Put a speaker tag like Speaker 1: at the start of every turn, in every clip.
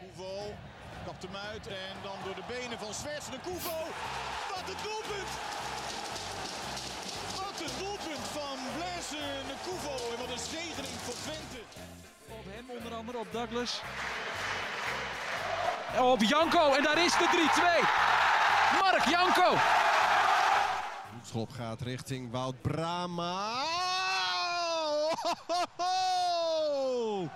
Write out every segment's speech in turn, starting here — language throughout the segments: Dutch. Speaker 1: Kuvo kapt hem uit en dan door de benen van Zwerts de Kuvo. Wat een doelpunt! Wat een doelpunt van Blaise de Kuvo en wat een zegening voor Twente.
Speaker 2: Op hem onder andere, op Douglas. En Op Janko en daar is de 3-2. Mark Janko.
Speaker 3: Schop gaat richting Wout Brama. Oh,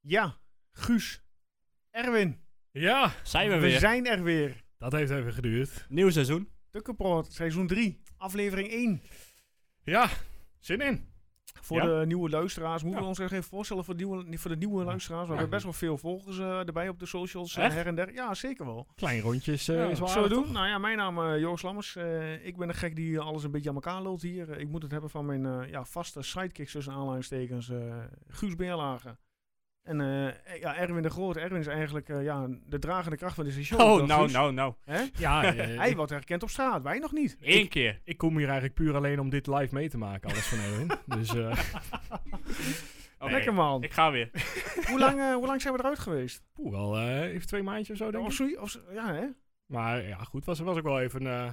Speaker 4: Ja, Guus, Erwin,
Speaker 5: Ja,
Speaker 6: Zijn we,
Speaker 4: we
Speaker 6: weer.
Speaker 4: zijn er weer.
Speaker 5: dat heeft even geduurd.
Speaker 6: Nieuw seizoen.
Speaker 4: Tukkenproot, seizoen 3, aflevering 1.
Speaker 5: Ja, zin in.
Speaker 4: Voor
Speaker 6: Ja.
Speaker 4: de nieuwe luisteraars, moeten
Speaker 5: Ja.
Speaker 4: we ons echt even voorstellen voor de nieuwe, voor de nieuwe luisteraars. We
Speaker 5: Ja.
Speaker 4: hebben best wel veel volgers eh, erbij op de socials eh,
Speaker 5: Echt?
Speaker 4: her en der. Ja, zeker wel.
Speaker 5: Klein rondjes eh,
Speaker 4: Ja,
Speaker 5: is
Speaker 4: Zullen
Speaker 5: wel
Speaker 4: we
Speaker 5: aardig,
Speaker 4: doen?
Speaker 5: toch?
Speaker 4: Nou ja, mijn naam is Joost Lammers. Eh, ik ben een gek die alles een beetje aan elkaar lult hier. Eh, ik moet het hebben van mijn eh, ja, vaste sidekick tussen aanleidingstekens, eh, Guus Beerlage. En eh, ja, Erwin de Groot. Erwin is eigenlijk eh, ja, de dragende kracht van deze show.
Speaker 6: Oh,
Speaker 4: Toch,
Speaker 6: nou,
Speaker 4: Guus?
Speaker 6: nou, nou.
Speaker 4: Hè?
Speaker 5: Ja, eh,
Speaker 4: Hij
Speaker 5: ik,
Speaker 4: wordt herkend op straat, wij nog niet.
Speaker 6: Eén keer.
Speaker 5: ik kom hier eigenlijk puur alleen om dit live mee te maken, alles van Erwin. dus eh,
Speaker 6: Oké,
Speaker 4: oh, Lekker man.
Speaker 6: Ik ga weer.
Speaker 4: hoe, lang, eh, hoe lang zijn we eruit geweest?
Speaker 5: poeh, wel eh, even twee maandjes of zo, denk
Speaker 4: Of
Speaker 5: ik.
Speaker 4: zo, of zo- ja, hè?
Speaker 5: Maar ja, goed, was, was ook wel even, eh,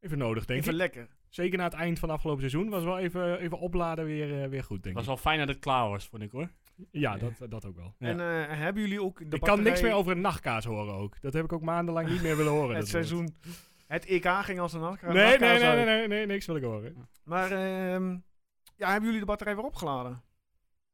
Speaker 5: even nodig, denk
Speaker 4: Even
Speaker 5: ik.
Speaker 4: lekker.
Speaker 5: Zeker na het eind van afgelopen seizoen was wel even, even opladen weer, eh, weer goed, denk
Speaker 6: was
Speaker 5: ik.
Speaker 6: wel fijn dat het klaar was, vond ik hoor.
Speaker 5: Ja, dat, dat ook wel.
Speaker 6: Ja.
Speaker 4: En eh, hebben jullie ook de
Speaker 5: ik kan niks
Speaker 4: batterij-
Speaker 5: meer over een nachtkaas horen ook. Dat heb ik ook maandenlang niet meer willen horen.
Speaker 4: het
Speaker 5: dat woord.
Speaker 4: seizoen. Het EK ging als een nachtkaas
Speaker 5: Nee, nee,
Speaker 4: nachtkaas
Speaker 5: nee,
Speaker 4: uit.
Speaker 5: nee, nee, nee, niks wil ik horen.
Speaker 4: Maar ehm, ja, hebben jullie de batterij weer opgeladen?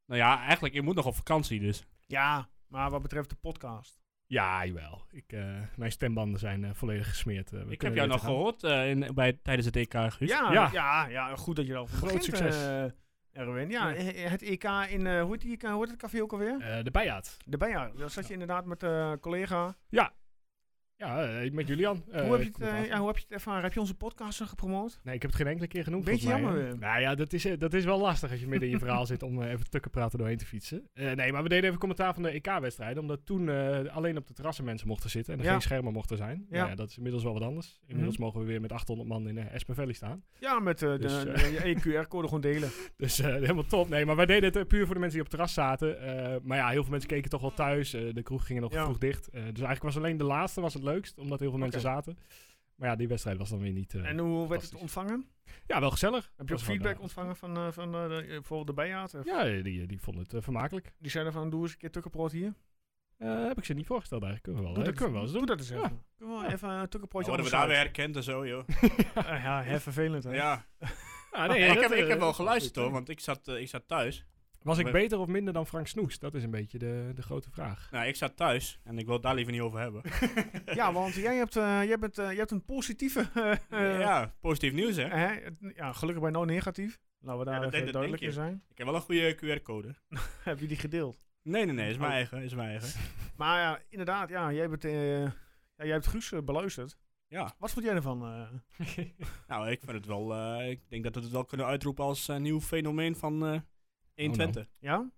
Speaker 6: Nou ja, eigenlijk, je moet nog op vakantie dus.
Speaker 4: Ja, maar wat betreft de podcast.
Speaker 5: Ja, jawel. Ik, eh, mijn stembanden zijn eh, volledig gesmeerd. eh, we
Speaker 6: Ik heb
Speaker 5: kunnen
Speaker 6: jou
Speaker 5: weer te
Speaker 6: nog
Speaker 5: gaan.
Speaker 6: gehoord eh, in, bij, tijdens het EK, Guus.
Speaker 4: Ja, ja.
Speaker 5: Ja.
Speaker 4: ja, goed dat je daarover
Speaker 5: Groot
Speaker 4: begint,
Speaker 5: succes.
Speaker 4: eh, Erwin. Ja,
Speaker 5: Ja.
Speaker 4: eh, het EK in, eh, hoe, heet die, hoe heet het café ook alweer?
Speaker 5: Eh, de bijaard.
Speaker 4: De Bijaard. Daar zat je inderdaad met eh collega.
Speaker 5: Ja, eh, met Julian. eh,
Speaker 4: hoe, heb je het, eh,
Speaker 5: commentator.
Speaker 4: ja, hoe heb je het ervaren? Heb je onze podcast dan gepromoot?
Speaker 5: Nee, ik heb het geen enkele keer genoemd.
Speaker 4: Beetje
Speaker 5: volgens mij,
Speaker 4: jammer
Speaker 5: hè.
Speaker 4: weer.
Speaker 5: Nou ja, dat is, eh, dat is wel lastig als je midden in je verhaal zit om eh, even tukken praten doorheen te fietsen. Eh, nee, maar we deden even commentaar van de EK-wedstrijd. Omdat toen eh, alleen op de terrassen mensen mochten zitten en er
Speaker 4: Ja.
Speaker 5: geen schermen mochten zijn.
Speaker 4: Ja. Mhm.
Speaker 5: Nou ja, dat is inmiddels wel wat anders. Inmiddels mogen we weer met 800 man in eh Espen Valley staan.
Speaker 4: Ja, met eh,
Speaker 5: Dus,
Speaker 4: de,
Speaker 5: eh.
Speaker 4: de EQR-code gewoon delen.
Speaker 5: Dus eh, helemaal top. Nee, maar wij deden het eh, puur voor de mensen die op het terras zaten. Eh, maar ja, heel veel mensen keken toch wel thuis. Eh, de kroeg gingen nog
Speaker 4: Ja.
Speaker 5: vroeg dicht. Eh, dus eigenlijk was alleen de laatste was het leukst, omdat heel veel mensen
Speaker 4: Oké.
Speaker 5: zaten. Maar ja, die wedstrijd was dan weer niet... eh,
Speaker 4: En hoe werd het
Speaker 5: fantastisch.
Speaker 4: ontvangen?
Speaker 5: Ja, wel gezellig.
Speaker 4: Heb je ook
Speaker 5: Was wel,
Speaker 4: feedback
Speaker 5: eh,
Speaker 4: ontvangen van, eh, van eh, de- bijvoorbeeld de Bijaard? Eh,
Speaker 5: Ja, eh, die, die vonden het eh, vermakelijk.
Speaker 4: Die zeiden van, doe eens een keer tukkenproot hier.
Speaker 5: Eh, heb ik ze niet voorgesteld eigenlijk. Kunnen we wel.
Speaker 4: Doe
Speaker 5: hè?
Speaker 4: dat
Speaker 5: kunnen we wel eens
Speaker 4: Doe
Speaker 5: doen.
Speaker 4: dat eens even.
Speaker 5: Ja.
Speaker 4: Kunnen we
Speaker 5: Ja.
Speaker 4: even een tukkenprootje
Speaker 6: herkend en zo, joh. Nou,
Speaker 4: Eh, ja, heel vervelend hè.
Speaker 5: Ah, nee,
Speaker 6: ik,
Speaker 5: dat,
Speaker 6: heb, ik
Speaker 5: eh,
Speaker 6: heb wel geluisterd
Speaker 5: goed,
Speaker 6: hoor,
Speaker 5: hè.
Speaker 6: want ik zat, eh, ik zat thuis.
Speaker 5: Was ik
Speaker 6: Maar-
Speaker 5: beter of minder dan Frank Snoes? Dat is een beetje de, de grote vraag.
Speaker 6: Nou, ik zat thuis en ik wil het daar liever niet over hebben.
Speaker 4: Ja, want jij hebt, eh, jij bent, eh, jij hebt een positieve... eh, eh,
Speaker 6: ja, positief nieuws hè.
Speaker 4: hè, het- ja, gelukkig bij nou negatief. Laten we daar
Speaker 6: dat
Speaker 4: even
Speaker 6: denk- dat
Speaker 4: duidelijk in
Speaker 6: denk je.
Speaker 4: zijn.
Speaker 6: Ik heb wel een goede QR-code.
Speaker 4: Heb je die gedeeld?
Speaker 6: Nee, nee, nee, is mijn
Speaker 4: Oh.
Speaker 6: eigen, is mijn eigen.
Speaker 4: Maar ja, inderdaad, ja, jij, bent, eh, ja, jij hebt Guus eh, beluisterd.
Speaker 6: Ja,
Speaker 4: Wat vond jij ervan? eh?
Speaker 6: nou, ik vind het wel, eh, ik denk dat we het wel kunnen uitroepen als eh, nieuw fenomeen van eh 120.
Speaker 4: ja?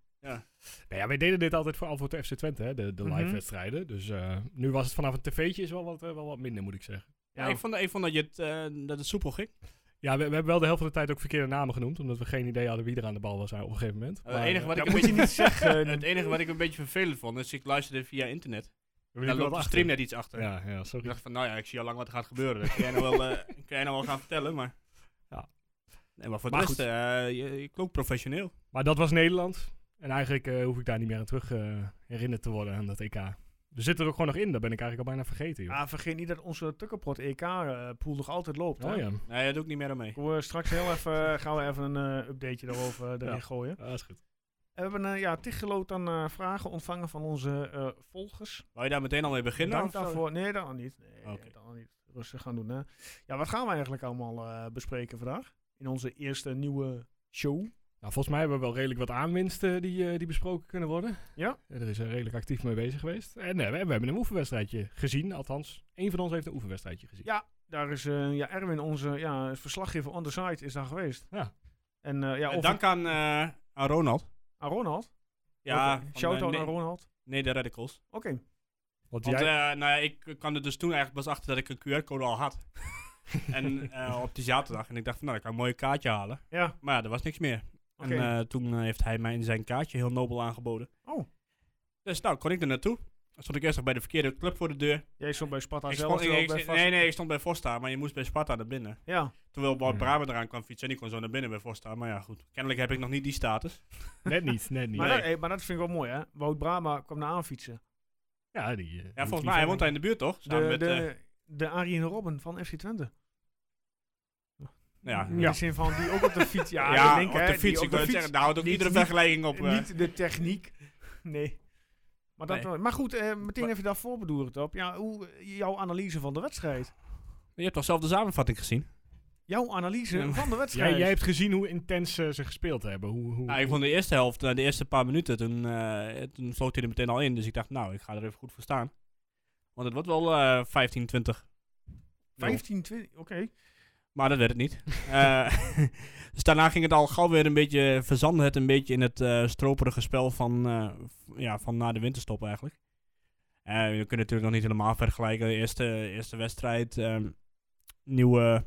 Speaker 5: Nou ja, wij deden dit altijd voor Antwoord FC Twente, hè, de, de live
Speaker 4: Mhm.
Speaker 5: wedstrijden. Dus eh, nu was het vanaf een tv'tje is wel wat, eh, wel wat minder, moet ik zeggen.
Speaker 6: Ja, ik, vond, ik vond dat, je het, eh, dat het soepel ging.
Speaker 5: Ja, we, we hebben wel de helft van de tijd ook verkeerde namen genoemd, omdat we geen idee hadden wie er aan de bal was eh, op een gegeven moment. eh,
Speaker 6: Het enige, wat ik
Speaker 4: dat
Speaker 6: een
Speaker 4: moet je
Speaker 6: beetje,
Speaker 4: niet zeggen. eh,
Speaker 6: het enige wat ik een beetje vervelend vond, is ik luisterde via internet.
Speaker 5: we
Speaker 6: Daar
Speaker 5: liepen
Speaker 6: loopt
Speaker 5: wel
Speaker 6: de
Speaker 5: achter.
Speaker 6: stream net iets achter.
Speaker 5: Ja, ja,
Speaker 6: Ik
Speaker 5: sorry.
Speaker 6: dacht van, nou ja, ik zie al lang wat er gaat gebeuren. Dat kun jij nou wel, eh, kun jij nou wel gaan vertellen, maar...
Speaker 5: Ja.
Speaker 6: Nee, maar voor
Speaker 5: Maar
Speaker 6: de rest,
Speaker 5: goed.
Speaker 6: eh, je, je klonk professioneel.
Speaker 5: Maar dat was Nederland. En eigenlijk eh, hoef ik daar niet meer aan terug eh, herinnerd te worden aan dat EK. We zitten er ook gewoon nog in, dat ben ik eigenlijk al bijna vergeten. Joh.
Speaker 4: Ah, vergeet niet dat onze tukkenprot E EK-pool nog altijd
Speaker 6: Ah,
Speaker 4: loopt. hè?
Speaker 5: oh ja,
Speaker 6: Nee, dat doe ik niet meer aan mee.
Speaker 4: Ik wil, eh, straks heel even, gaan we even een eh, updateje daarover eh, erin
Speaker 5: Ja.
Speaker 4: gooien.
Speaker 5: Ah, dat is goed.
Speaker 4: We hebben eh, ja, tig geloot aan eh, vragen ontvangen van onze eh, volgers.
Speaker 6: Wou je daar meteen al mee beginnen?
Speaker 4: Dank
Speaker 6: of zo?
Speaker 4: daarvoor. Nee, dan niet. Nee,
Speaker 6: Oké.
Speaker 4: nee, dan niet. Rustig gaan doen. Hè. Ja, wat gaan we eigenlijk allemaal eh, bespreken vandaag? In onze eerste nieuwe show.
Speaker 5: Nou, volgens mij hebben we wel redelijk wat aanwinsten die, eh, die besproken kunnen worden.
Speaker 4: Ja.
Speaker 5: Eh, Er is eh, redelijk actief mee bezig geweest. En eh, we, we hebben een oefenwedstrijdje gezien, althans. Eén van ons heeft een oefenwedstrijdje gezien.
Speaker 4: Ja, daar is eh, ja, Erwin, onze ja, verslaggever on the site, is daar geweest.
Speaker 5: Ja.
Speaker 4: En eh ja,
Speaker 6: Eh,
Speaker 4: of
Speaker 6: Dank aan, eh, aan Ronald.
Speaker 4: aan Ronald.
Speaker 6: Ja,
Speaker 4: Oké,
Speaker 6: van, eh,
Speaker 4: Shout-out
Speaker 6: nee,
Speaker 4: naar Ronald.
Speaker 6: nee, de radicals.
Speaker 4: Oké.
Speaker 5: Want
Speaker 6: Want
Speaker 5: jij,
Speaker 6: eh, nou ja, ik kwam er dus toen eigenlijk pas achter dat ik een QR-code al had. en eh, op die zaterdag. En ik dacht van, nou, ik kan een mooi kaartje halen.
Speaker 4: Ja,
Speaker 6: Maar ja, er was niks meer.
Speaker 4: oké.
Speaker 6: En eh, toen eh, heeft hij mij zijn kaartje heel nobel aangeboden.
Speaker 4: Oh.
Speaker 6: Dus nou, kon ik er naartoe. Dan stond ik eerst nog bij de verkeerde club voor de deur.
Speaker 4: Jij stond bij Sparta
Speaker 6: Ik
Speaker 4: zelf.
Speaker 6: stond,
Speaker 4: terwijl
Speaker 6: ik-
Speaker 4: bij
Speaker 6: ik-
Speaker 4: Vast-
Speaker 6: nee, nee, ik stond bij Forsta, maar je moest bij Sparta naar binnen.
Speaker 4: Ja,
Speaker 6: Terwijl Bart
Speaker 5: Hmm.
Speaker 6: Braben eraan kwam fietsen en die kon zo naar binnen bij Forsta. Maar ja, goed. Kennelijk heb ik nog niet die status.
Speaker 5: net niet, net niet.
Speaker 4: maar, dat, eh, maar dat vind ik wel mooi, hè. Wout Brama kwam naar aanfietsen.
Speaker 5: ja, die, eh,
Speaker 6: Ja,
Speaker 5: die
Speaker 6: volgens mij, hij woont
Speaker 5: vliegen.
Speaker 6: daar in de buurt toch? Samen
Speaker 4: De,
Speaker 6: met, eh,
Speaker 4: de, de Arjen Robben van FC Twente.
Speaker 6: ja,
Speaker 4: In
Speaker 5: Ja.
Speaker 4: de zin van die ook op de fiets. Ja,
Speaker 6: ja,
Speaker 4: ik denk,
Speaker 6: op
Speaker 4: hè,
Speaker 6: de
Speaker 4: die
Speaker 6: fiets.
Speaker 4: op
Speaker 6: Ik
Speaker 4: de
Speaker 6: wil het
Speaker 4: fiets.
Speaker 6: zeggen, daar houdt ook
Speaker 4: Niet-
Speaker 6: iedere
Speaker 4: niet-
Speaker 6: vergelijking op. eh.
Speaker 4: Niet de techniek. Nee. Maar, dat
Speaker 6: Nee.
Speaker 4: wel- maar goed, eh, meteen
Speaker 6: Maar-
Speaker 4: even daarvoor bedoel ik op. Ja, hoe, eh, jouw analyse van de wedstrijd.
Speaker 6: Je hebt toch zelf de samenvatting gezien?
Speaker 4: Jouw analyse
Speaker 6: Ja, maar-
Speaker 4: van de wedstrijd.
Speaker 5: Jij, jij hebt gezien hoe intens eh, ze gespeeld hebben. Hoe, hoe,
Speaker 6: Nou, ik vond de eerste helft, eh, de eerste paar minuten, toen, eh, toen sloot hij er meteen al in. Dus ik dacht, nou, ik ga er even goed voor staan. Want het wordt wel eh 15, 20.
Speaker 4: 15, 20, oké.
Speaker 6: Maar dat werd het niet. Eh, dus daarna ging het al gauw weer een beetje, verzanden het een beetje in het eh, stroperige spel van, eh, v- ja, van na de winterstop eigenlijk. Eh, we kunnen het natuurlijk nog niet helemaal vergelijken. De eerste, eerste wedstrijd, ehm, nieuwe...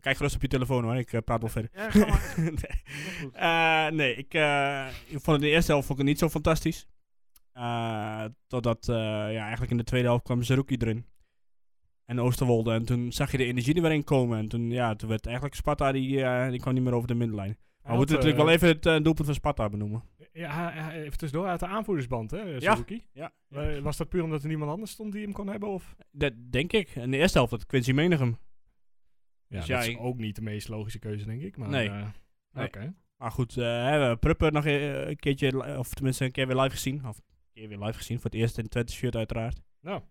Speaker 6: Kijk gerust op je telefoon hoor, ik eh, praat wel verder.
Speaker 4: Ja, ga maar.
Speaker 6: Nee.
Speaker 4: Heel goed.
Speaker 6: Eh, nee, ik, eh, ik vond het in de eerste helft vond ik het niet zo fantastisch. Eh, totdat eh, ja, eigenlijk in de tweede helft kwam Zerouki erin. En Oosterwolde. En toen zag je de energie er weer in komen. En toen, ja, toen werd eigenlijk Sparta, die, eh, die kwam niet meer over de middenlijn. Maar we
Speaker 5: had,
Speaker 6: moeten natuurlijk
Speaker 5: eh,
Speaker 6: wel even het eh, doelpunt van Sparta benoemen.
Speaker 5: Ja, hij- hij- even tussendoor, hij had de aanvoerdersband, hè, Suzuki?
Speaker 6: ja.
Speaker 5: Eh, Was dat puur omdat er niemand anders stond die hem kon hebben? Of?
Speaker 6: Dat denk ik. In de eerste helft had Quincy Menigem.
Speaker 5: Ja,
Speaker 6: Dus
Speaker 5: dat
Speaker 6: ja,
Speaker 5: is
Speaker 6: ik-
Speaker 5: ook niet de meest logische keuze, denk ik. Maar,
Speaker 6: Nee.
Speaker 5: eh,
Speaker 6: Nee.
Speaker 5: Oké.
Speaker 6: Maar goed, eh, hè, we hebben Prupper nog eh, een keertje, li- of tenminste een keer weer live gezien. Of een keer weer live gezien, voor het eerst in het Twente shirt uiteraard.
Speaker 5: Nou.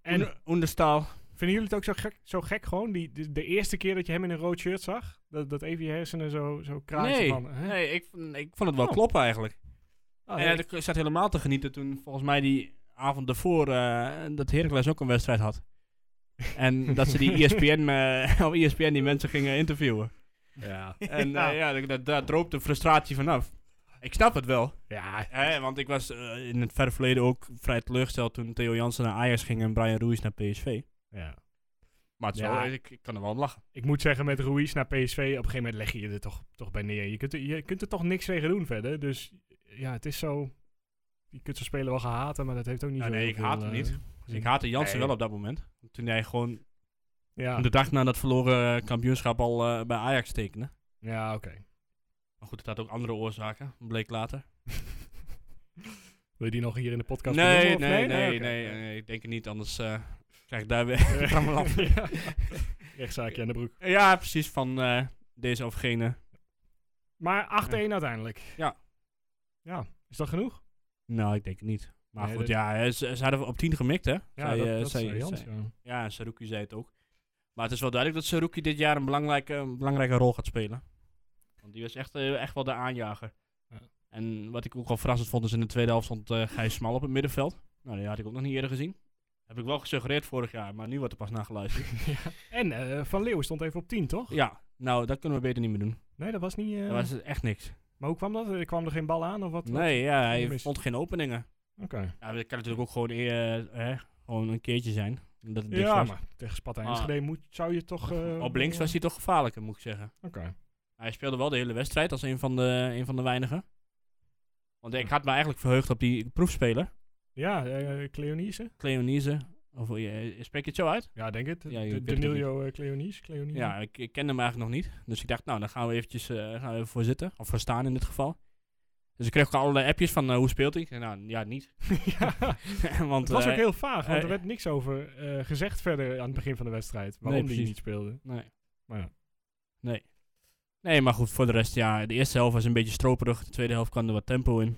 Speaker 5: En
Speaker 6: En Oenderstaal.
Speaker 5: vinden jullie het ook zo gek, zo gek gewoon? Die, de, de eerste keer dat je hem in een rood shirt zag? Dat, dat even je hersenen zo, zo kraaien
Speaker 6: Nee,
Speaker 5: van... hè?
Speaker 6: nee ik, vond- ik vond het wel
Speaker 5: Oh.
Speaker 6: kloppen eigenlijk.
Speaker 5: Ah,
Speaker 6: en
Speaker 5: ja,
Speaker 6: ja, ik zat helemaal te genieten toen volgens mij die avond daarvoor eh, dat Heracles ook een wedstrijd had. En dat ze die ESPN, eh, op ESPN die mensen gingen interviewen.
Speaker 5: ja.
Speaker 6: En
Speaker 4: Ja.
Speaker 6: ja, ja dat- dat- daar droop de frustratie vanaf. Ik snap het wel.
Speaker 5: ja.
Speaker 6: Hè, want ik was eh, in het verre verleden ook vrij teleurgesteld toen Theo Jansen naar Ajax ging en Brian Ruiz naar PSV.
Speaker 5: ja.
Speaker 6: Maar het is
Speaker 5: Ja.
Speaker 6: wel- ik, ik kan er wel om lachen.
Speaker 5: Ik moet zeggen, met Ruiz naar PSV, op een gegeven moment leg je je er toch, toch bij neer. Je kunt, er, je kunt er toch niks tegen doen verder. Dus ja, het is zo... Je kunt zo'n speler wel gaan haten, maar dat heeft ook niet
Speaker 6: Ja,
Speaker 5: zo
Speaker 6: nee,
Speaker 5: heel
Speaker 6: ik
Speaker 5: veel,
Speaker 6: haat hem
Speaker 5: eh,
Speaker 6: niet.
Speaker 5: gezien.
Speaker 6: Dus ik haatte Jansen
Speaker 5: Nee.
Speaker 6: wel op dat moment. Toen hij gewoon
Speaker 5: Ja,
Speaker 6: de dag na dat verloren kampioenschap al eh, bij Ajax tekende.
Speaker 5: ja oké.
Speaker 6: Maar goed, het had ook andere oorzaken, bleek later.
Speaker 5: Wil je die nog hier in de podcast
Speaker 6: nee, nee,
Speaker 5: benoemen, of Ah,
Speaker 6: nee, nee,
Speaker 5: Oké.
Speaker 6: nee, ik denk het niet, anders eh, krijg ik daar weer een rammel af.
Speaker 5: Ja. Rechtszaakje aan de broek.
Speaker 6: Ja, precies, van eh, deze of gene.
Speaker 5: Maar 8-1 uiteindelijk.
Speaker 6: Ja.
Speaker 5: Ja, is dat genoeg?
Speaker 6: Nou, ik denk het niet. Maar
Speaker 5: Nee,
Speaker 6: goed,
Speaker 5: dat-
Speaker 6: ja, eh, ze, ze hadden op 10 gemikt, hè? Zei, eh, zei-
Speaker 5: zei Jans,
Speaker 6: zei-
Speaker 5: ja.
Speaker 6: ja, en Saruki zei het ook. Maar het is wel duidelijk dat Saruki dit jaar een belangrijke, een belangrijke rol gaat spelen. Want die was echt, eh, echt wel de aanjager.
Speaker 5: Ja.
Speaker 6: En wat ik ook wel verrassend vond, is in de tweede helft stond eh Gijs Smal op het middenveld. Nou, die had ik ook nog niet eerder gezien. Heb ik wel gesuggereerd vorig jaar, maar nu wordt er pas naar geluisterd.
Speaker 5: En eh, Van Leeuwen stond even op 10, toch?
Speaker 6: Ja, nou, dat kunnen we beter niet meer doen.
Speaker 5: Nee, dat was niet... eh,
Speaker 6: Dat was echt niks.
Speaker 5: Maar hoe kwam dat? Er kwam er geen bal aan of wat? Wat?
Speaker 6: Nee, ja,
Speaker 5: ging er
Speaker 6: hij
Speaker 5: mis?
Speaker 6: vond geen openingen.
Speaker 5: Oké.
Speaker 6: Ja, dat kan natuurlijk ook gewoon, eh, hè, gewoon een keertje zijn. Omdat het dicht
Speaker 5: Ja,
Speaker 6: was.
Speaker 5: maar tegen Sparta Enschede moet, zou je toch... eh,
Speaker 6: Ah. Op links was hij toch gevaarlijker, moet ik zeggen.
Speaker 5: Oké.
Speaker 6: Hij speelde wel de hele wedstrijd als een van de, een van de weinigen. Want ik had me eigenlijk verheugd op die proefspeler,
Speaker 5: Ja, eh Cleonice?
Speaker 6: Cleonise. Of, eh, spreek je het zo uit?
Speaker 5: Ja, denk het.
Speaker 6: Ja, ik
Speaker 5: De-
Speaker 6: weet het
Speaker 5: Danilo eh, Cleonice? Cleonice?
Speaker 6: Ja, ik, ik kende hem eigenlijk nog niet. Dus ik dacht, nou, dan gaan we eventjes eh, gaan we even voor zitten. Of voor staan in dit geval. Dus ik kreeg ook allerlei appjes van, eh, hoe speelt hij? Ik zei, Nou, ja, niet.
Speaker 5: ja.
Speaker 6: Want,
Speaker 5: Het was
Speaker 6: eh,
Speaker 5: ook heel vaag, want er
Speaker 6: eh,
Speaker 5: werd niks over eh, gezegd verder aan het begin van de wedstrijd. Waarom die
Speaker 6: precies.
Speaker 5: niet speelde.
Speaker 6: Nee.
Speaker 5: Maar ja.
Speaker 6: Nee. Nee, maar goed, voor de rest, ja. De eerste helft was een beetje stroperig. De tweede helft kwam er wat tempo in.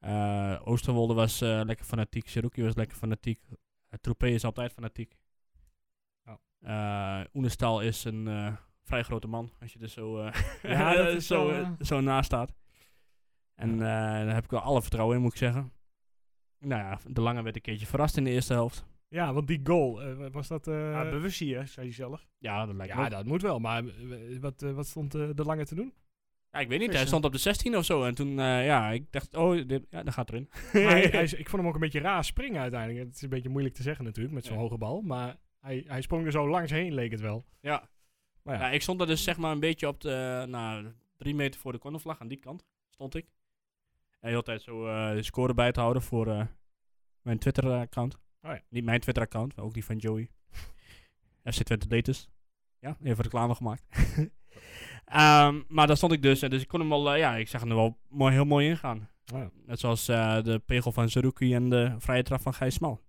Speaker 6: Eh, Oosterwolde was eh, lekker fanatiek. Seruki was lekker fanatiek. Eh, Troepé is altijd fanatiek.
Speaker 5: Ja.
Speaker 6: Eh, Oenestal is een eh, vrij grote man. Als je er zo, eh,
Speaker 5: Ja, dat is
Speaker 6: zo,
Speaker 5: wel,
Speaker 6: eh,
Speaker 5: eh.
Speaker 6: zo naast staat. En eh, daar heb ik wel alle vertrouwen in, moet ik zeggen. Nou ja, De Lange werd een keertje verrast in de eerste helft.
Speaker 5: Ja, want die goal, eh, was dat... eh,
Speaker 4: ja, bewust hier, zei hij zelf.
Speaker 6: Ja, dat lijkt me
Speaker 5: ja,
Speaker 6: ook.
Speaker 5: dat moet wel. Maar eh, wat, eh, wat stond eh, de eh, lange te doen?
Speaker 6: Ja, ik weet niet. Hij
Speaker 4: Vissen.
Speaker 6: stond op de 16 of zo. En toen, eh, ja, ik dacht, oh, dit, ja, dat gaat erin.
Speaker 5: hij, hij is- ik vond hem ook een beetje raar springen uiteindelijk. Het is een beetje moeilijk te zeggen natuurlijk met zo'n
Speaker 6: Ja.
Speaker 5: hoge bal. Maar hij, hij sprong er zo langs heen, leek het wel.
Speaker 6: Ja.
Speaker 5: Maar ja.
Speaker 6: Ja, ik stond er dus zeg maar een beetje op de, nou, drie meter voor de cornervlag, aan die kant stond ik. En de hele tijd zo eh, de score bij te houden voor eh, mijn Twitter-account.
Speaker 5: Oh ja.
Speaker 6: Niet mijn Twitter-account, maar ook die van Joey. FC Twente Latest. Ja, even reclame gemaakt. Ehm, maar daar stond ik dus, en dus ik kon hem wel, eh, ja, ik zag hem er wel mooi, heel mooi ingaan.
Speaker 5: Oh ja.
Speaker 6: Net zoals eh, de pegel van Zerouki en de vrije trap van Gijs Smal.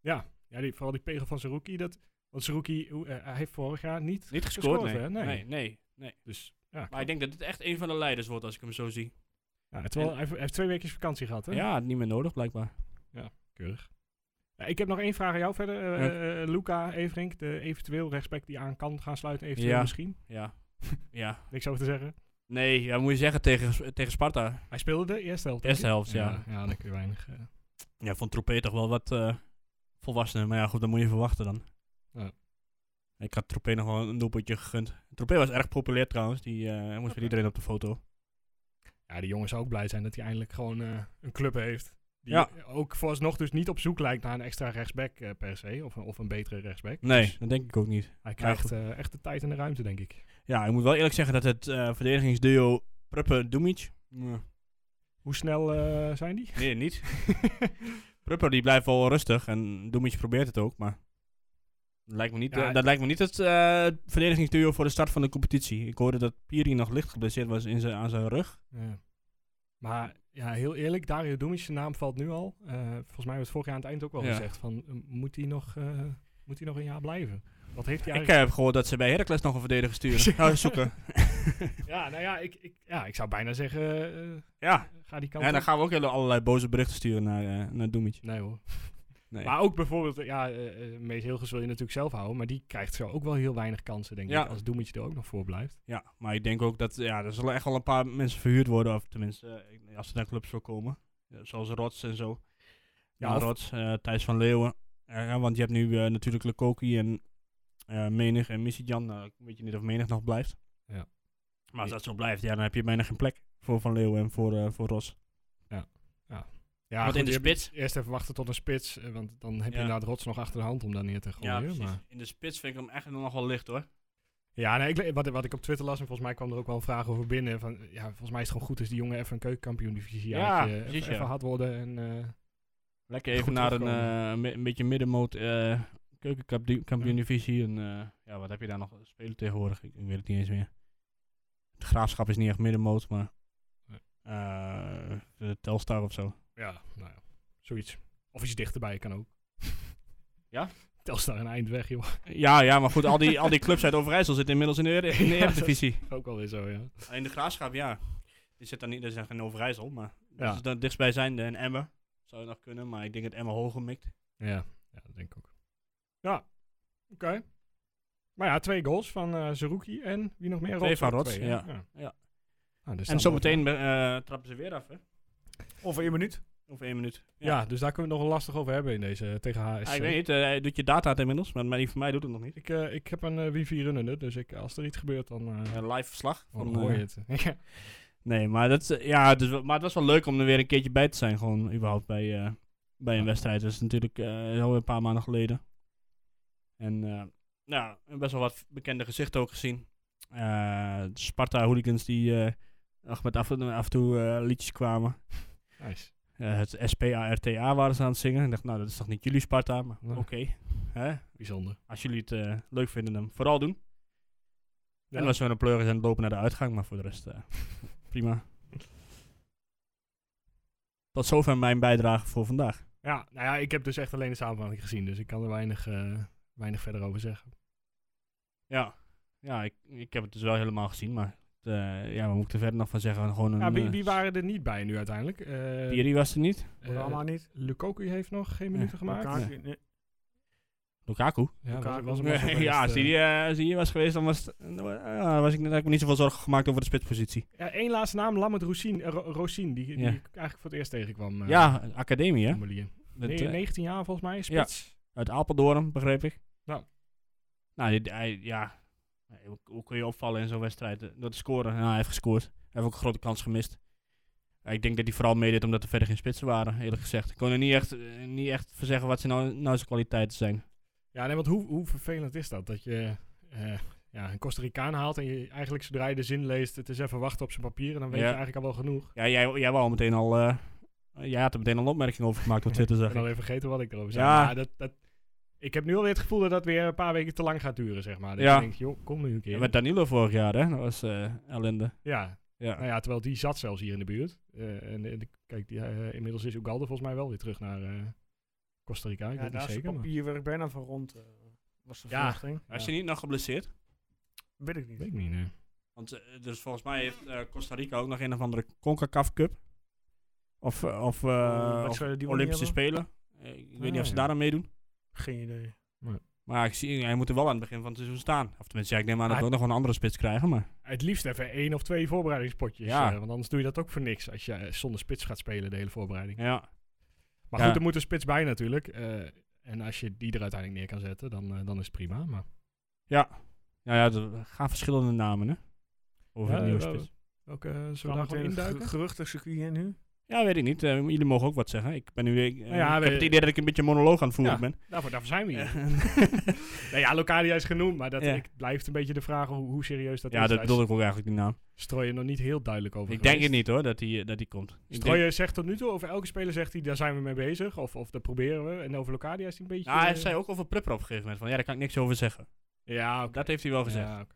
Speaker 5: Ja, ja die, vooral die pegel van Zerouki. Dat, want Zerouki hoe, eh, hij heeft vorig jaar niet.
Speaker 6: Niet
Speaker 5: gescoord,
Speaker 6: gescoord, nee.
Speaker 5: hè? Nee.
Speaker 6: nee. Nee, nee,
Speaker 5: Dus ja,
Speaker 6: Maar ik denk dat dit echt een van de leiders wordt als ik hem zo zie.
Speaker 5: ja, terwijl hij, heeft- hij heeft twee weken vakantie gehad, hè?
Speaker 6: Ja, niet meer nodig blijkbaar.
Speaker 5: Keurig. Ja, ik heb nog één vraag aan jou verder. eh,
Speaker 6: Ja.
Speaker 5: eh, eh, Luca Everink, de eventueel rechtsback die aan kan gaan sluiten, eventueel
Speaker 6: Ja.
Speaker 5: misschien.
Speaker 6: Ja. ja.
Speaker 5: Niks over te zeggen.
Speaker 6: Nee, ja, moet je zeggen tegen, tegen Sparta.
Speaker 5: Hij speelde de eerste helft. denk
Speaker 6: Eerste
Speaker 5: ik.
Speaker 6: helft, ja.
Speaker 5: Ja, ja dan kun je weinig. eh,
Speaker 6: Ja, vond Troepé toch wel wat eh volwassener. Maar ja, goed, dan moet je verwachten dan.
Speaker 5: Ja.
Speaker 6: Ik had Troepé nog wel een doelpuntje gegund. Troepé was erg populair trouwens. Die eh, moest
Speaker 5: Oké.
Speaker 6: weer iedereen op de foto.
Speaker 5: ja, die jongen zou ook blij zijn dat hij eindelijk gewoon eh, een club heeft. Die
Speaker 6: Ja.
Speaker 5: ook vooralsnog dus niet op zoek lijkt naar een extra rechtsback eh, per se. Of, een- of een betere rechtsback.
Speaker 6: Nee,
Speaker 5: Dus
Speaker 6: dat denk ik ook niet.
Speaker 5: hij krijgt
Speaker 6: goed.
Speaker 5: eh, echt de tijd en de ruimte, denk ik.
Speaker 6: Ja, ik moet wel eerlijk zeggen dat het eh, verdedigingsduo Pruppen-Dumic...
Speaker 5: Hoe snel eh, zijn die?
Speaker 6: Nee, niet. Prupper die blijft wel rustig en Doemetje probeert het ook, maar dat lijkt me niet,
Speaker 5: Ja,
Speaker 6: eh, dat lijkt me niet het eh, verdedigingsduo voor de start van de competitie. Ik hoorde dat Piri nog licht geblesseerd was in zijn, aan zijn rug.
Speaker 5: Ja. Maar ja, heel eerlijk, Dario Dumic, zijn naam valt nu al. Eh, volgens mij werd vorig jaar aan het eind ook wel
Speaker 6: Ja.
Speaker 5: gezegd van, eh, moet hij nog, eh, moet hij nog een jaar blijven? Wat heeft hij
Speaker 6: Ik eh,
Speaker 5: eigenlijk...
Speaker 6: heb gehoord dat ze bij Heracles nog een verdediger sturen. Nou, zoeken. eh,
Speaker 5: ja, nou ja, ik, ik, ja, ik zou bijna zeggen, eh, eh,
Speaker 6: Ja,
Speaker 5: ga die kant
Speaker 6: en dan
Speaker 5: op.
Speaker 6: gaan we ook hele- allerlei boze berichten sturen naar, eh, naar Doemetje.
Speaker 5: Nee hoor.
Speaker 6: Nee.
Speaker 5: Maar ook bijvoorbeeld, ja, eh eh, Mees Hilgers wil je natuurlijk zelf houden, maar die krijgt zo ook wel heel weinig kansen, denk
Speaker 6: Ja.
Speaker 5: ik, als Doemetje er ook nog voor blijft.
Speaker 6: Ja, maar ik denk ook dat ja, er zullen echt wel een paar mensen verhuurd worden. Of tenminste, eh, ik- als ze naar clubs wil komen. Ja, Zoals Rots en zo.
Speaker 5: Ja,
Speaker 6: Ja,
Speaker 5: of-
Speaker 6: Rots, eh, Thijs van Leeuwen. Eh, ja, want je hebt nu eh, natuurlijk Lekoki en eh, Menig en Missy-Jan. Nou, ik weet je niet of Menig nog blijft.
Speaker 5: Ja.
Speaker 6: Maar als dat zo blijft, ja, dan heb je bijna geen plek voor Van Leeuwen en voor, eh, voor Rots.
Speaker 5: Ja,
Speaker 6: Want
Speaker 5: goed,
Speaker 6: in de
Speaker 5: je hebt
Speaker 6: spits-
Speaker 5: Eerst even wachten tot een spits, eh, want dan heb je
Speaker 6: Ja.
Speaker 5: inderdaad Rots nog achter de hand om daar neer te gooien. maar...
Speaker 6: In de spits vind ik hem echt nog wel licht hoor.
Speaker 5: Ja, nee, ik, le- wat, wat ik op Twitter las, en volgens mij kwam er ook wel een vraag over binnen. Van, ja, volgens mij is het gewoon goed als die jongen even een keukenkampioen divisie
Speaker 6: Ja,
Speaker 5: even,
Speaker 6: precies, ja.
Speaker 5: even hard worden. En, eh,
Speaker 6: Lekker even
Speaker 5: Goed
Speaker 6: naar een,
Speaker 5: terugkomen.
Speaker 6: eh, mi- een beetje middenmoot eh keukenkampioen divisie. En, eh, ja, wat heb je daar nog spelen tegenwoordig? Ik, ik weet het niet eens meer. De graafschap is niet echt middenmoot, maar
Speaker 5: Nee.
Speaker 6: eh, de Telstar of zo.
Speaker 5: ja, nou ja, zoiets. Of iets dichterbij kan ook.
Speaker 6: Ja?
Speaker 5: Telstar een eind weg, joh.
Speaker 6: Ja, ja, maar goed, al die, al die clubs uit Overijssel zitten inmiddels in de, Ere- in de
Speaker 5: Ja, dat-
Speaker 6: Eredivisie.
Speaker 5: Ook alweer zo, ja.
Speaker 6: Alleen de graafschap, ja. Die zit dan niet, dat is dan geen Overijssel, maar
Speaker 5: Ja.
Speaker 6: dat is dan dichtstbij zijnde en Emmen. Zou je nog kunnen, maar ik denk dat Emmen hoger mikt.
Speaker 5: Ja, ja dat denk ik ook. Ja, oké. Maar ja, twee goals van eh Zerouki en wie nog meer? Rots,
Speaker 6: van
Speaker 5: ook
Speaker 6: Rots,
Speaker 5: hè?
Speaker 6: ja.
Speaker 5: ja.
Speaker 6: Ja.
Speaker 5: Nou, dus
Speaker 6: En
Speaker 5: dan
Speaker 6: zometeen eh trappen ze weer af, hè?
Speaker 4: Over één minuut.
Speaker 6: Over één minuut.
Speaker 5: Ja. ja, dus daar kunnen we het nog wel lastig over hebben in deze tegen HSC.
Speaker 6: Ja, ik weet niet, eh, hij doet je data het inmiddels, maar, maar die van mij doet het nog niet.
Speaker 5: Ik, eh, ik heb een eh, wifi runnende, dus ik, als er iets gebeurt, dan, eh,
Speaker 6: Eh, live verslag.
Speaker 5: dan
Speaker 6: Van,
Speaker 5: hoor je
Speaker 6: eh,
Speaker 5: het. ja.
Speaker 6: nee, maar, dat, is- eh, ja, het is wel- maar het was wel leuk om er weer een keertje bij te zijn, gewoon überhaupt bij, eh, bij een wedstrijd. Dat is natuurlijk eh alweer een paar maanden geleden. En eh, nou, best wel wat bekende gezichten ook gezien. Eh, de Sparta-hooligans die eh, nog met af, en- af en toe eh, liedjes kwamen.
Speaker 5: Nice.
Speaker 6: Eh, het SPARTA waren ze aan het zingen. Ik dacht, nou, dat is toch niet jullie Sparta, maar
Speaker 5: Nee.
Speaker 6: oké. hè
Speaker 5: Bijzonder.
Speaker 6: Als jullie het eh, leuk vinden, dan vooral doen. En als we een pleuris en lopen naar de uitgang, maar voor de rest eh, prima. Tot zover mijn bijdrage voor vandaag.
Speaker 5: Ja, nou ja, ik heb dus echt alleen de samenvatting gezien, dus ik kan er weinig, eh, weinig verder over zeggen.
Speaker 6: Ja, ja ik, ik heb het dus wel helemaal gezien, maar eh, ja, wat moet ik er verder nog van zeggen? Gewoon een,
Speaker 5: Ja, wie,
Speaker 6: eh,
Speaker 5: wie waren er niet bij nu uiteindelijk? Eh
Speaker 6: Piri was er niet.
Speaker 5: eh,
Speaker 4: Allemaal niet.
Speaker 5: Lukaku heeft nog geen minuten gemaakt.
Speaker 4: Elkaar- nee.
Speaker 6: Lukaku.
Speaker 5: Ja,
Speaker 4: Lukaku.
Speaker 5: was, was hem al zo
Speaker 6: ja,
Speaker 5: best,
Speaker 6: als die,
Speaker 5: eh.
Speaker 6: eh, als die hier was geweest, dan was, het- eh, ja, was ik, net- had ik me niet zoveel zorgen gemaakt over de spitspositie.
Speaker 5: Ja, één laatste naam, Lammert Roussin, eh, Ro- Rosin, die, die
Speaker 6: Ja.
Speaker 5: ik eigenlijk voor het eerst tegenkwam. eh,
Speaker 6: ja, een academie,
Speaker 5: op
Speaker 6: hè?
Speaker 5: de Molière.
Speaker 6: Dat,
Speaker 5: Nee,
Speaker 6: eh,
Speaker 5: 19 jaar volgens mij, spits.
Speaker 6: Uit Apeldoorn, begreep ik.
Speaker 5: Ja.
Speaker 6: Nou, die- hij- ja. Eh, hoe, hoe kun je opvallen in zo'n wedstrijd? Eh, Door te scoren. Nou, hij heeft gescoord. Hij heeft ook een grote kans gemist. Eh, Ik denk dat hij vooral meedeed omdat er verder geen spitsen waren, eerlijk gezegd. Ik kon er niet echt, eh, niet echt voor zeggen wat zijn nou, nou zijn kwaliteiten zijn.
Speaker 5: Ja, nee, want hoe, hoe vervelend is dat? Dat je eh, ja, een Costa Ricaan haalt en je eigenlijk zodra je de zin leest, het is even wachten op zijn papier en dan weet
Speaker 6: Ja.
Speaker 5: je eigenlijk al wel genoeg.
Speaker 6: Ja, jij, jij wou al meteen al... eh, jij had er meteen al een opmerking over gemaakt op Twitter,
Speaker 5: Ik
Speaker 6: zeg
Speaker 5: ben
Speaker 6: ik.
Speaker 5: alweer vergeten wat ik erover zei.
Speaker 6: Ja.
Speaker 5: Ja. dat, dat, ik heb nu alweer het gevoel dat dat weer een paar weken te lang gaat duren, zeg maar. Dat
Speaker 6: Ja.
Speaker 5: je denkt, joh, kom nu een
Speaker 6: Ja,
Speaker 5: keer.
Speaker 6: met Danilo vorig jaar, hè? Dat was eh ellende.
Speaker 5: Ja,
Speaker 6: Ja.
Speaker 5: nou ja, terwijl die zat zelfs hier in de buurt. Eh, en, en kijk, die, eh, inmiddels is Ugalde volgens mij wel weer terug naar eh, Costa Rica. Ik
Speaker 4: Ja,
Speaker 5: weet
Speaker 4: daar
Speaker 5: niet
Speaker 4: is het
Speaker 5: zeker. maar-
Speaker 4: papierwerk bijna van rond. eh, was de
Speaker 5: Ja.
Speaker 4: verwachting.
Speaker 6: Als je niet nog geblesseerd?
Speaker 4: Weet ik niet.
Speaker 5: Weet ik niet, nee.
Speaker 6: Want eh, dus volgens mij heeft eh, Costa Rica ook nog een of andere CONCACAF Cup. Of, eh, of, eh,
Speaker 4: Oh,
Speaker 6: of
Speaker 4: wedstrijden die we niet
Speaker 6: Olympische
Speaker 4: hebben?
Speaker 6: Spelen. Eh, ik weet
Speaker 5: Ah,
Speaker 6: niet of ze
Speaker 5: ja.
Speaker 6: daar aan meedoen.
Speaker 4: Geen idee.
Speaker 6: Maar ik zie, hij moet er wel aan het begin van het seizoen staan. Of tenminste, ja, ik neem aan dat
Speaker 5: Maar-
Speaker 6: we ook nog wel een andere spits krijgen. Maar
Speaker 5: Het liefst even één of twee voorbereidingspotjes.
Speaker 6: Ja.
Speaker 5: eh, want anders doe je dat ook voor niks als je eh, zonder spits gaat spelen de hele voorbereiding.
Speaker 6: ja.
Speaker 5: Maar
Speaker 6: Ja.
Speaker 5: goed, er moet een spits bij natuurlijk. eh, en als je die er uiteindelijk neer kan zetten, dan, eh, dan is het prima. Maar
Speaker 6: Nou ja, er gaan verschillende namen, hè? Over
Speaker 5: Ja,
Speaker 6: een nieuwe
Speaker 5: ja,
Speaker 6: spits.
Speaker 5: ook eh
Speaker 4: Gaan
Speaker 5: zullen we
Speaker 4: we
Speaker 5: daar gewoon
Speaker 4: meteen het
Speaker 5: induiken?
Speaker 4: ge- geruchtencircuit in nu?
Speaker 6: Ja, weet ik niet. Eh, jullie mogen ook wat zeggen. Ik ben nu... Ik, eh,
Speaker 5: Nou ja,
Speaker 6: ik
Speaker 5: we-
Speaker 6: heb het idee dat ik een beetje monoloog aan het voeren
Speaker 5: Ja.
Speaker 6: ben.
Speaker 5: Daarvoor, Nou, daarvoor zijn we hier.
Speaker 6: Eh,
Speaker 5: Nou ja, Locadia is genoemd, maar dat
Speaker 6: Ja.
Speaker 5: ik, blijft een beetje de vraag hoe, hoe serieus dat
Speaker 6: ja,
Speaker 5: is.
Speaker 6: dat
Speaker 5: Daar
Speaker 6: bedoel ik ook eigenlijk, die naam.
Speaker 5: is Strooijer nog niet heel duidelijk over
Speaker 6: Ik denk
Speaker 5: geweest.
Speaker 6: het niet, hoor, dat die, eh, dat die komt. Ik denk-
Speaker 5: Strooijer zegt tot nu toe, over elke speler zegt hij, daar zijn we mee bezig. Of, of dat proberen we. En over Locadia is hij een beetje...
Speaker 6: Nou, hij
Speaker 5: eh,
Speaker 6: zei ook over Prepper op een gegeven moment. Van, ja, daar kan ik niks over zeggen.
Speaker 5: Ja, oké.
Speaker 6: Dat heeft hij wel gezegd.
Speaker 5: Ja, oké.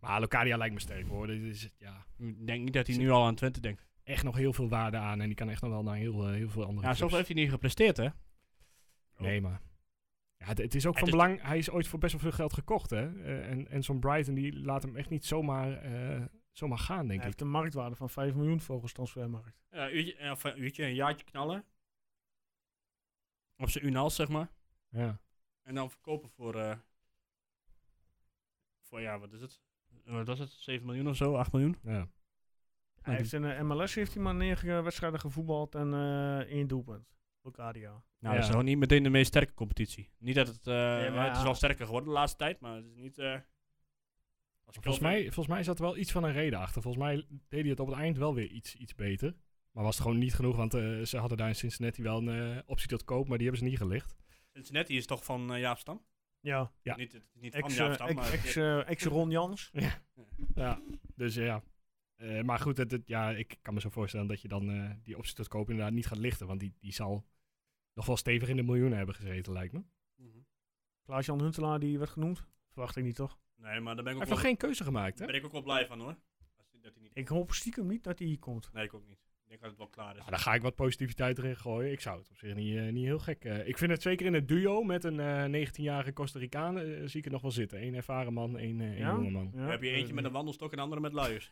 Speaker 5: Maar Locadia lijkt me sterk, hoor. Dit is, ja,
Speaker 6: Ik denk niet dat hij nu al aan Twente denkt.
Speaker 5: echt nog heel veel waarde aan. En die kan echt nog wel naar heel, eh, heel veel andere
Speaker 6: Ja,
Speaker 5: clubs.
Speaker 6: zoveel heeft hij niet gepresteerd, hè?
Speaker 5: Nee, maar... Ja, het, het is ook
Speaker 6: Het
Speaker 5: van
Speaker 6: is-
Speaker 5: belang... Hij is ooit voor best wel veel geld gekocht, hè. Eh, en en zo'n Brighton, die laat hem echt niet zomaar, eh, zomaar gaan, denk
Speaker 4: Hij
Speaker 5: ik.
Speaker 4: heeft een marktwaarde van 5 miljoen volgens transfermarkt.
Speaker 6: Ja, uurtje, eh, of een uurtje, een jaartje knallen. Op zijn unals, zeg maar.
Speaker 5: Ja.
Speaker 6: En dan verkopen voor... eh, voor, ja, wat is het? Eh, Wat was het? 7 miljoen of zo? 8 miljoen?
Speaker 5: ja.
Speaker 4: Hij heeft in eh, de MLS heeft hij maar negen wedstrijden gevoetbald en eh één doelpunt. Locadia.
Speaker 6: Nou,
Speaker 5: Ja.
Speaker 6: dat is ook niet meteen de meest sterke competitie. Niet dat het... eh,
Speaker 4: maar
Speaker 6: Het is
Speaker 4: ja.
Speaker 6: wel sterker geworden de laatste tijd, maar het is niet... eh, als
Speaker 5: Volgens mij, volgens mij zat er wel iets van een reden achter. Volgens mij deed hij het op het eind wel weer iets, iets beter. Maar was het gewoon niet genoeg, want eh, ze hadden daar in Cincinnati wel een eh, optie tot koop, maar die hebben ze niet gelicht.
Speaker 6: Cincinnati is toch van eh, Jaap Stam?
Speaker 4: Ja,
Speaker 5: Ja.
Speaker 6: Niet, het- niet van
Speaker 4: ex,
Speaker 6: Jaap
Speaker 4: eh,
Speaker 6: Stam,
Speaker 4: ex,
Speaker 6: maar...
Speaker 4: ex, eh, ex Ron Jans.
Speaker 5: Dus eh, ja. Eh, maar goed, het, het- ja, ik kan me zo voorstellen dat je dan eh, die optie tot koop inderdaad niet gaat lichten, want die, die zal nog wel stevig in de miljoenen hebben gezeten, lijkt me. Hij
Speaker 6: Mhm.
Speaker 4: Klaas-Jan Huntelaar, die werd genoemd. Verwacht ik niet, toch?
Speaker 6: Nee, maar daar ben ik ook,
Speaker 5: heeft
Speaker 6: wel,
Speaker 5: nog geen keuze gemaakt, hè?
Speaker 6: ben ik ook wel blij van hoor. Als die- dat hij niet...
Speaker 4: Ik hoop stiekem niet dat hij hier komt.
Speaker 6: Nee, ik ook niet. Ik denk dat het wel klaar is.
Speaker 4: Ah,
Speaker 5: Nou, daar ga ik wat positiviteit erin gooien. Ik zou het op zich niet, eh, niet heel gek. eh, ik vind het zeker in het duo met een eh, 19-jarige Costa Ricaan eh, zie ik het nog wel zitten. Eén ervaren man, één, eh één
Speaker 4: Ja?
Speaker 5: jonge man.
Speaker 4: Ja,
Speaker 6: Dan heb je
Speaker 4: eh,
Speaker 6: eentje met een wandelstok en de andere met luiers.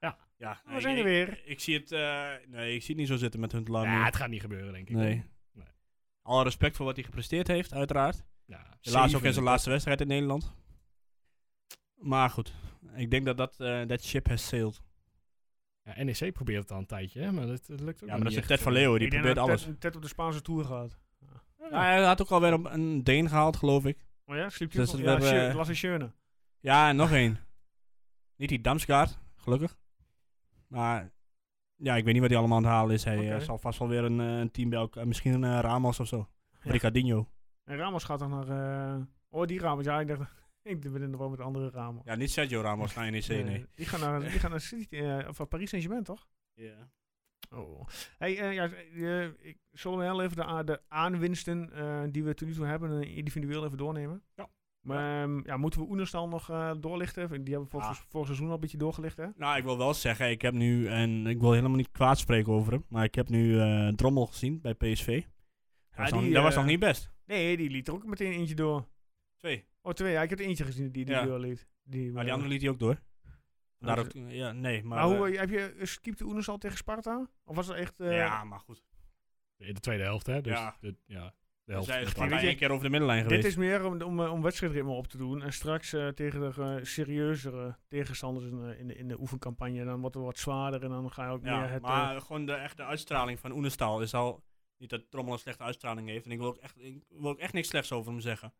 Speaker 5: Ja.
Speaker 6: ja
Speaker 4: We zijn er
Speaker 6: ik-
Speaker 4: weer.
Speaker 6: Ik, zie het, eh, nee, ik zie het niet zo zitten met hun
Speaker 5: Ja,
Speaker 6: laag.
Speaker 5: het gaat niet gebeuren, denk ik.
Speaker 6: nee.
Speaker 5: Nee.
Speaker 6: Alle respect voor wat hij gepresteerd heeft, uiteraard.
Speaker 5: Ja,
Speaker 6: Helaas ook
Speaker 5: zeven.
Speaker 6: in zijn laatste wedstrijd in Nederland. Maar goed, ik denk dat dat eh, that ship has sailed.
Speaker 5: Ja, NEC probeert het al een tijdje, hè, maar dat, dat lukt ook
Speaker 6: Ja, maar dat
Speaker 5: niet
Speaker 6: is
Speaker 5: echt,
Speaker 6: Ted van
Speaker 5: eh.
Speaker 6: Leeuwen, die
Speaker 4: ik denk
Speaker 6: probeert
Speaker 4: dat
Speaker 6: alles.
Speaker 4: Ted- Ted op de Spaanse Tour gaat.
Speaker 6: Ja, hij had ook alweer een- een Deen gehaald, geloof ik.
Speaker 4: Oh ja, sliep je
Speaker 6: Dus
Speaker 4: ook nog?
Speaker 6: dat
Speaker 4: Ja,
Speaker 6: we-
Speaker 5: eh,
Speaker 4: Sjeu- Lasse Schöne.
Speaker 6: Ja, en nog één. Niet die Damsgaard, gelukkig. Maar ja, ik weet niet wat hij allemaal aan het halen is. Hij
Speaker 4: Oké.
Speaker 6: eh, zal vast wel weer een, eh, een team bij elkaar. Misschien een eh, Ramos of zo. Of Ricardinho.
Speaker 4: En Ramos gaat dan naar... eh, Oh, die Ramos. Ja, ik dacht... Ik ben in de war met de andere Ramos.
Speaker 6: Ja, niet Sergio Ramos naar NEC,
Speaker 4: Eh,
Speaker 6: nee.
Speaker 4: Die gaan naar, die gaan naar City, eh, of Paris Saint-Germain, toch?
Speaker 6: Ja.
Speaker 4: Oh. Hey, eh, ja, eh, ik zullen we heel even de, a- de aanwinsten eh, die we tot nu toe hebben eh, individueel even doornemen?
Speaker 5: Ja.
Speaker 4: Maar, ehm, ja, moeten we Oenerstal nog eh, doorlichten? Die hebben we vorig,
Speaker 6: Ah.
Speaker 4: vorig seizoen al een beetje doorgelicht, hè?
Speaker 6: Nou, ik wil wel zeggen, ik heb nu, en ik wil helemaal niet kwaad spreken over hem, maar ik heb nu eh Drommel gezien bij PSV. Dat, was, nog,
Speaker 4: die,
Speaker 6: dat was
Speaker 4: eh,
Speaker 6: nog niet best.
Speaker 4: Nee, die liet er ook meteen eentje door.
Speaker 6: Twee.
Speaker 4: Oh, twee. Ja, ik heb er eentje gezien die die
Speaker 6: Ja.
Speaker 4: doorliet. Die,
Speaker 6: Maar die
Speaker 4: eh,
Speaker 6: andere liet hij ook door. Daar
Speaker 4: dat
Speaker 6: ook, ja, nee, maar...
Speaker 4: Oh, Maar, hoe,
Speaker 6: eh,
Speaker 4: eh, heb je, eh, keepte Oenerstal tegen Sparta? Of was het echt... eh,
Speaker 6: ja, maar goed.
Speaker 5: In de tweede helft, hè? Dus
Speaker 6: Ja.
Speaker 5: De, ja, de
Speaker 4: Dus
Speaker 6: Hij
Speaker 5: helft. van
Speaker 6: is
Speaker 5: de
Speaker 6: maar
Speaker 4: weet je,
Speaker 6: één keer over de middenlijn geweest.
Speaker 4: Dit is meer om, om, eh, om wedstrijdritme op te doen. En straks eh, tegen de eh, serieuzere tegenstanders in, eh, in, de, in de oefencampagne. Dan wordt het wat zwaarder en dan ga je ook
Speaker 6: Ja,
Speaker 4: meer het... eh,
Speaker 6: maar gewoon de echte uitstraling van Oenestal is al... Niet dat Trommel een slechte uitstraling heeft. En ik wil, ook echt, ik wil ook echt niks slechts over hem zeggen.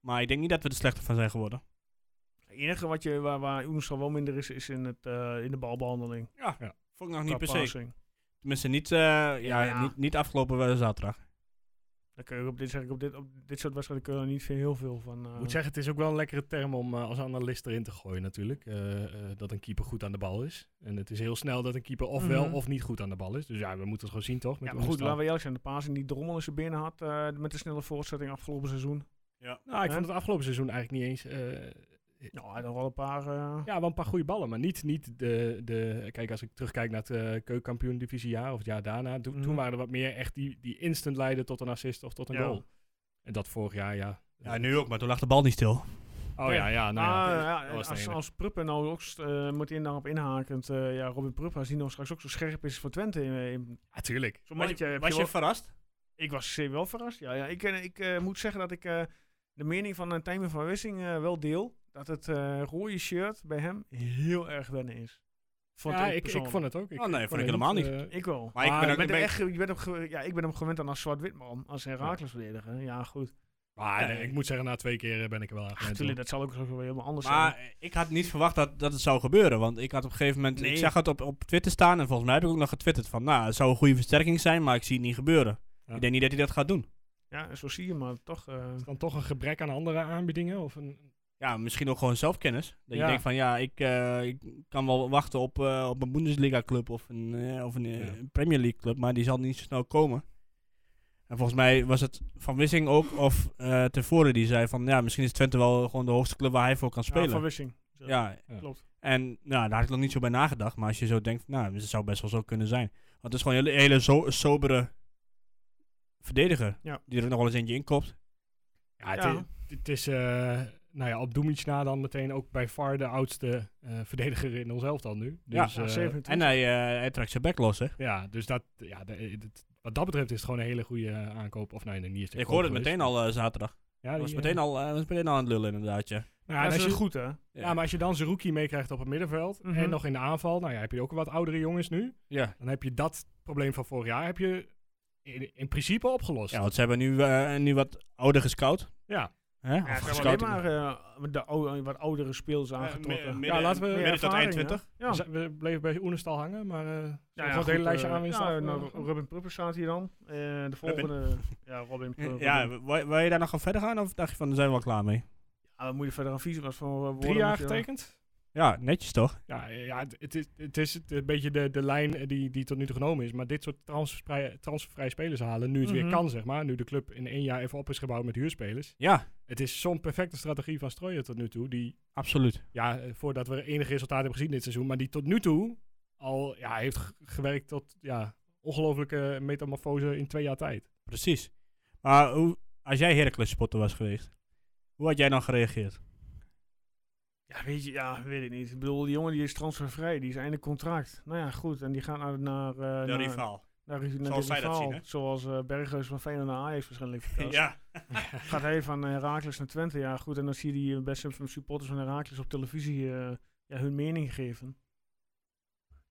Speaker 6: Maar ik denk niet dat we er slechter van zijn geworden.
Speaker 4: Het enige wat je, waar, waar Oenstra wel minder is, is in, het, eh, in de balbehandeling.
Speaker 6: Ja,
Speaker 5: Ja.
Speaker 6: vond ik nog niet
Speaker 4: Qua
Speaker 6: per se.
Speaker 4: passing.
Speaker 6: Tenminste, niet, eh, ja,
Speaker 4: ja.
Speaker 6: Niet, niet afgelopen eh, zaterdag.
Speaker 4: Daar kun je op dit, zeg ik, op dit, op dit soort wedstrijden kun je er niet veel, heel veel van. eh,
Speaker 5: Ik moet zeggen, het is ook wel een lekkere term om eh, als analist erin te gooien natuurlijk. eh, eh, dat een keeper goed aan de bal is. En het is heel snel dat een keeper of wel
Speaker 4: Mhm.
Speaker 5: of niet goed aan de bal is. Dus ja, we moeten het gewoon zien toch?
Speaker 4: ja,
Speaker 5: Met
Speaker 4: maar goed,
Speaker 5: Oenestal.
Speaker 4: laten we eerlijk zijn. De paas in die drommel in zijn binnen had eh, met de snelle voortzetting afgelopen seizoen.
Speaker 5: Nou, ik
Speaker 4: Hè?
Speaker 5: vond het afgelopen seizoen eigenlijk niet eens... eh,
Speaker 4: Nou, hij had nog wel een paar... eh,
Speaker 5: ja, wel een paar goede ballen, maar niet, niet de, de... Kijk, als ik terugkijk naar het eh keukenkampioen divisiejaar of het jaar daarna... toen-
Speaker 4: Mhm.
Speaker 5: Toen waren er wat meer echt die, die instant leiden tot een assist of tot een
Speaker 4: Ja.
Speaker 5: goal. En dat vorig jaar, ja.
Speaker 6: Ja, nu ook, maar toen lag de bal niet stil.
Speaker 5: Oh ja, ja, nou ja.
Speaker 4: Ah, ja,
Speaker 5: dat was de
Speaker 4: als,
Speaker 5: enige.
Speaker 4: als Pruppen nou ook st- eh meteen daarop inhakend, eh, ja, Robin Pruppen, als die nou straks ook zo scherp is voor Twente. in- in-
Speaker 5: Ja, tuurlijk.
Speaker 4: Zo'n mannetje heb je
Speaker 6: Was je
Speaker 4: wel-
Speaker 6: verrast?
Speaker 4: ik was zeer wel verrast. Ja, ja, ik eh, ik eh, moet zeggen dat ik eh, de mening van uh, Tijmen van Wissing eh, wel deel. Dat het eh, rode shirt bij hem heel erg wennen is. Vond
Speaker 5: ja, ik, ik
Speaker 4: persoonlijk.
Speaker 5: vond het ook. Ik,
Speaker 6: Oh, nee, vond
Speaker 5: het
Speaker 6: ik helemaal niet.
Speaker 5: eh,
Speaker 4: Ik wel.
Speaker 6: Maar ik
Speaker 5: Ah,
Speaker 6: ben
Speaker 5: je
Speaker 6: ook-
Speaker 4: Ik ben, er
Speaker 6: ik ben-
Speaker 4: echt, ge- ik, ben hem ge- ja, ik ben hem gewend dan als zwart-wit man, als Herakles verdediger. Ja, goed.
Speaker 5: Maar
Speaker 6: Nee.
Speaker 5: ik moet zeggen, na twee keer eh, ben ik er wel aan gewend,
Speaker 4: Natuurlijk,
Speaker 5: hoor.
Speaker 4: dat zal ook zo weer helemaal anders
Speaker 6: Maar
Speaker 4: zijn.
Speaker 6: eh, ik had niet verwacht dat, dat het zou gebeuren. Want ik had op een gegeven moment.
Speaker 4: Nee.
Speaker 6: Ik zag het op, op Twitter staan. En volgens mij heb ik ook nog getwitterd van. Nou, het zou een goede versterking zijn. Maar ik zie het niet gebeuren.
Speaker 5: Ja.
Speaker 6: Ik denk niet dat hij dat gaat doen.
Speaker 4: Ja, zo zie je maar toch. eh,
Speaker 5: Is Dan toch een gebrek aan andere aanbiedingen? Of een...
Speaker 6: Ja, misschien ook gewoon zelfkennis. Dat
Speaker 5: Ja.
Speaker 6: je denkt van. Ja, ik, eh, ik kan wel wachten op, eh, op een Bundesliga club. Of een, eh, of een eh,
Speaker 5: Ja.
Speaker 6: Premier League club. Maar die zal niet zo snel komen. En volgens mij was het Van Wissing ook. Of eh tevoren die zei van. Ja, misschien is Twente wel gewoon de hoogste club waar hij voor kan
Speaker 4: ja,
Speaker 6: spelen.
Speaker 4: van Wissing.
Speaker 6: Ja,
Speaker 5: Ja.
Speaker 4: Klopt.
Speaker 6: En nou, daar had ik nog niet zo bij nagedacht. Maar als je zo denkt, nou, het zou best wel zo kunnen zijn. Want het is gewoon een hele, hele zo- sobere verdediger.
Speaker 4: Ja.
Speaker 6: Die er nog wel eens eentje inkopt.
Speaker 5: Ja, het,
Speaker 4: Ja.
Speaker 5: i- het Is, eh, nou ja, op Doemic na dan meteen ook bij far de oudste eh, verdediger in ons elftal nu.
Speaker 6: Ja.
Speaker 5: Dus,
Speaker 4: Ja,
Speaker 5: eh,
Speaker 4: 27.
Speaker 6: En hij, eh, hij trekt zijn bek los, hè.
Speaker 5: ja, dus dat, ja, de- dat- wat dat betreft is het gewoon een hele goede eh, aankoop. Of nee, nee, niet eens te
Speaker 6: Ik
Speaker 5: koop
Speaker 6: hoorde het
Speaker 5: geweest.
Speaker 6: meteen al eh, zaterdag.
Speaker 5: Ja,
Speaker 6: Hij
Speaker 5: die,
Speaker 6: was,
Speaker 5: eh,
Speaker 6: meteen al, eh, was meteen al aan het lullen, inderdaad, ja.
Speaker 5: nou ja,
Speaker 4: Ja,
Speaker 5: en
Speaker 4: dat
Speaker 5: als
Speaker 4: is
Speaker 5: je-
Speaker 4: goed, hè?
Speaker 5: ja, maar als je dan Zerouki meekrijgt op het middenveld
Speaker 4: Mhm.
Speaker 5: en nog in de aanval, nou ja, heb je ook wat oudere jongens nu.
Speaker 6: Ja.
Speaker 5: Dan heb je dat probleem van vorig jaar heb je in, in principe opgelost.
Speaker 6: ja, want ze hebben nu, eh, nu wat ouder gescout.
Speaker 5: Ja.
Speaker 6: Hè?
Speaker 4: Ja,
Speaker 6: Of
Speaker 4: ze hebben
Speaker 6: gescout.
Speaker 4: alleen maar eh, de ou- wat oudere speels aangetrokken.
Speaker 5: Ja, laten we-
Speaker 4: Meer
Speaker 6: midden tot
Speaker 4: ervaring,
Speaker 6: 21.
Speaker 4: hè? Ja.
Speaker 5: We zijn- We bleven bij Oenestal hangen, maar eh zullen we gewoon
Speaker 4: goed,
Speaker 5: het hele lijstje
Speaker 4: eh,
Speaker 5: aan aanwinst
Speaker 4: ja,
Speaker 5: af-
Speaker 4: nou,
Speaker 5: eh,
Speaker 4: Robin Prupper staat hier dan. Eh, de volgende. Ja, Robin Prupper.
Speaker 6: Ja, wil wil je daar nog aan verder gaan? Of dacht je van, daar zijn we wel klaar mee?
Speaker 4: Ja, wat moet je verder aan visie? Wat voor eh, woorden
Speaker 5: drie jaar
Speaker 4: moet je-
Speaker 5: getekend.
Speaker 6: Ja, netjes toch?
Speaker 5: Ja, eh, ja het, het is, het is het- een beetje de, de lijn eh, die, die tot nu toe genomen is. Maar dit soort transfervrij, transfervrij spelers halen, nu het
Speaker 4: Mhm.
Speaker 5: weer kan, zeg maar. Nu de club in één jaar even op is gebouwd met huurspelers.
Speaker 6: Ja,
Speaker 5: Het is zo'n perfecte strategie van Strooijen tot nu toe. Die,
Speaker 6: absoluut.
Speaker 5: ja, eh, voordat we enig resultaat hebben gezien dit seizoen. Maar die tot nu toe al ja, heeft g- gewerkt tot ja, ongelofelijke metamorfose in twee jaar tijd.
Speaker 6: Precies. Maar hoe, als jij Heracles spotter was geweest, hoe had jij dan gereageerd?
Speaker 4: Ja, weet je, ja, weet ik niet. Ik bedoel, die jongen die is transfervrij, die is einde contract. Nou ja, goed. En die gaat naar. naar, eh, naar
Speaker 5: Nou,
Speaker 4: Naar, naar dit
Speaker 6: Zoals zij dat
Speaker 4: rivaal.
Speaker 6: zien, hè?
Speaker 4: Zoals eh Berghuis van Feyenoord naar Ajax waarschijnlijk. verkast.
Speaker 6: Ja.
Speaker 4: Gaat hij van Herakles naar Twente? Ja, goed. En dan zie je die eh, best van supporters van Herakles op televisie eh, ja, hun mening geven.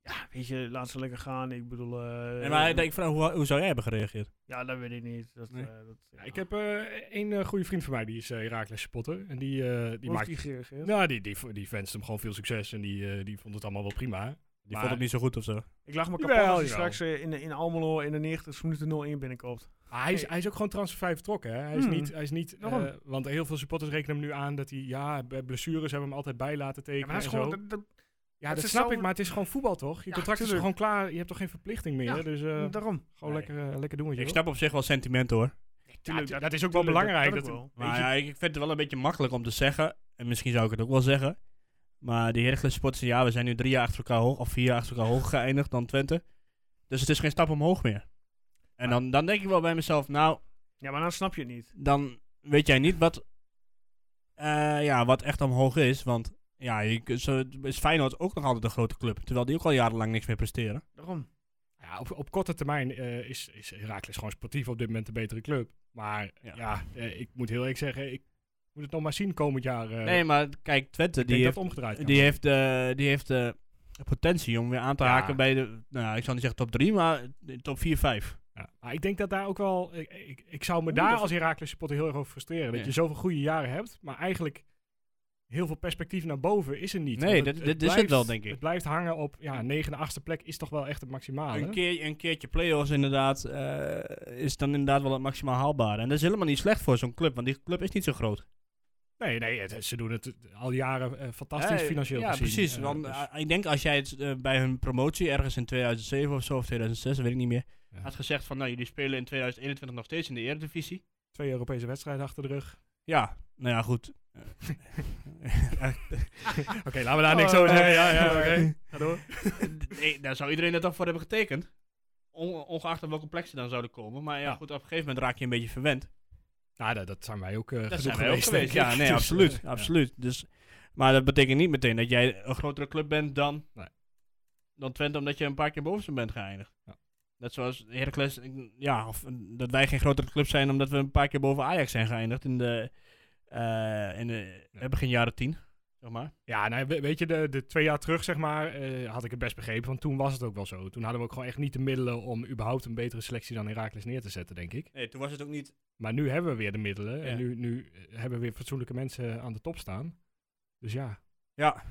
Speaker 4: Ja, weet je, laat ze lekker gaan. Ik bedoel. eh,
Speaker 6: Nee, maar ik denk, van, hoe, hoe zou jij hebben gereageerd?
Speaker 4: Ja, dat weet ik niet. Dat,
Speaker 6: Nee.
Speaker 4: eh, dat,
Speaker 5: Ja, ik heb eh één eh, goede vriend van mij, die is eh Herakles supporter. En die, eh, die
Speaker 4: Hoe heeft
Speaker 5: maakt
Speaker 4: die gereageerd?
Speaker 5: Nou, die, die, die wenste hem gewoon veel succes en die, eh, die vond het allemaal wel prima.
Speaker 6: Die vond het niet zo goed of zo.
Speaker 4: Ik lag me
Speaker 5: Jawel,
Speaker 4: kapot als hij
Speaker 5: jawel.
Speaker 4: straks eh, in, de- in Almelo in de 90 minuten 0-1 binnenkoopt.
Speaker 5: Maar Ah, hij, is,
Speaker 4: Nee.
Speaker 5: hij is ook gewoon transfervrij vertrokken. Hè? Hij is
Speaker 4: Hmm.
Speaker 5: niet, hij is niet
Speaker 4: Waarom?
Speaker 5: eh, want heel veel supporters rekenen hem nu aan dat hij, ja, bij blessures hebben hem altijd bij laten tekenen.
Speaker 4: Ja, maar dat is
Speaker 5: en
Speaker 4: gewoon...
Speaker 5: zo.
Speaker 4: Dat, dat-
Speaker 5: ja,
Speaker 4: het
Speaker 5: dat
Speaker 4: is
Speaker 5: snap
Speaker 4: zo-
Speaker 5: ik, maar het is gewoon voetbal toch? Je
Speaker 4: Ja,
Speaker 5: contract is
Speaker 4: tuurlijk.
Speaker 5: gewoon klaar, je hebt toch geen verplichting meer?
Speaker 4: Ja,
Speaker 5: Dus eh,
Speaker 4: daarom.
Speaker 5: gewoon
Speaker 6: Nee.
Speaker 5: lekker, eh, lekker doen wat je
Speaker 6: Ik
Speaker 5: wil.
Speaker 6: snap op zich wel sentimenten hoor.
Speaker 5: Tuurlijk, dat, dat is ook wel
Speaker 4: Tuurlijk,
Speaker 5: belangrijk.
Speaker 4: kan
Speaker 5: Dat,
Speaker 4: ook wel.
Speaker 5: weet
Speaker 6: Maar
Speaker 5: je-
Speaker 6: ja, ik, ik vind het wel een beetje makkelijk om te zeggen. En misschien zou ik het ook wel zeggen. Maar die Heracles supporters, ja, we zijn nu drie jaar achter elkaar hoog, of vier jaar achter elkaar hoog geëindigd dan Twente. Dus het is geen stap omhoog meer. En dan, dan denk ik wel bij mezelf, nou,
Speaker 4: Ja, maar dan snap je het niet.
Speaker 6: dan weet jij niet wat, eh, ja, wat echt omhoog is. Want ja, je, kunt- zo is Feyenoord ook nog altijd een grote club. Terwijl die ook al jarenlang niks meer presteren.
Speaker 4: Daarom.
Speaker 5: ja, op, op korte termijn eh, is, is Herakles gewoon sportief op dit moment een betere club. Maar ja,
Speaker 6: Ja.
Speaker 5: eh, ik moet heel eerlijk zeggen, ik moet het nog maar zien komend jaar. eh,
Speaker 6: nee, maar kijk, Twente,
Speaker 5: ik denk dat
Speaker 6: die heeft,
Speaker 5: het omgedraaid kan
Speaker 6: die heeft, eh, die heeft eh, de potentie om weer aan te
Speaker 5: Ja.
Speaker 6: haken bij de, nou, ik zou niet zeggen top 3, maar top 4, 5.
Speaker 5: Ja, maar ik denk dat daar ook wel. Ik, ik, ik zou me
Speaker 4: Oeh,
Speaker 5: daar
Speaker 4: dat-
Speaker 5: als Herakles supporter heel erg over frustreren. Dat
Speaker 6: Ja.
Speaker 5: je zoveel goede jaren hebt, maar eigenlijk heel veel perspectief naar boven is er niet.
Speaker 6: Nee,
Speaker 5: Want
Speaker 6: dit- dit is het wel, denk ik.
Speaker 5: Het blijft hangen op ja, 9 8 plek is toch wel echt het maximale.
Speaker 6: Een, keer, een keertje play-offs inderdaad eh, is dan inderdaad wel het maximaal haalbare. En dat is helemaal niet slecht voor zo'n club, want die club is niet zo groot.
Speaker 5: Nee, nee, het- ze doen het eh, al jaren eh, fantastisch
Speaker 6: Eh,
Speaker 5: financieel
Speaker 6: Ja,
Speaker 5: gezien.
Speaker 6: precies.
Speaker 5: Eh,
Speaker 6: want
Speaker 5: dus-
Speaker 6: eh, ik denk als jij het eh, bij hun promotie ergens in 2007 of zo, of 2006, dat weet ik niet meer,
Speaker 5: Ja.
Speaker 6: had gezegd van nou, jullie spelen in 2021 nog steeds in de Eredivisie.
Speaker 5: twee Europese wedstrijden achter de rug.
Speaker 6: Ja, nou ja, goed. Eh,
Speaker 5: Oké, laten we daar niks over zeggen. Ja, ja, oké. Ga door.
Speaker 6: Oh. Eh, nee, daar zou iedereen dat toch voor hebben getekend. On- ongeacht op welke plek ze dan zouden komen. Maar ja,
Speaker 5: Ja.
Speaker 6: goed, op een gegeven moment raak je een beetje verwend.
Speaker 5: Nou, dat, dat zijn wij ook eh
Speaker 6: Dat
Speaker 5: genoeg
Speaker 6: zijn wij ook
Speaker 5: geweest,
Speaker 6: geweest.
Speaker 5: denk ik.
Speaker 6: Ja, nee,
Speaker 5: Dus,
Speaker 6: absoluut.
Speaker 5: eh, ja.
Speaker 6: absoluut. Dus, maar dat betekent niet meteen dat jij een grotere club bent dan,
Speaker 5: Nee.
Speaker 6: dan Twente, omdat je een paar keer boven ze bent geëindigd.
Speaker 5: Ja.
Speaker 6: Net zoals Heracles, ik- ja, of eh, dat wij geen grotere club zijn omdat we een paar keer boven Ajax zijn geëindigd in de, eh, in de
Speaker 5: Ja.
Speaker 6: begin jaren tien, zeg maar.
Speaker 5: Ja, nou, we- weet je, de, de twee jaar terug, zeg maar, eh, had ik het best begrepen. Want toen was het ook wel zo. Toen hadden we ook gewoon echt niet de middelen om überhaupt een betere selectie dan Herakles neer te zetten, denk ik.
Speaker 6: Nee, toen was het ook niet...
Speaker 5: Maar nu hebben we weer de middelen.
Speaker 6: Ja.
Speaker 5: En nu, nu eh, hebben we weer fatsoenlijke mensen aan de top staan. Dus ja,
Speaker 6: Ja,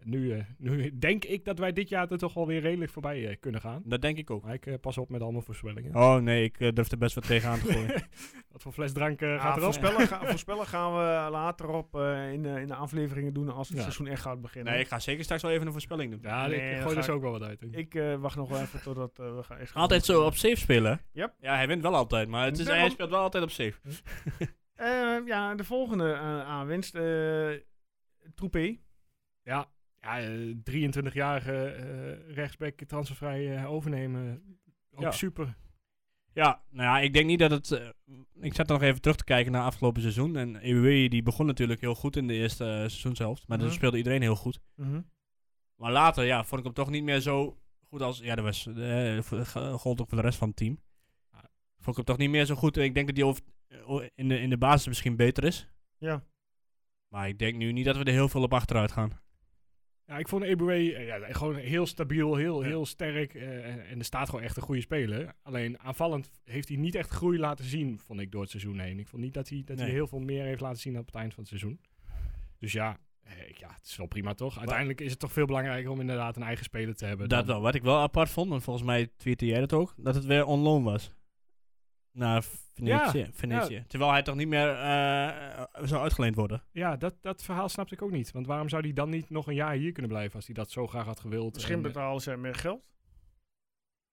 Speaker 5: nu, eh, nu denk ik dat wij dit jaar er toch wel weer redelijk voorbij eh, kunnen gaan.
Speaker 6: dat denk ik ook.
Speaker 5: Maar ik eh, pas op met allemaal voorspellingen.
Speaker 6: Oh nee, ik eh, durf er best wat tegenaan te gooien.
Speaker 5: Wat voor fles drank eh,
Speaker 4: Ja,
Speaker 5: gaat er op?
Speaker 4: voorspellen, ga- voorspellen gaan we later op eh, in, de, in de afleveringen doen als het
Speaker 5: Ja.
Speaker 4: seizoen echt gaat beginnen.
Speaker 6: nee, ik ga zeker straks wel even een voorspelling doen.
Speaker 5: Ja,
Speaker 4: Nee,
Speaker 5: ik
Speaker 4: dat
Speaker 5: gooi
Speaker 4: ga
Speaker 5: dus
Speaker 4: ik-
Speaker 5: ook wel wat uit. denk ik.
Speaker 4: ik eh, wacht nog wel even totdat eh, we gaan echt gaan
Speaker 6: Altijd zo
Speaker 4: beginnen.
Speaker 6: op safe spelen. hè?
Speaker 4: Yep.
Speaker 6: Ja, hij wint wel altijd, maar het is,
Speaker 4: Nee,
Speaker 6: hij
Speaker 4: want-
Speaker 6: speelt wel altijd op safe.
Speaker 4: Eh, ja, de volgende eh, aanwinst. eh Troepé.
Speaker 5: Ja, ja eh, 23-jarige eh rechtsback transfervrij eh, overnemen. Ook
Speaker 6: Ja.
Speaker 5: super.
Speaker 6: Ja, nou ja, ik denk niet dat het... eh, ik zat nog even terug te kijken naar afgelopen seizoen. En EWE die begon natuurlijk heel goed in de eerste eh, seizoenshelft. Maar
Speaker 4: Mhm.
Speaker 6: dan speelde iedereen heel goed. Maar later, ja, vond ik hem toch niet meer zo goed als... Ja, dat was, eh, voor- ge- gold ook voor de rest van het team. Vond ik hem toch niet meer zo goed. En ik denk dat hij over, eh, in, de, in de basis misschien beter is.
Speaker 4: Ja.
Speaker 6: Maar ik denk nu niet dat we er heel veel op achteruit gaan.
Speaker 5: Ja, ik vond Eboué eh, ja, gewoon heel stabiel, heel,
Speaker 6: Ja.
Speaker 5: heel sterk. eh, en, en er staat gewoon echt een goede speler. Alleen aanvallend heeft hij niet echt groei laten zien, vond ik, door het seizoen heen. Ik vond niet dat hij, dat hij
Speaker 6: Nee.
Speaker 5: heel veel meer heeft laten zien op het eind van het seizoen. Dus ja, eh, ik- ja het is wel prima toch? Uiteindelijk is het toch veel belangrijker om inderdaad een eigen speler te hebben.
Speaker 6: Dat
Speaker 5: dan-
Speaker 6: wel. Wat ik wel apart vond, en volgens mij tweette jij dat ook, dat het weer on loan was. Naar Venetië. Venetië. Terwijl hij toch niet meer eh, zou uitgeleend worden.
Speaker 5: Ja, dat, dat verhaal snapte ik ook niet. Want waarom zou hij dan niet nog een jaar hier kunnen blijven als hij dat zo graag had gewild?
Speaker 4: Misschien
Speaker 5: En, eh,
Speaker 4: betalen ze meer geld.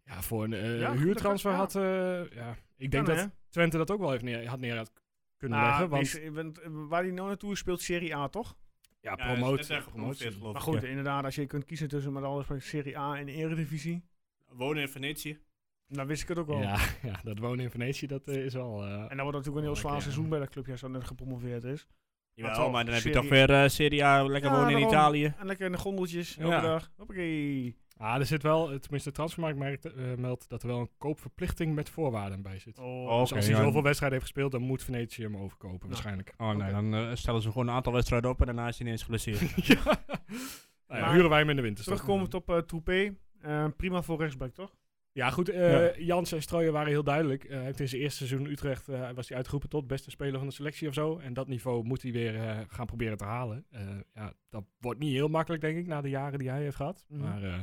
Speaker 5: Ja, voor een eh,
Speaker 4: Ja, goed,
Speaker 5: huurtransfer
Speaker 4: dat
Speaker 5: had...
Speaker 4: gaat-
Speaker 5: eh, ja. Ik denk
Speaker 4: Kan,
Speaker 5: dat
Speaker 4: hè?
Speaker 5: Twente dat ook wel heeft neer, had neer had kunnen
Speaker 4: Nou,
Speaker 5: leggen. Want
Speaker 4: is- eh, want, eh, waar hij nou naartoe is, speelt Serie A, toch?
Speaker 5: ja,
Speaker 6: Ja, hij is net
Speaker 5: promotie.
Speaker 6: echt gepromoveerd,
Speaker 5: promotie.
Speaker 6: geloof
Speaker 4: Maar
Speaker 6: ik.
Speaker 4: goed, inderdaad, als je kunt kiezen tussen met alles van Serie A en Eredivisie,
Speaker 6: Ja. Wonen in Venetië.
Speaker 4: dan wist ik het ook wel.
Speaker 5: Ja, ja, dat wonen in Venetië, dat eh, is wel... eh,
Speaker 4: En dan wordt natuurlijk een heel
Speaker 5: Oké,
Speaker 4: zwaar
Speaker 5: ja.
Speaker 4: seizoen bij dat clubje als dat net gepromoveerd is.
Speaker 6: Jawel,
Speaker 4: toch,
Speaker 6: maar dan heb je
Speaker 4: Serie-
Speaker 6: toch weer eh, Serie A, lekker
Speaker 4: Ja,
Speaker 6: wonen in
Speaker 4: daarom.
Speaker 6: Italië.
Speaker 4: En lekker in de gondeltjes,
Speaker 6: Ja.
Speaker 4: elke dag. Hoppakee.
Speaker 5: ah, er zit wel, eh, tenminste de transfermarkt merkt, eh, meldt dat er wel een koopverplichting met voorwaarden bij zit.
Speaker 4: Oh,
Speaker 5: dus als hij
Speaker 6: ja.
Speaker 5: zoveel wedstrijden heeft gespeeld, dan moet Venetië hem overkopen waarschijnlijk.
Speaker 6: Oh nee, dan eh, stellen ze gewoon een aantal wedstrijden op en daarna is hij ineens geblesseerd.
Speaker 5: ja. Nou ja,
Speaker 4: Maar-
Speaker 5: huren wij hem in de winter.
Speaker 4: Terugkomend op eh Troepé. Eh, prima voor rechtsback, toch?
Speaker 5: Ja, goed. eh Jans en Strooijen waren heel duidelijk. Eh, Hij heeft in zijn eerste seizoen Utrecht eh, was hij uitgeroepen tot beste speler van de selectie of zo. En dat niveau moet hij weer eh, gaan proberen te halen. Eh, ja, dat wordt niet heel makkelijk, denk ik, na de jaren die hij heeft gehad.
Speaker 4: Mhm.
Speaker 5: Maar eh,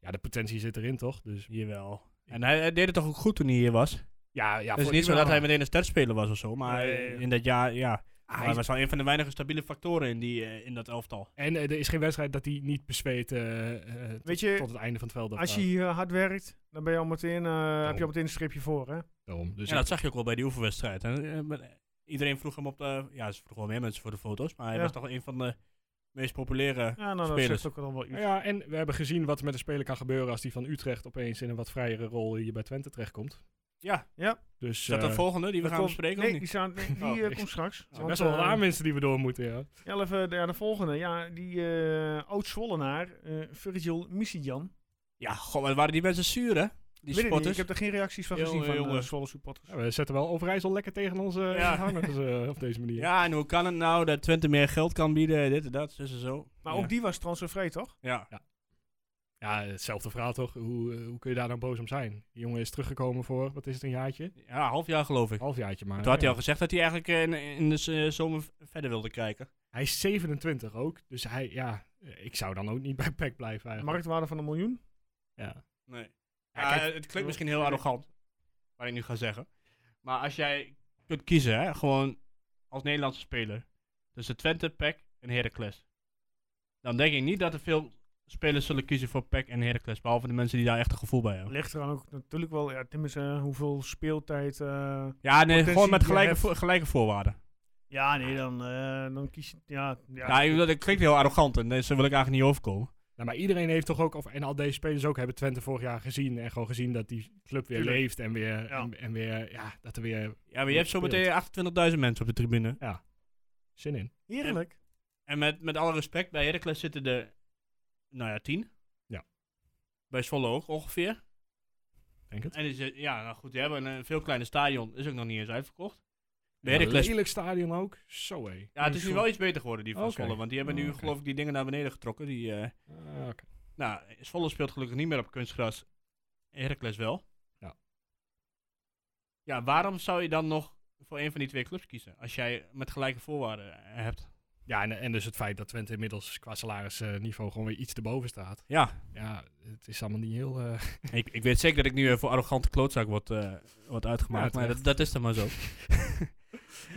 Speaker 5: ja, de potentie zit erin, toch? Dus
Speaker 6: Jawel. En hij, hij deed het toch ook goed toen hij hier was.
Speaker 5: ja, ja
Speaker 6: het is
Speaker 5: voor
Speaker 6: niet zo dat hij
Speaker 5: iemand-
Speaker 6: meteen een sterspeler was of zo, maar
Speaker 5: Nee.
Speaker 6: eh, in dat jaar, ja.
Speaker 5: Ah, hij
Speaker 6: hij was wel een van de weinige stabiele factoren in, die, eh, in dat elftal.
Speaker 5: En eh, er is geen wedstrijd dat hij niet bezweet eh, eh, tot,
Speaker 4: Weet je,
Speaker 5: tot het einde van het veld. eh,
Speaker 4: Als je hier hard werkt, dan ben je al meteen, eh, heb je al meteen een stripje voor, hè?
Speaker 5: daarom. Dus
Speaker 6: ja, dat zag je ook wel bij die oefenwedstrijd. En, eh, maar iedereen vroeg hem op de... Ja, ze vroegen wel meer mensen voor de foto's, maar hij
Speaker 4: Ja.
Speaker 6: was toch wel een van de meest populaire...
Speaker 4: Ja, nou, dat
Speaker 6: Spelers.
Speaker 4: zegt ook al wel
Speaker 5: Nou
Speaker 4: iets.
Speaker 5: ja, en we hebben gezien wat er met een speler kan gebeuren als die van Utrecht opeens in een wat vrijere rol hier bij Twente terechtkomt.
Speaker 6: Ja.
Speaker 4: Ja.
Speaker 5: Dus,
Speaker 6: Is dat de
Speaker 5: eh,
Speaker 6: volgende die we
Speaker 4: Dat
Speaker 6: gaan
Speaker 4: komt-
Speaker 6: bespreken?
Speaker 4: Nee,
Speaker 6: of
Speaker 4: die,
Speaker 6: niet?
Speaker 4: staan, nee, die
Speaker 6: Oh,
Speaker 4: eh,
Speaker 6: oké.
Speaker 4: komt straks.
Speaker 5: Het zijn best wel wat
Speaker 4: eh,
Speaker 5: aanwinsten die we door moeten, ja.
Speaker 4: ja, even de, ja, de volgende. Ja, die eh oud-Zwollenaar, eh, Virgil Misijan.
Speaker 6: Ja, god, wat waren die mensen zuur, hè? Die
Speaker 4: Weet ik, niet, ik
Speaker 6: spotters.
Speaker 4: heb er geen reacties van
Speaker 6: Heel,
Speaker 4: gezien van
Speaker 6: heel,
Speaker 4: eh,
Speaker 6: eh,
Speaker 4: Zwolle supporters.
Speaker 5: Ja, we zetten wel Overijssel lekker tegen onze eh,
Speaker 6: Ja.
Speaker 5: hangers eh, op deze manier.
Speaker 6: Ja, en hoe kan het nou dat Twente meer geld kan bieden, dit en dat, dus en zo.
Speaker 4: Maar
Speaker 6: ja.
Speaker 4: ook die was transfervrij, toch?
Speaker 6: Ja.
Speaker 5: Ja. Ja, hetzelfde verhaal toch? Hoe, eh, hoe kun je daar dan boos om zijn? Die jongen is teruggekomen voor, wat is het, een jaartje?
Speaker 6: Ja, half jaar geloof ik.
Speaker 5: Halfjaartje maar.
Speaker 6: Toen had hij
Speaker 5: Ja.
Speaker 6: al gezegd dat hij eigenlijk eh, in, in de z- zomer v- verder wilde kijken.
Speaker 5: Hij is 27 ook, dus hij, ja, eh, ik zou dan ook niet bij PEC blijven eigenlijk.
Speaker 4: Marktwaarde van een miljoen.
Speaker 5: Ja.
Speaker 6: Nee. Ah,
Speaker 5: Ja, kijk,
Speaker 6: het klinkt misschien heel arrogant, wat ik nu ga zeggen. Maar als jij kunt kiezen, hè, gewoon als Nederlandse speler, tussen Twente, PEC en Heracles. Dan denk ik niet dat er veel spelers zullen kiezen voor PEC en Heracles, behalve de mensen die daar echt een gevoel bij hebben.
Speaker 4: Ligt eraan ook natuurlijk wel, ja, tenminste, hoeveel speeltijd. eh,
Speaker 6: Ja, nee,
Speaker 4: Potentie
Speaker 6: gewoon met
Speaker 4: die je
Speaker 6: gelijke,
Speaker 4: hebt.
Speaker 6: vo- gelijke voorwaarden.
Speaker 4: ja, nee, dan, eh, dan kies je. Ja, ja.
Speaker 6: Ja, ik- dat klinkt heel arrogant en eh, zo wil ik eigenlijk niet overkomen.
Speaker 5: Nou, maar iedereen heeft toch ook, of, en al deze spelers ook, hebben Twente vorig jaar gezien. En gewoon gezien dat die club weer
Speaker 4: Tuurlijk.
Speaker 5: leeft en weer,
Speaker 4: Ja.
Speaker 5: en, en weer, ja, dat er weer
Speaker 6: Ja, maar je hebt zo meteen 28.000 mensen op de tribune.
Speaker 5: zin in.
Speaker 4: heerlijk.
Speaker 6: En met, met alle respect, bij Heracles zitten er, nou ja, tien.
Speaker 5: Ja.
Speaker 6: Bij Zwolle ook ongeveer.
Speaker 5: Denk het.
Speaker 6: En die zit- ja, nou goed, die hebben een, eh, veel kleiner stadion. Is ook nog niet eens uitverkocht. Bij
Speaker 5: Een
Speaker 6: Heracles...
Speaker 5: Nou, lelijk stadion ook. Zo hé.
Speaker 6: Ja, het is nu wel iets beter geworden, die van
Speaker 5: Oké.
Speaker 6: Zwolle. Want die hebben nu,
Speaker 5: Oh, oké.
Speaker 6: geloof ik, die dingen naar beneden getrokken. Die, eh,
Speaker 5: Ah, oké.
Speaker 6: nou, Zwolle speelt gelukkig niet meer op kunstgras. Heracles wel.
Speaker 5: Ja.
Speaker 6: Ja, waarom zou je dan nog voor een van die twee clubs kiezen? Als jij met gelijke voorwaarden eh, hebt.
Speaker 5: Ja, en, en dus het feit dat Twente inmiddels qua salarisniveau gewoon weer iets erboven staat.
Speaker 6: Ja,
Speaker 5: Ja, het is allemaal niet heel... eh,
Speaker 6: Ik, ik weet zeker dat ik nu eh, voor arrogante klootzak word, eh, word
Speaker 5: Ja,
Speaker 6: uitgemaakt,
Speaker 5: terecht.
Speaker 6: maar dat, dat is dan maar zo.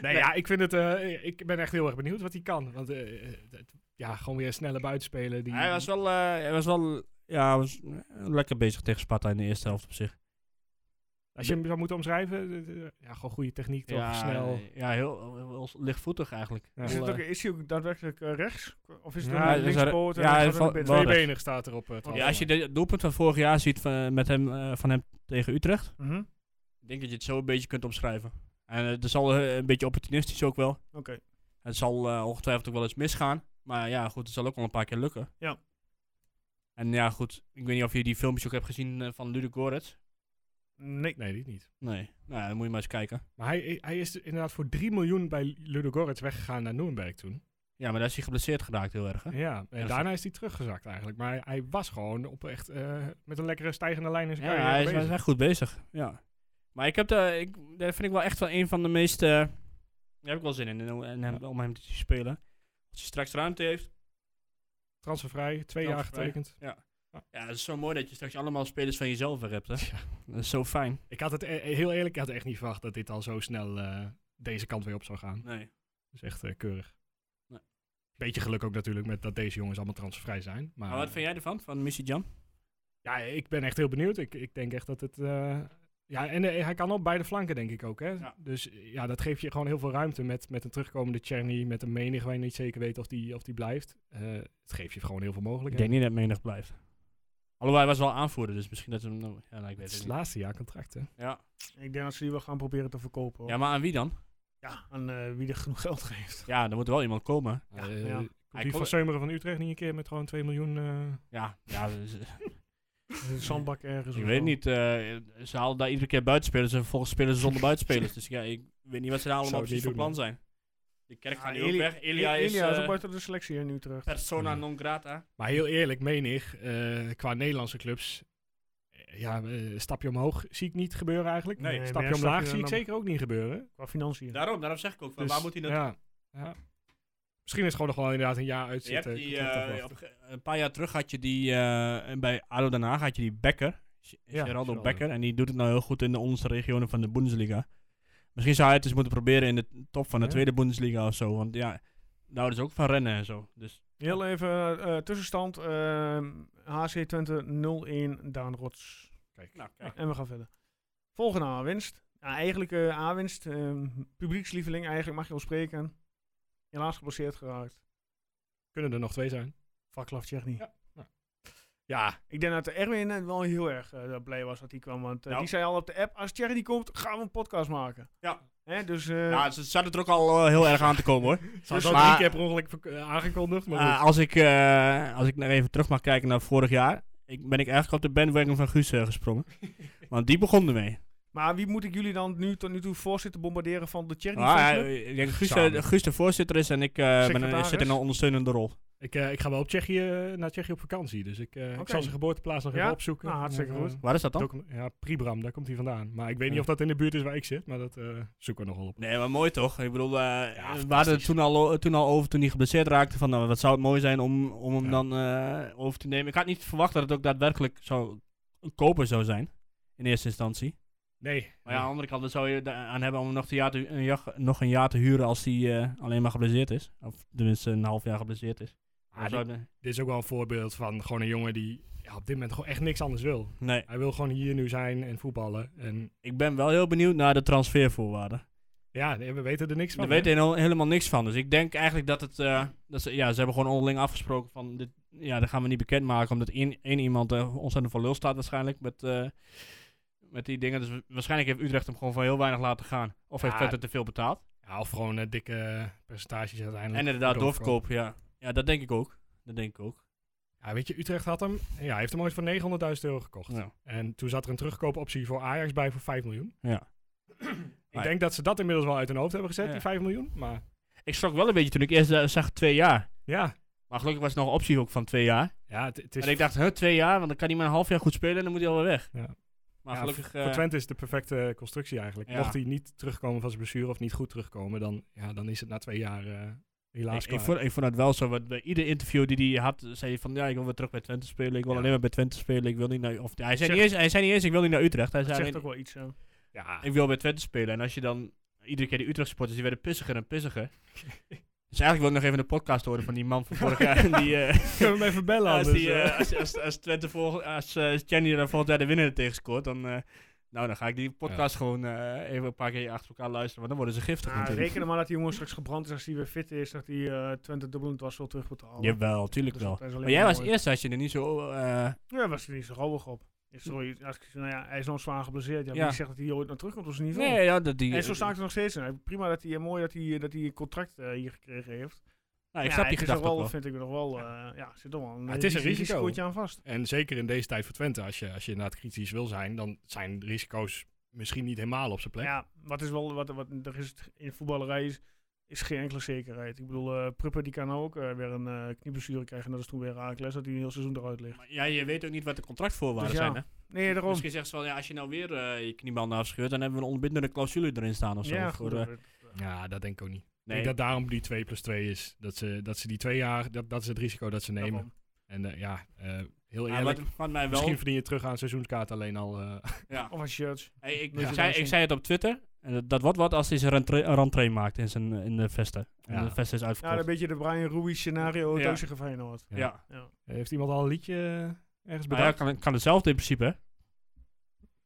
Speaker 5: nee, ja, ik vind het... eh, ik ben echt heel erg benieuwd wat hij kan. Want eh, eh, het- ja, gewoon weer snelle buitenspelen. Die,
Speaker 6: Hij was wel, eh, hij was wel ja, hij was eh, lekker bezig tegen Sparta in de eerste helft op zich.
Speaker 5: Als je hem zou moeten omschrijven, eh, eh, ja, gewoon goede techniek toch, snel.
Speaker 6: ja heel, heel- heel lichtvoetig eigenlijk.
Speaker 5: Ja.
Speaker 4: Is, het
Speaker 6: Heel,
Speaker 4: ook,
Speaker 6: eh,
Speaker 4: is hij ook daadwerkelijk eh, rechts? Of is het
Speaker 5: Ja,
Speaker 4: een
Speaker 6: dus hij-
Speaker 4: linkspoot? en
Speaker 6: ja,
Speaker 4: dan
Speaker 6: hij
Speaker 4: gaat er
Speaker 6: valt-
Speaker 4: een bit-
Speaker 6: wel
Speaker 4: Twee
Speaker 6: rechts.
Speaker 4: benen.
Speaker 5: Tweebenig staat erop. eh,
Speaker 6: ja,
Speaker 5: trouwens.
Speaker 6: als je het doelpunt van vorig jaar ziet van, met hem, eh, van hem tegen Utrecht,
Speaker 4: Mhm,
Speaker 6: denk dat je het zo een beetje kunt omschrijven. En het is al eh, een beetje opportunistisch ook wel.
Speaker 4: Mhm. Oké.
Speaker 6: Het zal eh, ongetwijfeld ook wel eens misgaan. Maar ja, goed, het zal ook wel een paar keer lukken.
Speaker 4: Ja.
Speaker 6: En ja, goed, ik weet niet of je die filmpjes ook hebt gezien eh, van Ludo Goretz.
Speaker 4: Nee.
Speaker 5: Nee, die niet.
Speaker 6: Nee, nou ja, dan moet je maar eens kijken.
Speaker 5: Maar hij, eh, hij is inderdaad voor 3 miljoen bij Ludogorets weggegaan naar Nuremberg toen.
Speaker 6: Ja, maar daar is hij geblesseerd geraakt heel erg, hè?
Speaker 5: Ja, en
Speaker 6: Ja,
Speaker 5: daarna is hij teruggezakt eigenlijk. Maar hij was gewoon op echt eh, met een lekkere stijgende lijn in zijn
Speaker 6: Ja,
Speaker 5: carrière
Speaker 6: hij is, hij
Speaker 5: bezig.
Speaker 6: is echt goed bezig, ja. Maar ik heb daar, ik, daar vind ik wel echt wel een van de meest, eh, daar heb ik wel zin in, in, in hem- om hem te zien spelen. Als hij straks ruimte heeft.
Speaker 5: Transfervrij, twee jaar
Speaker 6: Transfervrij.
Speaker 5: getekend.
Speaker 6: Ja, het is zo mooi dat je straks allemaal spelers van jezelf weer hebt, hè?
Speaker 5: Ja.
Speaker 6: Dat is zo fijn.
Speaker 5: Ik had het, e- heel eerlijk, ik had echt niet verwacht dat dit al zo snel eh, deze kant weer op zou gaan.
Speaker 6: Nee.
Speaker 5: Dus echt eh, keurig.
Speaker 6: Nee.
Speaker 5: Beetje geluk ook natuurlijk met dat deze jongens allemaal transfervrij zijn. Maar,
Speaker 6: Maar wat vind jij ervan, van Missy Jam?
Speaker 5: Ja, ik ben echt heel benieuwd. Ik, ik denk echt dat het... eh, ja, en eh, hij kan op beide flanken, denk ik ook. Hè?
Speaker 6: Ja.
Speaker 5: Dus eh, ja, dat geeft je gewoon heel veel ruimte met, met een terugkomende Czerny, met een menig waar je niet zeker weet of die, of die blijft. Eh, het geeft je gewoon heel veel
Speaker 6: Ik
Speaker 5: mogelijkheden.
Speaker 6: denk niet dat menig blijft. Alhoewel, hij was wel aanvoerder, dus misschien dat ze hem... nou- Ja, nou, ik
Speaker 5: Het
Speaker 6: weet
Speaker 5: is
Speaker 6: het
Speaker 5: het
Speaker 6: niet.
Speaker 5: laatste jaar contract, hè?
Speaker 6: Ja.
Speaker 4: Ik denk dat ze die wel gaan proberen te verkopen. Hoor.
Speaker 6: ja,
Speaker 4: Ja,
Speaker 6: maar aan wie dan?
Speaker 4: aan eh, wie er genoeg geld geeft.
Speaker 6: Ja, er moet wel iemand komen.
Speaker 5: Ja,
Speaker 4: ja.
Speaker 6: Hij
Speaker 5: die
Speaker 6: kon-
Speaker 5: van Seumeren van Utrecht niet een keer met gewoon 2 miljoen... eh,
Speaker 6: Ja, ja dus,
Speaker 4: Een zandbak ergens.
Speaker 6: ik
Speaker 4: of
Speaker 6: weet
Speaker 4: zo.
Speaker 6: niet. eh, ze halen daar iedere keer buitenspelers en volgens spelen ze zonder buitenspelers. Dus ja, ik weet niet wat ze daar allemaal
Speaker 5: Zou
Speaker 6: precies
Speaker 5: ik
Speaker 6: van
Speaker 5: niet
Speaker 6: plan
Speaker 5: doen,
Speaker 6: zijn. De kerk
Speaker 4: Ja,
Speaker 6: gaat nu ook
Speaker 4: Elia-
Speaker 6: weg. Elia
Speaker 4: I-
Speaker 6: is
Speaker 4: ook
Speaker 6: eh,
Speaker 4: buiten de selectie in Utrecht.
Speaker 6: persona
Speaker 5: Ja.
Speaker 6: non grata.
Speaker 5: Maar heel eerlijk, menig, eh qua Nederlandse clubs, eh, ja, eh, stapje omhoog zie ik niet gebeuren eigenlijk.
Speaker 4: Nee. Nee,
Speaker 5: stapje
Speaker 4: maar ja,
Speaker 5: omlaag
Speaker 4: stapje
Speaker 5: zie ik
Speaker 4: dan-
Speaker 5: zeker ook niet gebeuren.
Speaker 4: Qua financiën.
Speaker 6: Daarom, daarom zeg ik ook. Van,
Speaker 5: Dus,
Speaker 6: waar moet hij naartoe?
Speaker 5: ja, ja. Misschien is het gewoon nog wel inderdaad een jaar
Speaker 6: Je hebt
Speaker 5: uitzitten.
Speaker 6: die,
Speaker 5: contract
Speaker 6: eh,
Speaker 5: afwachten.
Speaker 6: op ge- een paar jaar terug had je die, eh, bij ADO Den Haag had je die Becker. G-
Speaker 5: Ja,
Speaker 6: Geraldo
Speaker 5: Geraldo.
Speaker 6: Becker. En die doet het nou heel goed in de onderste regionen van de Bundesliga. Misschien zou hij het eens moeten proberen in de top van de
Speaker 5: Ja.
Speaker 6: tweede Bundesliga of zo. Want ja, nou is ook van rennen en zo. Dus
Speaker 4: Heel even eh, tussenstand. ehm, HC Twente 0-1 Daan Rots.
Speaker 5: Kijk.
Speaker 6: nou, kijk.
Speaker 4: En we gaan verder. Volgende aanwinst. Ja, eigenlijk eh aanwinst. ehm, publiekslieveling eigenlijk mag je wel spreken. Helaas geblesseerd geraakt.
Speaker 5: Kunnen er nog twee zijn?
Speaker 4: Vaklav Tsjechny.
Speaker 5: Ja. Ja,
Speaker 4: Ik denk dat Erwin eh, wel heel erg eh, blij was dat hij kwam. Want eh,
Speaker 6: Nou.
Speaker 4: die zei al op de app, als Tsjechny komt, gaan we een podcast maken.
Speaker 6: Ja.
Speaker 4: Hè, dus eh,
Speaker 6: Nou, ze zaten er ook al eh, heel erg aan te komen hoor.
Speaker 5: ze
Speaker 6: Dus-
Speaker 5: hadden al
Speaker 6: maar-
Speaker 5: drie keer per ongeluk verk- eh, aangekondigd. Maar
Speaker 6: Eh,
Speaker 5: goed.
Speaker 6: als, ik, eh, als ik nog even terug mag kijken naar vorig jaar, ik, ben ik eigenlijk op de bandwagon van Guus eh, gesprongen. Want die begon ermee.
Speaker 4: Maar wie moet ik jullie dan nu tot nu toe voor zitten bombarderen van de Tsjechny?
Speaker 6: Ah,
Speaker 4: fanclub?
Speaker 6: eh, ik denk Guus,
Speaker 5: Samen.
Speaker 6: eh, Guus de voorzitter is en ik eh, ben, een-
Speaker 4: Secretaris.
Speaker 6: zit in een ondersteunende rol.
Speaker 5: Ik, eh, ik ga wel op Tsjechië, naar Tsjechië op vakantie, dus ik, eh, ik
Speaker 4: Oké.
Speaker 5: zal zijn geboorteplaats nog
Speaker 4: Ja?
Speaker 5: even opzoeken.
Speaker 4: Nou, hartstikke
Speaker 5: En, eh,
Speaker 4: goed.
Speaker 6: Waar is dat dan?
Speaker 5: docu- Ja, Pribram, daar komt hij vandaan. Maar ik weet niet
Speaker 6: Ja.
Speaker 5: of dat in de buurt is waar ik zit, maar dat eh, zoeken we nog wel op.
Speaker 6: Nee, maar mooi toch? Ik bedoel, eh, we hadden het toen al, o- toen al over toen hij geblesseerd raakte. Van, nou, wat zou het mooi zijn om, om hem
Speaker 5: Ja.
Speaker 6: dan eh, over te nemen. Ik had niet verwacht dat het ook daadwerkelijk zou, een koper zou zijn. In eerste instantie.
Speaker 5: Nee.
Speaker 6: Maar ja, aan de andere kant, wat zou je da- aan hebben om hem nog, te jaar te, een jaar- nog een jaar te huren als hij eh, alleen maar geblesseerd is? Of tenminste een half jaar geblesseerd is.
Speaker 5: Ah,
Speaker 6: Dan zou je-
Speaker 5: Dit is ook wel een voorbeeld van gewoon een jongen die ja, op dit moment gewoon echt niks anders wil.
Speaker 6: nee,
Speaker 5: Hij wil gewoon hier nu zijn en voetballen. En
Speaker 6: ik ben wel heel benieuwd naar de transfervoorwaarden.
Speaker 5: ja, nee, we weten er niks van.
Speaker 6: Daar
Speaker 5: hè?
Speaker 6: weten heel- helemaal niks van. Dus ik denk eigenlijk dat het. eh, dat ze, ja, ze hebben gewoon onderling afgesproken van. Dit, ja, dat gaan we niet bekendmaken. Omdat één, één iemand eh, ontzettend voor lul staat, waarschijnlijk. Met, eh, met die dingen. Dus wa- waarschijnlijk heeft Utrecht hem gewoon voor heel weinig laten gaan. Of heeft
Speaker 5: Ja.
Speaker 6: Vetter te veel betaald.
Speaker 5: Ja, of gewoon eh, dikke percentages uiteindelijk.
Speaker 6: En inderdaad,
Speaker 5: doorverkoop.
Speaker 6: doorverkoop. Ja. ja, dat denk ik ook. Dat denk ik ook.
Speaker 5: Ja, weet je, Utrecht had hem. Ja, hij heeft hem ooit voor 900.000 euro gekocht.
Speaker 6: Ja.
Speaker 5: En toen zat er een terugkoopoptie voor Ajax bij voor 5 miljoen.
Speaker 6: Ja.
Speaker 5: Ik denk dat ze dat inmiddels wel uit hun hoofd hebben gezet,
Speaker 6: Ja.
Speaker 5: die 5 miljoen. Maar
Speaker 6: Ik schrok wel een beetje toen ik eerst eh, zag twee jaar.
Speaker 5: ja,
Speaker 6: Maar gelukkig was het nog een optie ook van twee jaar.
Speaker 5: ja het, het is,
Speaker 6: En ik dacht, huh, twee jaar, want dan kan hij maar een half jaar goed spelen en dan moet hij alweer weg.
Speaker 5: Ja.
Speaker 6: Maar
Speaker 5: Ja,
Speaker 6: gelukkig.
Speaker 5: voor
Speaker 6: eh,
Speaker 5: Twente is het de perfecte constructie eigenlijk.
Speaker 6: Ja.
Speaker 5: Mocht hij niet terugkomen van zijn blessure of niet goed terugkomen, dan, ja, dan is het na twee jaar eh, helaas
Speaker 6: Ik, ik,
Speaker 5: klaar.
Speaker 6: vond, ik vond het wel zo, want bij ieder interview die hij had, zei hij van ja, ik wil weer terug bij Twente spelen, ik wil
Speaker 5: Ja.
Speaker 6: alleen maar bij Twente spelen, ik wil niet naar... Of, hij, zei
Speaker 4: Zegt-
Speaker 6: niet eens, hij zei niet eens, ik wil niet naar Utrecht, hij
Speaker 4: Dat
Speaker 6: zei
Speaker 4: zegt ook
Speaker 6: alleen,
Speaker 4: wel iets. ja.
Speaker 5: ja,
Speaker 6: ik wil bij Twente spelen. En als je dan, iedere keer die Utrecht supporters, die werden pissiger en pissiger. dus eigenlijk wil ik nog even de podcast horen van die man van vorig jaar, die... eh,
Speaker 5: kunnen we hem even bellen
Speaker 6: als,
Speaker 5: anders.
Speaker 6: die,
Speaker 5: eh.
Speaker 6: eh, als, als, als Twente volg- als eh Jenny er volgend jaar de winnende tegen scoort, dan, eh, nou, dan ga ik die podcast gewoon eh, even een paar keer achter elkaar luisteren, want dan worden ze giftig
Speaker 4: Nou,
Speaker 6: natuurlijk.
Speaker 4: reken er maar dat die jongen straks gebrand is als hij weer fit is. Dat hij eh, Twente dubbelend was wel terug moet halen.
Speaker 6: Jawel, tuurlijk
Speaker 4: Dus
Speaker 6: wel.
Speaker 4: dat is alleen
Speaker 6: Maar jij
Speaker 4: maar
Speaker 6: was
Speaker 4: mooi.
Speaker 6: eerst, als je er niet zo... eh,
Speaker 4: Ja, was hij niet zo rouwig op. Is Sorry, als ik, nou ja, hij is nog zwaar geblesseerd. Ja,
Speaker 6: Ja.
Speaker 4: Wie zegt dat hij hier ooit naar terugkomt op zijn niveau?
Speaker 6: Nee, ja, dat die.
Speaker 4: en zo sta ik er nog steeds in. Prima dat hij, eh, mooi dat hij, dat hij een contract eh, hier gekregen heeft.
Speaker 6: Nou, ik
Speaker 4: Ja,
Speaker 6: snap die
Speaker 4: het is nog
Speaker 6: gedachte ook
Speaker 4: wel,
Speaker 6: wel.
Speaker 4: vind ik nog wel, eh, ja, zit nog wel een,
Speaker 5: Maar het is een risico.
Speaker 4: risicootje aan vast.
Speaker 5: En zeker in deze tijd voor Twente, als je, als je inderdaad kritisch wil zijn, dan zijn de risico's misschien niet helemaal op zijn plek.
Speaker 4: Ja, wat is wel, wat, wat er is in voetballerij is, is geen enkele zekerheid. Ik bedoel, eh Prupper die kan ook eh, weer een eh knieblessure krijgen. Dat is toen weer Raakles, dat hij een heel seizoen eruit ligt.
Speaker 6: Maar ja, je weet ook niet wat de contractvoorwaarden
Speaker 4: Dus ja,
Speaker 6: zijn. Hè?
Speaker 4: Nee, daarom.
Speaker 6: Misschien zeggen ze wel, ja, als je nou weer eh, je kniebanden afscheurt, dan hebben we een ontbindende clausule erin staan of zo.
Speaker 4: ja,
Speaker 6: Of
Speaker 4: goed.
Speaker 6: voor, eh,
Speaker 4: dat-
Speaker 5: Ja, dat denk ik ook niet.
Speaker 6: nee.
Speaker 5: Ik denk dat daarom die 2 plus 2 is. Dat ze, dat ze die twee jaar, dat, dat is het risico dat ze nemen.
Speaker 4: daarom.
Speaker 5: En eh, ja, eh, heel
Speaker 6: Ja,
Speaker 5: eerlijk,
Speaker 6: wat, wat mij wel.
Speaker 5: misschien verdien je terug aan seizoenskaart alleen al. eh,
Speaker 6: Ja.
Speaker 4: Of een shirt.
Speaker 6: Hey, ik,
Speaker 4: Ja.
Speaker 6: zei, ik zei het op Twitter. en dat- Dat wordt wat als hij zijn rentre- een rentree maakt in, zijn, eh, in de vesten. En
Speaker 5: Ja.
Speaker 6: de vesten is
Speaker 4: Ja,
Speaker 6: uitverkocht.
Speaker 4: een beetje de Brian Ruiz scenario
Speaker 6: Ja.
Speaker 4: ja. tegen Feyenoord.
Speaker 6: Ja,
Speaker 5: Ja.
Speaker 6: ja.
Speaker 4: Ja.
Speaker 5: heeft iemand al een liedje eh, ergens
Speaker 6: Maar Nou ja,
Speaker 5: bedacht?
Speaker 6: kan, kan hetzelfde in principe. hè?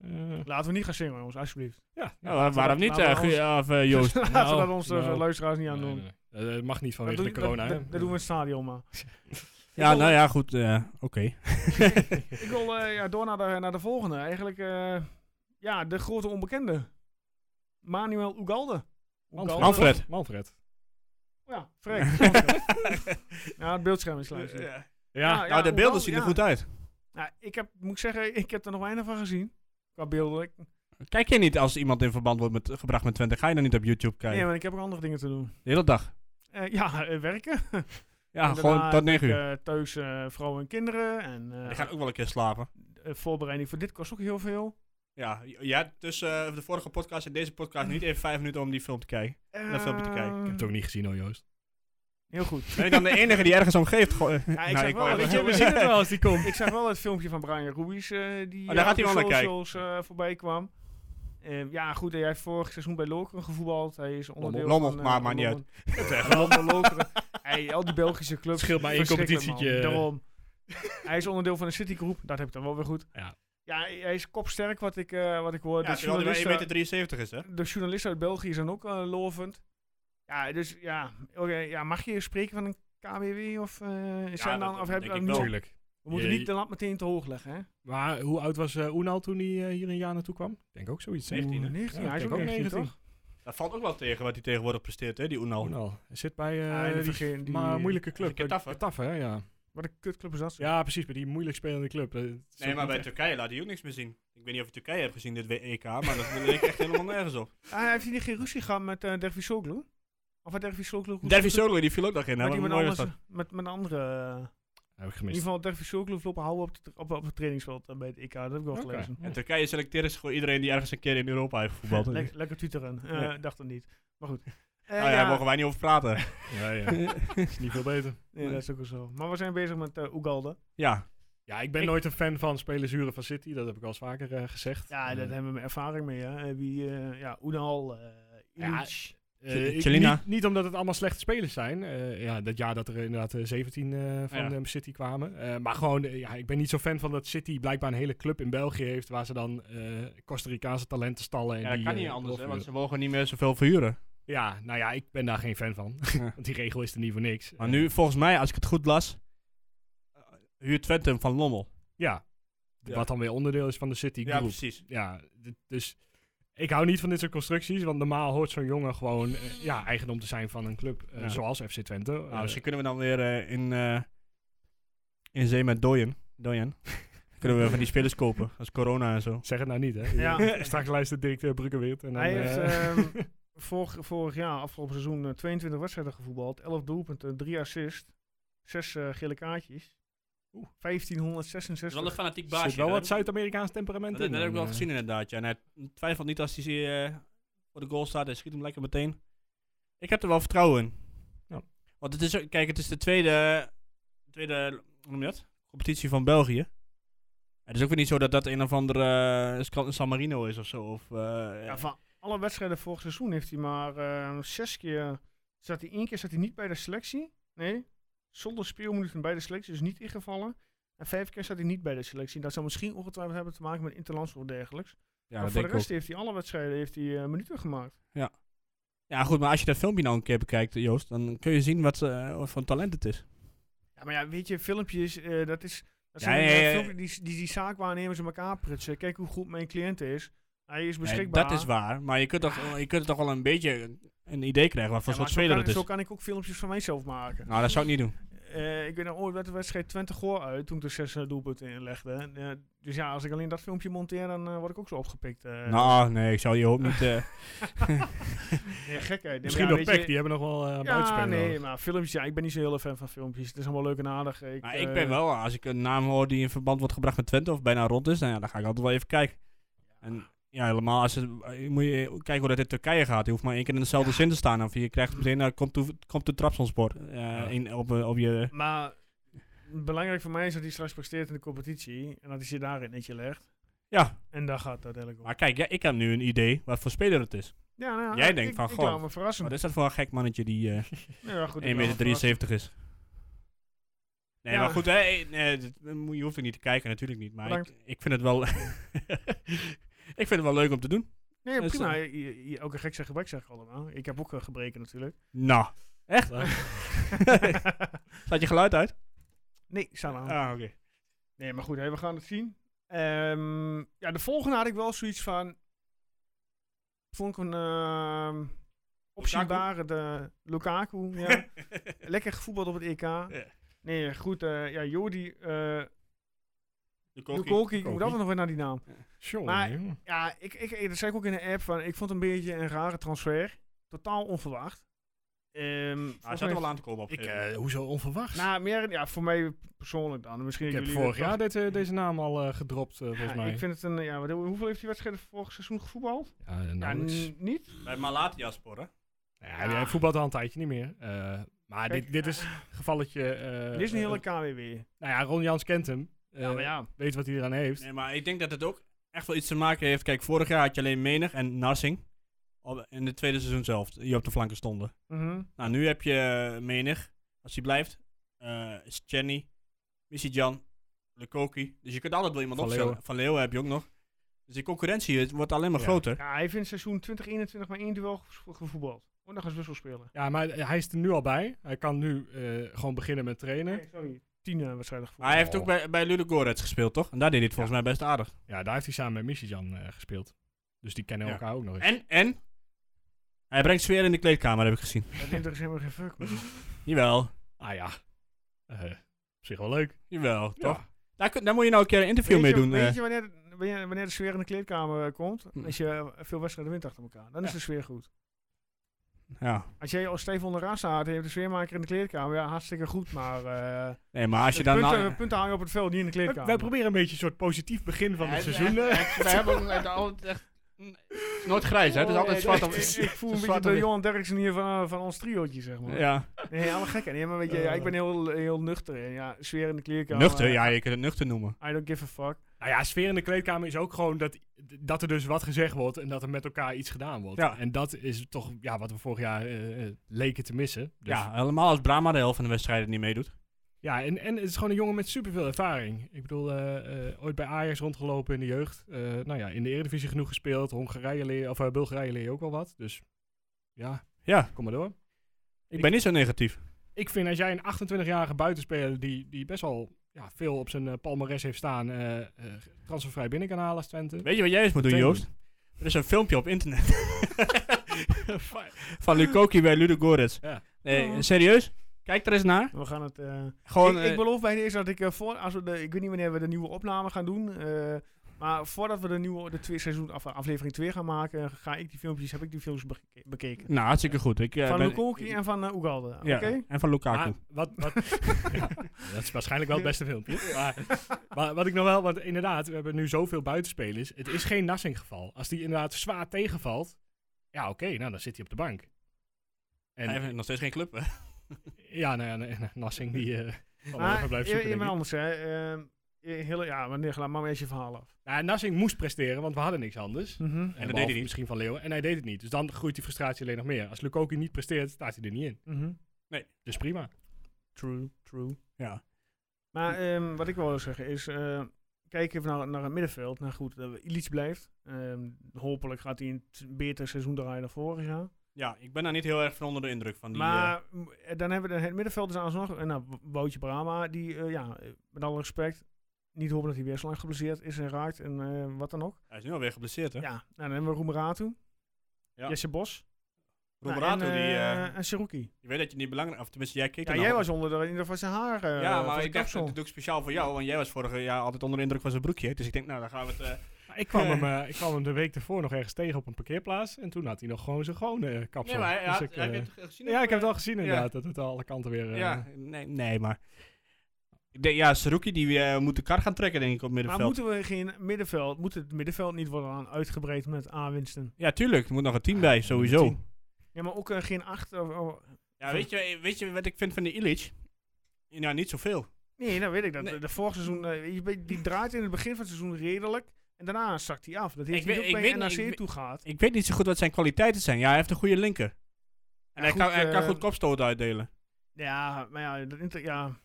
Speaker 5: Eh,
Speaker 4: Laten we niet gaan zingen, jongens, alsjeblieft.
Speaker 5: ja,
Speaker 6: Ja, waar- waarom niet,
Speaker 4: laten we
Speaker 6: eh, Guus- of, eh, Joost?
Speaker 4: Laten
Speaker 5: Nou,
Speaker 4: we dat onze
Speaker 5: nou.
Speaker 4: luisteraars niet aan
Speaker 5: Nee,
Speaker 4: doen.
Speaker 5: nee, nee. Eh, dat mag niet vanwege
Speaker 4: dat,
Speaker 5: de
Speaker 4: doe-
Speaker 5: corona.
Speaker 4: dat,
Speaker 5: hè?
Speaker 4: dat- dat doen we in het stadion maar.
Speaker 6: Ja, nou ja, goed. eh, Oké.
Speaker 4: Ik wil eh, ja, door naar de, naar de volgende. Eigenlijk, eh, ja, de grote onbekende. Manuel Ugalde.
Speaker 5: Manfred.
Speaker 4: Ugalde.
Speaker 6: Manfred.
Speaker 5: Manfred.
Speaker 4: Ja, Freek. ja, het beeldscherm is sluit. Ja,
Speaker 5: Ja,
Speaker 6: Nou, de beelden
Speaker 4: Ugalde,
Speaker 6: zien
Speaker 4: ja.
Speaker 6: er goed uit.
Speaker 4: Nou, ik heb, moet ik zeggen, ik heb er nog weinig van gezien. Qua beelden. Ik-
Speaker 6: Kijk je niet als iemand in verband wordt met, gebracht met Twente? Ga je dan niet op YouTube kijken?
Speaker 4: nee, maar ik heb ook andere dingen te doen.
Speaker 6: De hele dag.
Speaker 4: Eh, ja, eh, werken.
Speaker 6: Ja,
Speaker 4: En
Speaker 6: gewoon
Speaker 4: daarna
Speaker 6: tot
Speaker 4: heb
Speaker 6: 9
Speaker 4: ik,
Speaker 6: uur.
Speaker 4: eh, thuis eh, vrouwen en kinderen. En eh,
Speaker 6: Die gaan ook wel een keer slapen.
Speaker 4: eh, voorbereiding voor dit kost ook heel veel.
Speaker 6: Ja, ja tussen eh, de vorige podcast en deze podcast niet even vijf minuten om die film te kijken. Dat filmpje te kijken.
Speaker 5: ik heb het ook niet gezien hoor, Joost.
Speaker 4: Ehm, Heel goed.
Speaker 6: Ben ik dan de enige die ergens om geeft? Goh, eh,
Speaker 4: Ja, ik
Speaker 6: nou,
Speaker 4: zeg wel,
Speaker 6: wou-
Speaker 4: weet je, we zien het wel
Speaker 5: als die komt.
Speaker 4: ik zag wel het filmpje van Brian Ruiz eh, die
Speaker 6: Oh, daar
Speaker 4: eh,
Speaker 6: gaat hij
Speaker 4: op
Speaker 6: wel
Speaker 4: de
Speaker 6: naar
Speaker 4: socials eh, voorbij kwam. Eh, ja, goed, hij heeft vorig seizoen bij Lokeren gevoetbald. Hij is onderdeel
Speaker 6: Lommel,
Speaker 4: van... eh,
Speaker 6: maar maakt niet
Speaker 4: Lommel. Lommel, Lokeren. Hij, al die Belgische clubs.
Speaker 5: Scheelt maar één
Speaker 4: verschrikkelijk,
Speaker 5: competitietje.
Speaker 4: man. Daarom. Hij is onderdeel van de Citygroep. Dat heb ik dan wel weer goed.
Speaker 5: Ja.
Speaker 4: Ja, hij hij is kopsterk, wat ik, eh, wat ik hoor.
Speaker 6: Ja,
Speaker 4: de,
Speaker 6: terwijl hij
Speaker 4: journalisten,
Speaker 6: 1,73 meter is, hè?
Speaker 4: de journalisten uit België zijn ook eh, lovend. Ja, dus ja, oké, ja, mag je spreken van een KBW? Of, eh, zijn dan,
Speaker 6: dat
Speaker 4: of heb je dat
Speaker 6: denk ik wel.
Speaker 4: niet?
Speaker 5: Natuurlijk.
Speaker 4: We moeten
Speaker 5: Je-
Speaker 4: niet de lat meteen te hoog leggen, hè?
Speaker 5: Maar hoe oud was eh Oenal toen hij eh, hier een jaar naartoe kwam? Ik denk ook zoiets. hè?
Speaker 6: 19, hè?
Speaker 4: 19,
Speaker 5: Ja,
Speaker 4: hij is
Speaker 5: ik
Speaker 4: ook
Speaker 5: denk ook
Speaker 4: 19,
Speaker 5: 19,
Speaker 4: toch?
Speaker 6: Dat valt ook wel tegen wat hij tegenwoordig presteert, hè, die Unal.
Speaker 5: Oenal. Hij zit bij eh,
Speaker 4: Ah, in de
Speaker 5: die
Speaker 4: vergeen- die-
Speaker 5: maar moeilijke club.
Speaker 6: die Getafe.
Speaker 5: Bij Getafe, hè? Ja.
Speaker 4: Wat een kutclub is dat? zeg.
Speaker 5: ja, precies. Bij die moeilijk spelende club. Eh, het is
Speaker 6: Nee,
Speaker 5: ook
Speaker 6: maar
Speaker 5: niet
Speaker 6: bij
Speaker 5: echt-
Speaker 6: Turkije laat hij ook niks meer zien. Ik weet niet of je Turkije hebt gezien, dit WEK, maar dat leek echt helemaal nergens op.
Speaker 4: Ah, heeft hij niet geen ruzie gehad met eh Dervis Soglu? Of had Dervis Soklo goed
Speaker 6: Davy
Speaker 4: goed-
Speaker 6: Solo, die viel ook nog in. hè,
Speaker 4: Maar die
Speaker 6: nou, wat
Speaker 4: met,
Speaker 6: mooi was
Speaker 4: anders, met, met een andere... eh,
Speaker 5: Heb ik
Speaker 4: in
Speaker 5: gemist.
Speaker 4: ieder geval Dervis Soklo lopen houden op, het- op, op het trainingsveld eh, bij het EK. Dat heb ik wel
Speaker 5: Oké.
Speaker 4: gelezen.
Speaker 6: En Turkije selecteert dus gewoon iedereen die ergens een keer in Europa heeft voetbald.
Speaker 4: Lek- lekker tuteren. Eh,
Speaker 6: Ja.
Speaker 4: dacht het niet. Maar goed. Eh,
Speaker 6: Nou ja, daar mogen wij niet over praten.
Speaker 5: Ja, ja. Is niet veel beter.
Speaker 4: nee, dat is ook wel zo. Maar we zijn bezig met eh Ugalde.
Speaker 6: Ja,
Speaker 5: Ja, ik ben
Speaker 4: Ik-
Speaker 5: nooit een fan van spelers huren van City. Dat heb ik al eens vaker eh, gezegd.
Speaker 4: Ja,
Speaker 5: Eh,
Speaker 4: daar hebben we ervaring mee. Hè. Eh, Wie, eh, ja, Unal, eh
Speaker 5: Ja,
Speaker 4: Ilic.
Speaker 5: eh, ik-
Speaker 6: Celina.
Speaker 5: niet, niet omdat het allemaal slechte spelers zijn. Eh, ja, dat jaar dat er inderdaad eh, 17 eh, van
Speaker 6: Ja.
Speaker 5: eh, City kwamen. Eh, maar gewoon, eh, ja, ik ben niet zo fan van dat City blijkbaar een hele club in België heeft... waar ze dan eh, Costa Ricaanse talenten stallen. En
Speaker 6: ja dat
Speaker 5: die,
Speaker 6: kan
Speaker 5: eh,
Speaker 6: niet anders, hè,
Speaker 5: doorvoeren.
Speaker 6: want ze mogen niet meer zoveel verhuren.
Speaker 5: Ja, nou ja, ik ben daar geen fan van. Want die regel is er niet voor niks. Eh,
Speaker 6: Maar nu, volgens mij, als ik het goed las, eh, huurt Twente hem van Lommel.
Speaker 5: Ja.
Speaker 6: Ja.
Speaker 5: Wat dan weer onderdeel is van de City Group.
Speaker 6: precies.
Speaker 5: ja, d- dus ik hou niet van dit soort constructies, want normaal hoort zo'n jongen gewoon eh, ja, eigendom te zijn van een club eh,
Speaker 6: Ja.
Speaker 5: zoals FC Twente. Eh,
Speaker 6: Nou, misschien kunnen we dan weer eh, in, eh, in zee met Doyen. Doyen. kunnen we van die spelers kopen, als corona en zo.
Speaker 5: zeg het nou niet, hè?
Speaker 4: Ja.
Speaker 5: Straks luistert directeur Bruggeweert. En dan,
Speaker 4: Hij
Speaker 5: eh,
Speaker 4: heeft ehm, vorig, vorig jaar, afgelopen seizoen, eh, 22 wedstrijden gevoetbald. 11 doelpunten, 3 assists, 6 gele kaartjes. 1566.
Speaker 6: fanatiek
Speaker 5: zit wel wat Zuid-Amerikaans temperament
Speaker 6: Dat,
Speaker 5: in.
Speaker 6: dat heb ik
Speaker 5: dan,
Speaker 6: wel
Speaker 5: eh.
Speaker 6: gezien inderdaad. Ja. En hij twijfelt niet als hij eh, voor de goal staat. Hij schiet hem lekker meteen. Ik heb er wel vertrouwen in.
Speaker 5: Ja.
Speaker 6: Want het is, ook- kijk, het is de tweede, tweede hoe noem je dat? competitie van België. Het is ook weer niet zo dat dat een of andere eh, Scal- San Marino is of zo. Of, eh,
Speaker 4: Ja, van alle wedstrijden vorig seizoen heeft hij maar ehm, zes keer. Zat hij één keer zat hij niet bij de selectie. Nee. Zonder speelminuten bij de selectie, dus niet ingevallen. En vijf keer zat hij niet bij de selectie. Dat zou misschien ongetwijfeld hebben te maken met interlands of dergelijks.
Speaker 6: ja,
Speaker 4: maar voor
Speaker 6: dat denk
Speaker 4: de
Speaker 6: ik ook.
Speaker 4: rest heeft hij alle wedstrijden heeft hij, eh, minuten gemaakt.
Speaker 6: Ja, goed, maar als je dat filmpje nou een keer bekijkt, Joost, dan kun je zien wat, eh, wat voor een talent het is.
Speaker 4: Ja, maar ja, weet je, filmpjes, eh, dat is. Dat
Speaker 6: Ja,
Speaker 4: zijn
Speaker 6: ja,
Speaker 4: eh,
Speaker 6: ja, ja.
Speaker 4: filmpjes die, die, die zaakwaarnemers in elkaar prutsen. Kijk hoe goed mijn cliënt is. Hij is
Speaker 6: Nee,
Speaker 4: beschikbaar.
Speaker 6: dat is waar, maar je kunt, toch, je kunt toch wel een beetje een idee krijgen wat voor
Speaker 4: Ja, maar
Speaker 6: soort
Speaker 4: zo
Speaker 6: speler
Speaker 4: kan,
Speaker 6: het is.
Speaker 4: Zo kan ik ook filmpjes van mijzelf maken.
Speaker 6: Nou, dat zou ik niet doen.
Speaker 4: Eh, ik weet nog ooit werd de wedstrijd Twente Goor uit toen ik de zes eh, doelpunten inlegde. En, eh, dus ja, als ik alleen dat filmpje monteer, dan eh, word ik ook zo opgepikt. eh.
Speaker 6: nou, nee, ik zou je hoop niet. eh,
Speaker 4: nee, gekheid. Nee,
Speaker 5: Misschien
Speaker 4: maar
Speaker 5: door
Speaker 4: ja,
Speaker 5: PEC,
Speaker 4: weet je-
Speaker 5: die hebben nog wel eh
Speaker 4: Ja,
Speaker 5: buitenspelers
Speaker 4: nee,
Speaker 5: nodig.
Speaker 4: maar filmpjes, ja, ik ben niet zo heel erg fan van filmpjes. Het is allemaal leuk en aardig. Ik,
Speaker 6: maar ik
Speaker 4: eh,
Speaker 6: ben wel, als ik een naam hoor die in verband wordt gebracht met Twente of bijna rond is, nou ja, dan ga ik altijd wel even kijken. En ja, helemaal als het, eh, moet je kijken hoe dat in Turkije gaat. Je hoeft maar één keer in dezelfde zin te staan. Of je krijgt meteen, nou, komt, toe, komt de Trabzonspor eh, in, op, eh, op je...
Speaker 4: Maar belangrijk voor mij is dat hij straks presteert in de competitie. En dat hij zich daarin netje legt.
Speaker 6: Ja,
Speaker 4: En daar gaat het uiteindelijk om.
Speaker 6: maar kijk, ja, ik heb nu een idee wat voor speler het is.
Speaker 4: Ja, nou,
Speaker 6: Jij
Speaker 4: ik-
Speaker 6: denkt
Speaker 4: ik-
Speaker 6: van,
Speaker 4: ik
Speaker 6: goh,
Speaker 4: laat me verrassen.
Speaker 6: Wat is dat voor een gek mannetje die eh 1,73
Speaker 4: Ja, goed, ik laat me
Speaker 6: meter
Speaker 4: verrassen.
Speaker 6: 73 is? Nee,
Speaker 4: Ja.
Speaker 6: maar goed, hè, eh, nee, dat- dat moet- je hoeft er niet te kijken, natuurlijk niet. Maar ik,
Speaker 4: Bedankt.
Speaker 6: ik vind het wel... ik vind het wel leuk om te doen.
Speaker 4: Nee,
Speaker 6: Dus,
Speaker 4: prima.
Speaker 6: eh,
Speaker 4: Je- je- je- Elke gek zijn gebrek zeg ik allemaal. Ik heb ook eh, gebreken natuurlijk.
Speaker 6: Nou, echt?
Speaker 5: Eh,
Speaker 6: Staat je geluid uit?
Speaker 4: nee, staan aan.
Speaker 6: Ah, oké.
Speaker 4: Nee, maar goed, hè, we gaan het zien. Ehm, ja, de volgende had ik wel zoiets van. Vond ik een ehm opzienbare de Lukaku. Ja. Lekker gevoetbald op het EK. Nee, goed. eh, ja, Jordi. eh Lukoki, ik moet altijd nog weer naar die naam.
Speaker 5: Tjonge,
Speaker 4: Maar-
Speaker 5: jongen.
Speaker 4: Ja, ik, ik, eh, dat zei ik ook in de app. Van, ik vond het een beetje een rare transfer. Totaal onverwacht. Ehm,
Speaker 6: Ah, Hij
Speaker 4: volgens
Speaker 6: zat
Speaker 4: mij-
Speaker 6: er wel aan te komen op.
Speaker 5: Ik, eh, hoezo onverwacht?
Speaker 4: Nou, meer, ja, voor mij persoonlijk dan. Misschien
Speaker 5: ik heb
Speaker 4: jullie
Speaker 5: vorig
Speaker 4: dat-
Speaker 5: jaar dit, eh, deze naam al eh, gedropt, eh, volgens
Speaker 4: Ja,
Speaker 5: mij.
Speaker 4: Ik vind het een, ja, wat- hoeveel heeft die wedstrijd vorig seizoen gevoetbald?
Speaker 5: Ja, eh,
Speaker 4: Ja,
Speaker 5: nauwelijks.
Speaker 4: n- niet.
Speaker 6: Bij Malatyaspor, hè?
Speaker 5: Ja, hij- hij voetbalt al een tijdje niet meer. Eh, maar
Speaker 4: Kijk,
Speaker 5: dit, dit is gevalletje... eh,
Speaker 4: Dit is een
Speaker 5: eh,
Speaker 4: hele KWW.
Speaker 5: Nou ja, Ron Jans kent hem. Eh,
Speaker 4: Ja, maar ja.
Speaker 5: Weet wat hij eraan heeft.
Speaker 6: Nee, maar ik denk dat het ook echt wel iets te maken heeft. Kijk, vorig jaar had je alleen Menig en Narsing. Op- In het tweede seizoen zelf, die op de flanken stonden.
Speaker 4: Mhm.
Speaker 6: Nou, nu heb je eh, Menig, als hij blijft. eh is Jenny, Missy Jan, Lukoki. Dus je kunt altijd wel iemand
Speaker 5: Van
Speaker 6: opstellen.
Speaker 5: Leeuwen.
Speaker 6: Van Leeuwen heb je ook nog. Dus die concurrentie het wordt alleen maar
Speaker 5: Ja.
Speaker 6: groter.
Speaker 4: Ja, hij heeft in het seizoen 2021 maar één duel gevo- gevoetbald. Oh, dan gaan ze wissel spelen.
Speaker 5: Ja, maar hij is er nu al bij. Hij kan nu eh, gewoon beginnen met trainen.
Speaker 4: Nee, sorry. Tien eh, wedstrijden
Speaker 6: Maar hij
Speaker 4: gevoetbald.
Speaker 6: heeft ook bij, bij Ludo Gorets gespeeld, toch? En daar deed hij het volgens mij best aardig.
Speaker 5: Oh. Ja, daar heeft hij samen met Michijan eh gespeeld. Dus die kennen
Speaker 6: Ja.
Speaker 5: elkaar ook nog eens.
Speaker 6: En, en? Hij brengt sfeer in de kleedkamer, heb ik gezien.
Speaker 4: Dat interesseert me geen fuck. man.
Speaker 6: Jawel,
Speaker 5: Ah ja, Eh, op zich wel leuk.
Speaker 6: jawel, toch?
Speaker 5: Ja.
Speaker 6: Daar, kun- daar moet je nou een keer een interview
Speaker 4: Weet
Speaker 6: mee
Speaker 4: je-
Speaker 6: doen.
Speaker 4: Weet
Speaker 6: eh.
Speaker 4: je wanneer, wanneer, wanneer de sfeer in de kleedkamer eh, komt?
Speaker 6: Hm.
Speaker 4: Als je eh, veel wedstrijden wint achter elkaar. Dan is
Speaker 6: Ja.
Speaker 4: de sfeer goed.
Speaker 6: Ja.
Speaker 4: Als jij als Stefan de Rassa had, heeft de sfeermaker in de kleedkamer. Ja, hartstikke goed, maar... eh,
Speaker 6: Nee, maar als je
Speaker 4: de
Speaker 6: dan...
Speaker 4: punten,
Speaker 6: nou-
Speaker 4: punten haal je op het veld, niet in de
Speaker 5: Wij,
Speaker 4: kleedkamer.
Speaker 5: wij proberen een beetje een soort positief begin van
Speaker 7: Ja,
Speaker 5: het
Speaker 7: het-
Speaker 5: seizoen. eh.
Speaker 7: het- We hebben ook het- altijd echt... het is Nooit grijs, hè? Het is altijd
Speaker 4: Oh,
Speaker 7: zwart op
Speaker 4: ik- ik- Ik voel
Speaker 7: het
Speaker 4: een
Speaker 7: is
Speaker 4: beetje
Speaker 7: zwart op
Speaker 4: de
Speaker 7: wit.
Speaker 4: Johan Derksen hier van, van ons triootje, zeg
Speaker 5: eh,
Speaker 4: maar.
Speaker 6: ja. Eh.
Speaker 4: Nee, alle gekken. Nee, maar weet je, ja, ik ben heel, heel nuchter. En ja, sfeer in de kleedkamer.
Speaker 5: eh,
Speaker 4: eh,
Speaker 6: Nuchter, ja, je kunt het nuchter noemen.
Speaker 4: I don't give a fuck.
Speaker 5: Nou ja, sfeer in de kleedkamer is ook gewoon dat, dat er dus wat gezegd wordt en dat er met elkaar iets gedaan wordt.
Speaker 6: Ja.
Speaker 5: En dat is toch ja, wat we vorig jaar eh, eh, leken te missen. Dus-
Speaker 6: Ja, helemaal als Brahma de helft van de wedstrijden niet meedoet.
Speaker 5: ja en, en het is gewoon een jongen met superveel ervaring. Ik bedoel, eh, eh, ooit bij Ajax rondgelopen in de jeugd. Eh, nou ja, in de Eredivisie genoeg gespeeld. Hongarije leer, of eh, Bulgarije leer je ook wel wat. Dus ja,
Speaker 6: Ja,
Speaker 5: kom maar door.
Speaker 6: ik ben niet zo negatief.
Speaker 5: ik vind als jij een 28-jarige buitenspeler die, die best wel ja, veel op zijn eh, palmares heeft staan, eh, eh, transfervrij binnen kan halen als Twente.
Speaker 6: Weet je wat jij eens moet doen,
Speaker 5: Meteen
Speaker 6: Joost? Er is een filmpje op internet. van Lukoki bij Ludo Goretz.
Speaker 5: Ja.
Speaker 6: Nee, serieus? Kijk er eens naar.
Speaker 4: We gaan het... Oh. eh,
Speaker 6: Gewoon,
Speaker 4: ik,
Speaker 6: eh,
Speaker 4: ik beloof bij deze dat ik eh, voor... Als we de, ik weet niet wanneer we de nieuwe opname gaan doen. eh, maar voordat we de nieuwe de twee seizoen af, aflevering 2 gaan maken, eh, ga ik die filmpjes, heb ik die filmpjes beke- bekeken.
Speaker 6: nou, hartstikke goed. Ik, eh,
Speaker 4: van
Speaker 6: ben-
Speaker 4: Lukoki en van eh, Ugalde.
Speaker 6: ja,
Speaker 4: Oké?
Speaker 6: En van Lukaku.
Speaker 5: Maar wat, wat, ja, dat is waarschijnlijk wel het beste filmpje. Maar, maar wat ik nog wel, want inderdaad, we hebben nu zoveel buitenspelers. Het is geen Nassing geval. Als die inderdaad zwaar tegenvalt, ja oké, nou dan zit hij op de bank. En
Speaker 6: Hij heeft nog steeds geen club, hè?
Speaker 5: ja, nou ja, nee, nee, Nassing die eh, zal wel even
Speaker 4: Maar
Speaker 5: blijven
Speaker 4: je,
Speaker 5: zoeken.
Speaker 4: je
Speaker 5: denk
Speaker 4: bent
Speaker 5: ik.
Speaker 4: anders, hè. Ehm, je- heel, ja, maar nee, laat maar eens je verhaal af.
Speaker 5: Nou, Nassing moest presteren, want we hadden niks anders.
Speaker 4: Mhm.
Speaker 5: En dat
Speaker 6: deed
Speaker 5: deed
Speaker 6: hij niet.
Speaker 5: Misschien van Leeuwen. En hij deed het niet. Dus dan groeit die frustratie alleen nog meer. Als Lukoki niet presteert, staat hij er niet in.
Speaker 4: mhm.
Speaker 5: Dus prima.
Speaker 4: True, true.
Speaker 6: Ja.
Speaker 4: Maar ehm, wat ik wel wil zeggen is, eh, kijk even naar, naar het middenveld. Nou goed, dat Illich blijft. Ehm, hopelijk gaat hij een t- beter seizoen draaien dan vorig jaar.
Speaker 6: Ja, ik ben daar niet heel erg van onder de indruk van. Die, eh,
Speaker 4: maar m- eh, dan hebben we het middenveld dus alsnog. eh, Nou, W- Woutje Brama, die eh, ja, eh, met alle respect, niet hopen dat hij weer zo lang geblesseerd is en raakt en eh, wat dan ook.
Speaker 6: hij is nu alweer geblesseerd, hè?
Speaker 4: Ja, nou, dan hebben we Roemeratu,
Speaker 6: Ja.
Speaker 4: Jesse Bos. nou,
Speaker 6: Roemerato,
Speaker 4: en,
Speaker 6: die...
Speaker 4: eh,
Speaker 6: eh,
Speaker 4: en Seruki.
Speaker 6: je weet dat je niet belangrijk... Of tenminste, jij keek
Speaker 4: Ja,
Speaker 6: er
Speaker 4: jij
Speaker 6: nou-
Speaker 4: was onder de indruk van zijn haar. eh,
Speaker 6: ja,
Speaker 4: van
Speaker 6: maar
Speaker 4: zijn
Speaker 6: ik dacht,
Speaker 4: kapsel.
Speaker 6: dat doe ik speciaal voor jou, want jij was vorig jaar altijd onder de indruk van zijn broekje. Dus ik denk, nou, dan gaan we het... eh,
Speaker 5: Maar Ik kwam, hem, eh, ik kwam hem de week ervoor nog ergens tegen op een parkeerplaats. En toen had hij nog gewoon zijn gewone eh, kapsel.
Speaker 6: nee, maar hij,
Speaker 5: Dus
Speaker 6: had-
Speaker 5: ik,
Speaker 6: heb
Speaker 5: eh,
Speaker 6: je het gezien?
Speaker 5: ja,
Speaker 6: op,
Speaker 5: ik heb het
Speaker 6: eh,
Speaker 5: al gezien inderdaad. Dat het alle kanten weer... eh,
Speaker 6: Ja, nee, nee, maar... Ik denk, ja, Saruki, die eh, moet de kar gaan trekken, denk ik, op
Speaker 4: Maar
Speaker 6: middenveld.
Speaker 4: moeten we geen middenveld, moet het middenveld niet worden aan uitgebreid met aanwinsten?
Speaker 6: Ah, Ja, tuurlijk. Er moet nog een team bij, sowieso.
Speaker 4: tien. Ja, maar ook eh, geen acht. Of, of-
Speaker 6: Ja, weet je, weet je wat ik vind van de Illich? Ja, niet zoveel.
Speaker 4: nee, dat weet ik. Dat,
Speaker 6: Nee.
Speaker 4: De vorig seizoen, eh, je weet, die draait in het begin van het seizoen redelijk. En daarna zakt hij af. Dat heeft
Speaker 6: Ik
Speaker 4: hij
Speaker 6: weet-
Speaker 4: ook
Speaker 6: ik
Speaker 4: bij
Speaker 6: weet
Speaker 4: NAC
Speaker 6: niet, ik weet-
Speaker 4: toe gaat.
Speaker 6: Ik weet niet zo goed wat zijn kwaliteiten zijn. Ja, hij heeft een goede linker. En hij,
Speaker 4: goed,
Speaker 6: kan, hij kan
Speaker 4: eh,
Speaker 6: goed kopstoten uitdelen.
Speaker 4: Ja, maar ja, dat inter- ja.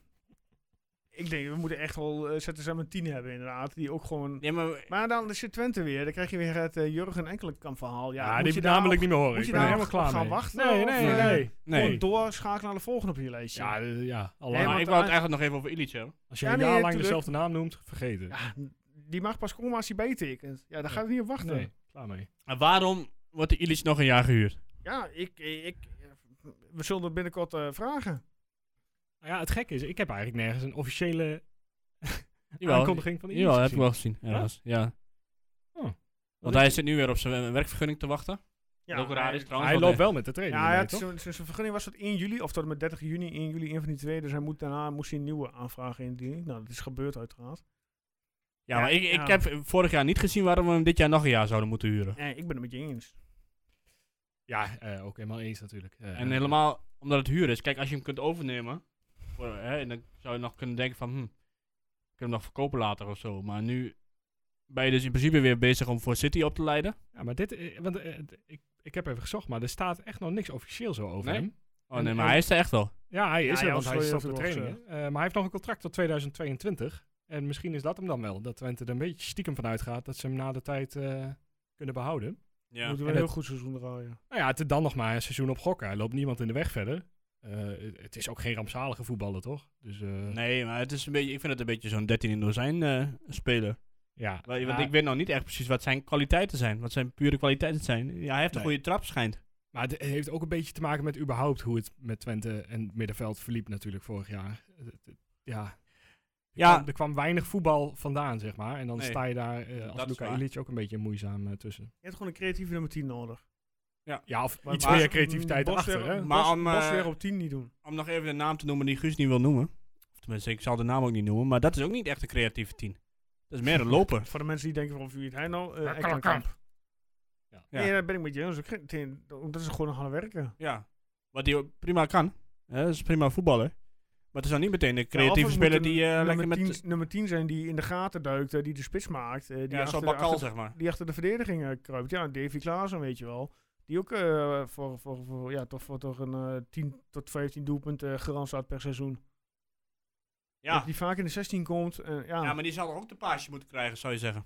Speaker 4: Ik denk, we moeten echt wel eh ZSM een 10 hebben inderdaad. Die ook gewoon...
Speaker 6: Nee, maar
Speaker 4: Maar dan zit Twente weer. Dan krijg je weer het eh, Jurgen Enkelenkamp verhaal. Ja,
Speaker 5: Ja,
Speaker 4: moet
Speaker 5: Nou, die
Speaker 4: je
Speaker 5: moet
Speaker 4: daar
Speaker 5: namelijk
Speaker 4: op-
Speaker 5: niet meer horen.
Speaker 4: moet je
Speaker 5: ik ben
Speaker 4: daar
Speaker 5: er helemaal
Speaker 4: op
Speaker 5: klaar
Speaker 4: gaan
Speaker 5: mee.
Speaker 4: wachten,
Speaker 5: Nee,
Speaker 4: of,
Speaker 5: nee, nee.
Speaker 4: eh,
Speaker 5: nee.
Speaker 6: nee.
Speaker 4: gewoon doorschakelen naar de volgende op je lijstje.
Speaker 5: Ja, eh, ja al
Speaker 4: Nee,
Speaker 5: lang.
Speaker 6: maar
Speaker 4: want
Speaker 6: ik wil het
Speaker 4: hij-
Speaker 6: eigenlijk nog even over Illich hebben.
Speaker 5: Als je
Speaker 4: Ja,
Speaker 5: een
Speaker 4: nee,
Speaker 5: jaar lang
Speaker 4: natuurlijk.
Speaker 5: dezelfde naam noemt, vergeten.
Speaker 4: Ja, die mag pas komen als hij bijtekent. Ja, daar gaat het niet op wachten.
Speaker 5: nee, klaar mee.
Speaker 6: En waarom wordt de Illich nog een jaar gehuurd?
Speaker 4: Ja, ik, ik, we zullen het binnenkort eh, vragen.
Speaker 5: Nou ja, het gekke is, ik heb eigenlijk nergens een officiële
Speaker 6: Jawel,
Speaker 5: aankondiging van de
Speaker 6: jawel
Speaker 5: Illich
Speaker 6: heb ik
Speaker 5: gezien.
Speaker 6: wel gezien. Ergens. Ja.
Speaker 5: Oh. Wat
Speaker 6: Want hij zit nu weer op zijn eh, werkvergunning te wachten.
Speaker 4: Ja,
Speaker 6: Wat ook raar is trouwens.
Speaker 5: Hij
Speaker 6: want
Speaker 5: loopt wel met de training.
Speaker 4: Ja, ja
Speaker 5: mee,
Speaker 4: het-
Speaker 5: toch?
Speaker 4: zijn zijn vergunning was tot 1 juli, of tot en met 30 juni, 1 juli, een van die twee. Dus hij moet daarna moest hij een nieuwe aanvraag indienen. Nou, dat is gebeurd uiteraard.
Speaker 6: Ja, maar ik, ik
Speaker 4: Ja.
Speaker 6: heb vorig jaar niet gezien waarom we hem dit jaar nog een jaar zouden moeten huren.
Speaker 4: En ik ben het met je eens.
Speaker 5: Ja, eh, ook helemaal eens natuurlijk. Eh,
Speaker 6: En helemaal omdat het huur is. Kijk, als je hem kunt overnemen, voor, hè, en dan zou je nog kunnen denken van, hm, ik kan hem nog verkopen later of zo. Maar nu ben je dus in principe weer bezig om voor City op te leiden.
Speaker 5: Ja, maar dit, eh, want eh, d- ik, ik heb even gezocht, maar er staat echt nog niks officieel zo over
Speaker 6: Nee?
Speaker 5: hem.
Speaker 6: Oh
Speaker 5: En-
Speaker 6: nee,
Speaker 5: en-
Speaker 6: maar hij is er echt wel.
Speaker 5: Ja, hij
Speaker 4: Ja,
Speaker 5: is er,
Speaker 4: ja,
Speaker 5: want
Speaker 4: dat
Speaker 5: hij is
Speaker 4: wil je
Speaker 5: op de
Speaker 4: natuurlijk
Speaker 5: trainingen. Eh, maar hij heeft nog een contract tot 2022. En misschien is dat hem dan wel, dat Twente er een beetje stiekem van uitgaat dat ze hem na de tijd eh, kunnen behouden.
Speaker 6: Ja.
Speaker 4: Moeten we een
Speaker 5: En
Speaker 4: heel
Speaker 5: het-
Speaker 4: goed seizoen draaien.
Speaker 5: Nou ja, het is dan nog maar een seizoen op gokken. Hij loopt niemand in de weg verder. Eh, het- het is ook geen rampzalige voetballer, toch? Dus eh,
Speaker 6: Nee, maar het is een beetje, ik vind het een beetje zo'n 13 in dozijn eh speler.
Speaker 5: ja.
Speaker 6: Wa- Want
Speaker 5: Ja,
Speaker 6: ik weet nou niet echt precies wat zijn kwaliteiten zijn. Wat zijn pure kwaliteiten zijn. Ja, hij heeft een
Speaker 5: Nee.
Speaker 6: goede trap schijnt.
Speaker 5: Maar het heeft ook een beetje te maken met überhaupt hoe het met Twente en het middenveld verliep natuurlijk vorig jaar. Het- het- het- Ja,
Speaker 6: Ja.
Speaker 5: ja. Er kwam weinig voetbal vandaan, zeg maar. En dan
Speaker 6: Nee,
Speaker 5: sta je daar eh,
Speaker 6: dat
Speaker 5: als
Speaker 6: is
Speaker 5: Luca
Speaker 6: waar.
Speaker 5: Ilic ook een beetje moezaam eh, tussen.
Speaker 4: Je hebt gewoon een creatieve nummer 10 nodig.
Speaker 6: Ja.
Speaker 5: Ja, of iets
Speaker 6: maar-
Speaker 5: meer creativiteit
Speaker 4: Bos
Speaker 5: achter,
Speaker 4: weer-
Speaker 5: hè?
Speaker 4: Bos-
Speaker 6: Maar om, eh,
Speaker 4: Bos weer op 10 niet doen.
Speaker 6: Om nog even de naam te noemen die Guus niet wil noemen. Of Tenminste, ik zal de naam ook niet noemen. Maar dat is ook niet echt een creatieve tien. Dat is meer een loper.
Speaker 4: Voor de mensen die denken van wie het hij nou?
Speaker 5: Ja,
Speaker 4: eh Ekkelenkamp. kamp.
Speaker 5: Ja.
Speaker 4: Nee, daar ben ik met je eens. Ik vind- ten- Dat is gewoon harde werken.
Speaker 6: Ja. Wat hij ook prima kan. Hè, dat is prima voetballer. Maar het is dan niet meteen een creatieve
Speaker 4: Ja, of het
Speaker 6: speler
Speaker 4: moet een
Speaker 6: die eh, lekker
Speaker 4: nummer,
Speaker 6: met...
Speaker 4: 10, nummer 10 zijn die in de gaten duikt, eh, die de spits maakt. eh, die
Speaker 6: ja,
Speaker 4: achter
Speaker 6: zo'n
Speaker 4: de-
Speaker 6: bakal,
Speaker 4: achter-
Speaker 6: zeg maar.
Speaker 4: die achter de verdediging eh, kruipt. Ja, Davy Klaassen, weet je wel. Die ook eh, voor, voor, voor, ja, toch, voor toch een eh, 10 tot 15 doelpunten eh, garant staat per seizoen.
Speaker 6: Ja.
Speaker 4: Dat Die vaak in de 16 komt. eh, ja,
Speaker 6: ja, maar die zal ook de paasje moeten krijgen, zou je zeggen.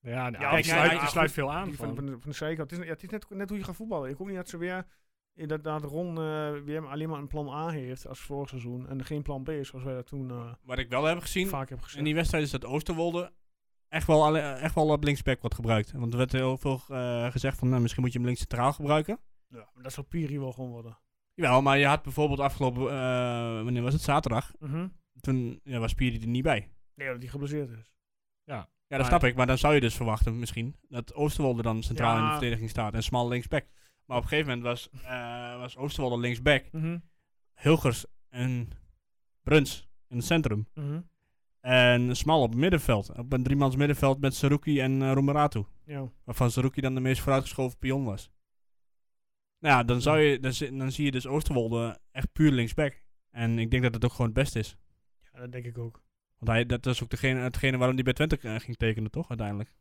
Speaker 5: Ja, nou,
Speaker 6: Ja,
Speaker 5: die
Speaker 6: ja,
Speaker 5: sluit,
Speaker 6: ja,
Speaker 5: die
Speaker 6: goed.
Speaker 5: sluit veel aan.
Speaker 4: die van,
Speaker 5: Van.
Speaker 4: van, de, van de zijkant. Het is, ja, het is net, net hoe je gaat voetballen. Ik hoop niet dat ze weer inderdaad Ron eh, weer alleen maar een plan A heeft als vorig seizoen. En geen plan B, zoals wij dat toen eh,
Speaker 6: Wat ik wel heb gezien
Speaker 4: vaak hebben gezien.
Speaker 6: in die wedstrijd is dat Oosterwolde echt wel, alle- echt wel op linksback wordt gebruikt. Want er werd heel veel eh, gezegd van nou, misschien moet je hem links centraal gebruiken.
Speaker 4: Ja, maar dat zou Piri wel gewoon worden.
Speaker 6: Jawel, maar je had bijvoorbeeld afgelopen, eh, wanneer was het, zaterdag,
Speaker 4: Mhm.
Speaker 6: toen ja, was Piri er niet bij.
Speaker 4: Nee, dat hij geblesseerd is.
Speaker 6: Ja,
Speaker 5: Maar-
Speaker 6: dat snap ik, maar dan zou je dus verwachten misschien dat Oosterwolde dan centraal in de
Speaker 4: Ja.
Speaker 6: verdediging staat en smal linksback. Maar op een gegeven moment was, eh, was Oosterwolde linksback, Hilgers en Bruns in het centrum.
Speaker 4: Mhm.
Speaker 6: En smal op het middenveld, op een driemans middenveld met Saruki en eh, Romeratu.
Speaker 4: Ja.
Speaker 6: Waarvan Saruki dan de meest vooruitgeschoven pion was. Nou ja, dan, zou je, dan, zi- dan zie je dus Oosterwolde echt puur linksback. En ik denk dat het ook gewoon het beste is.
Speaker 4: ja, dat denk ik ook. Dus
Speaker 6: Want hij, dat is ook degene, hetgene waarom hij bij Twente eh, ging tekenen, toch, uiteindelijk?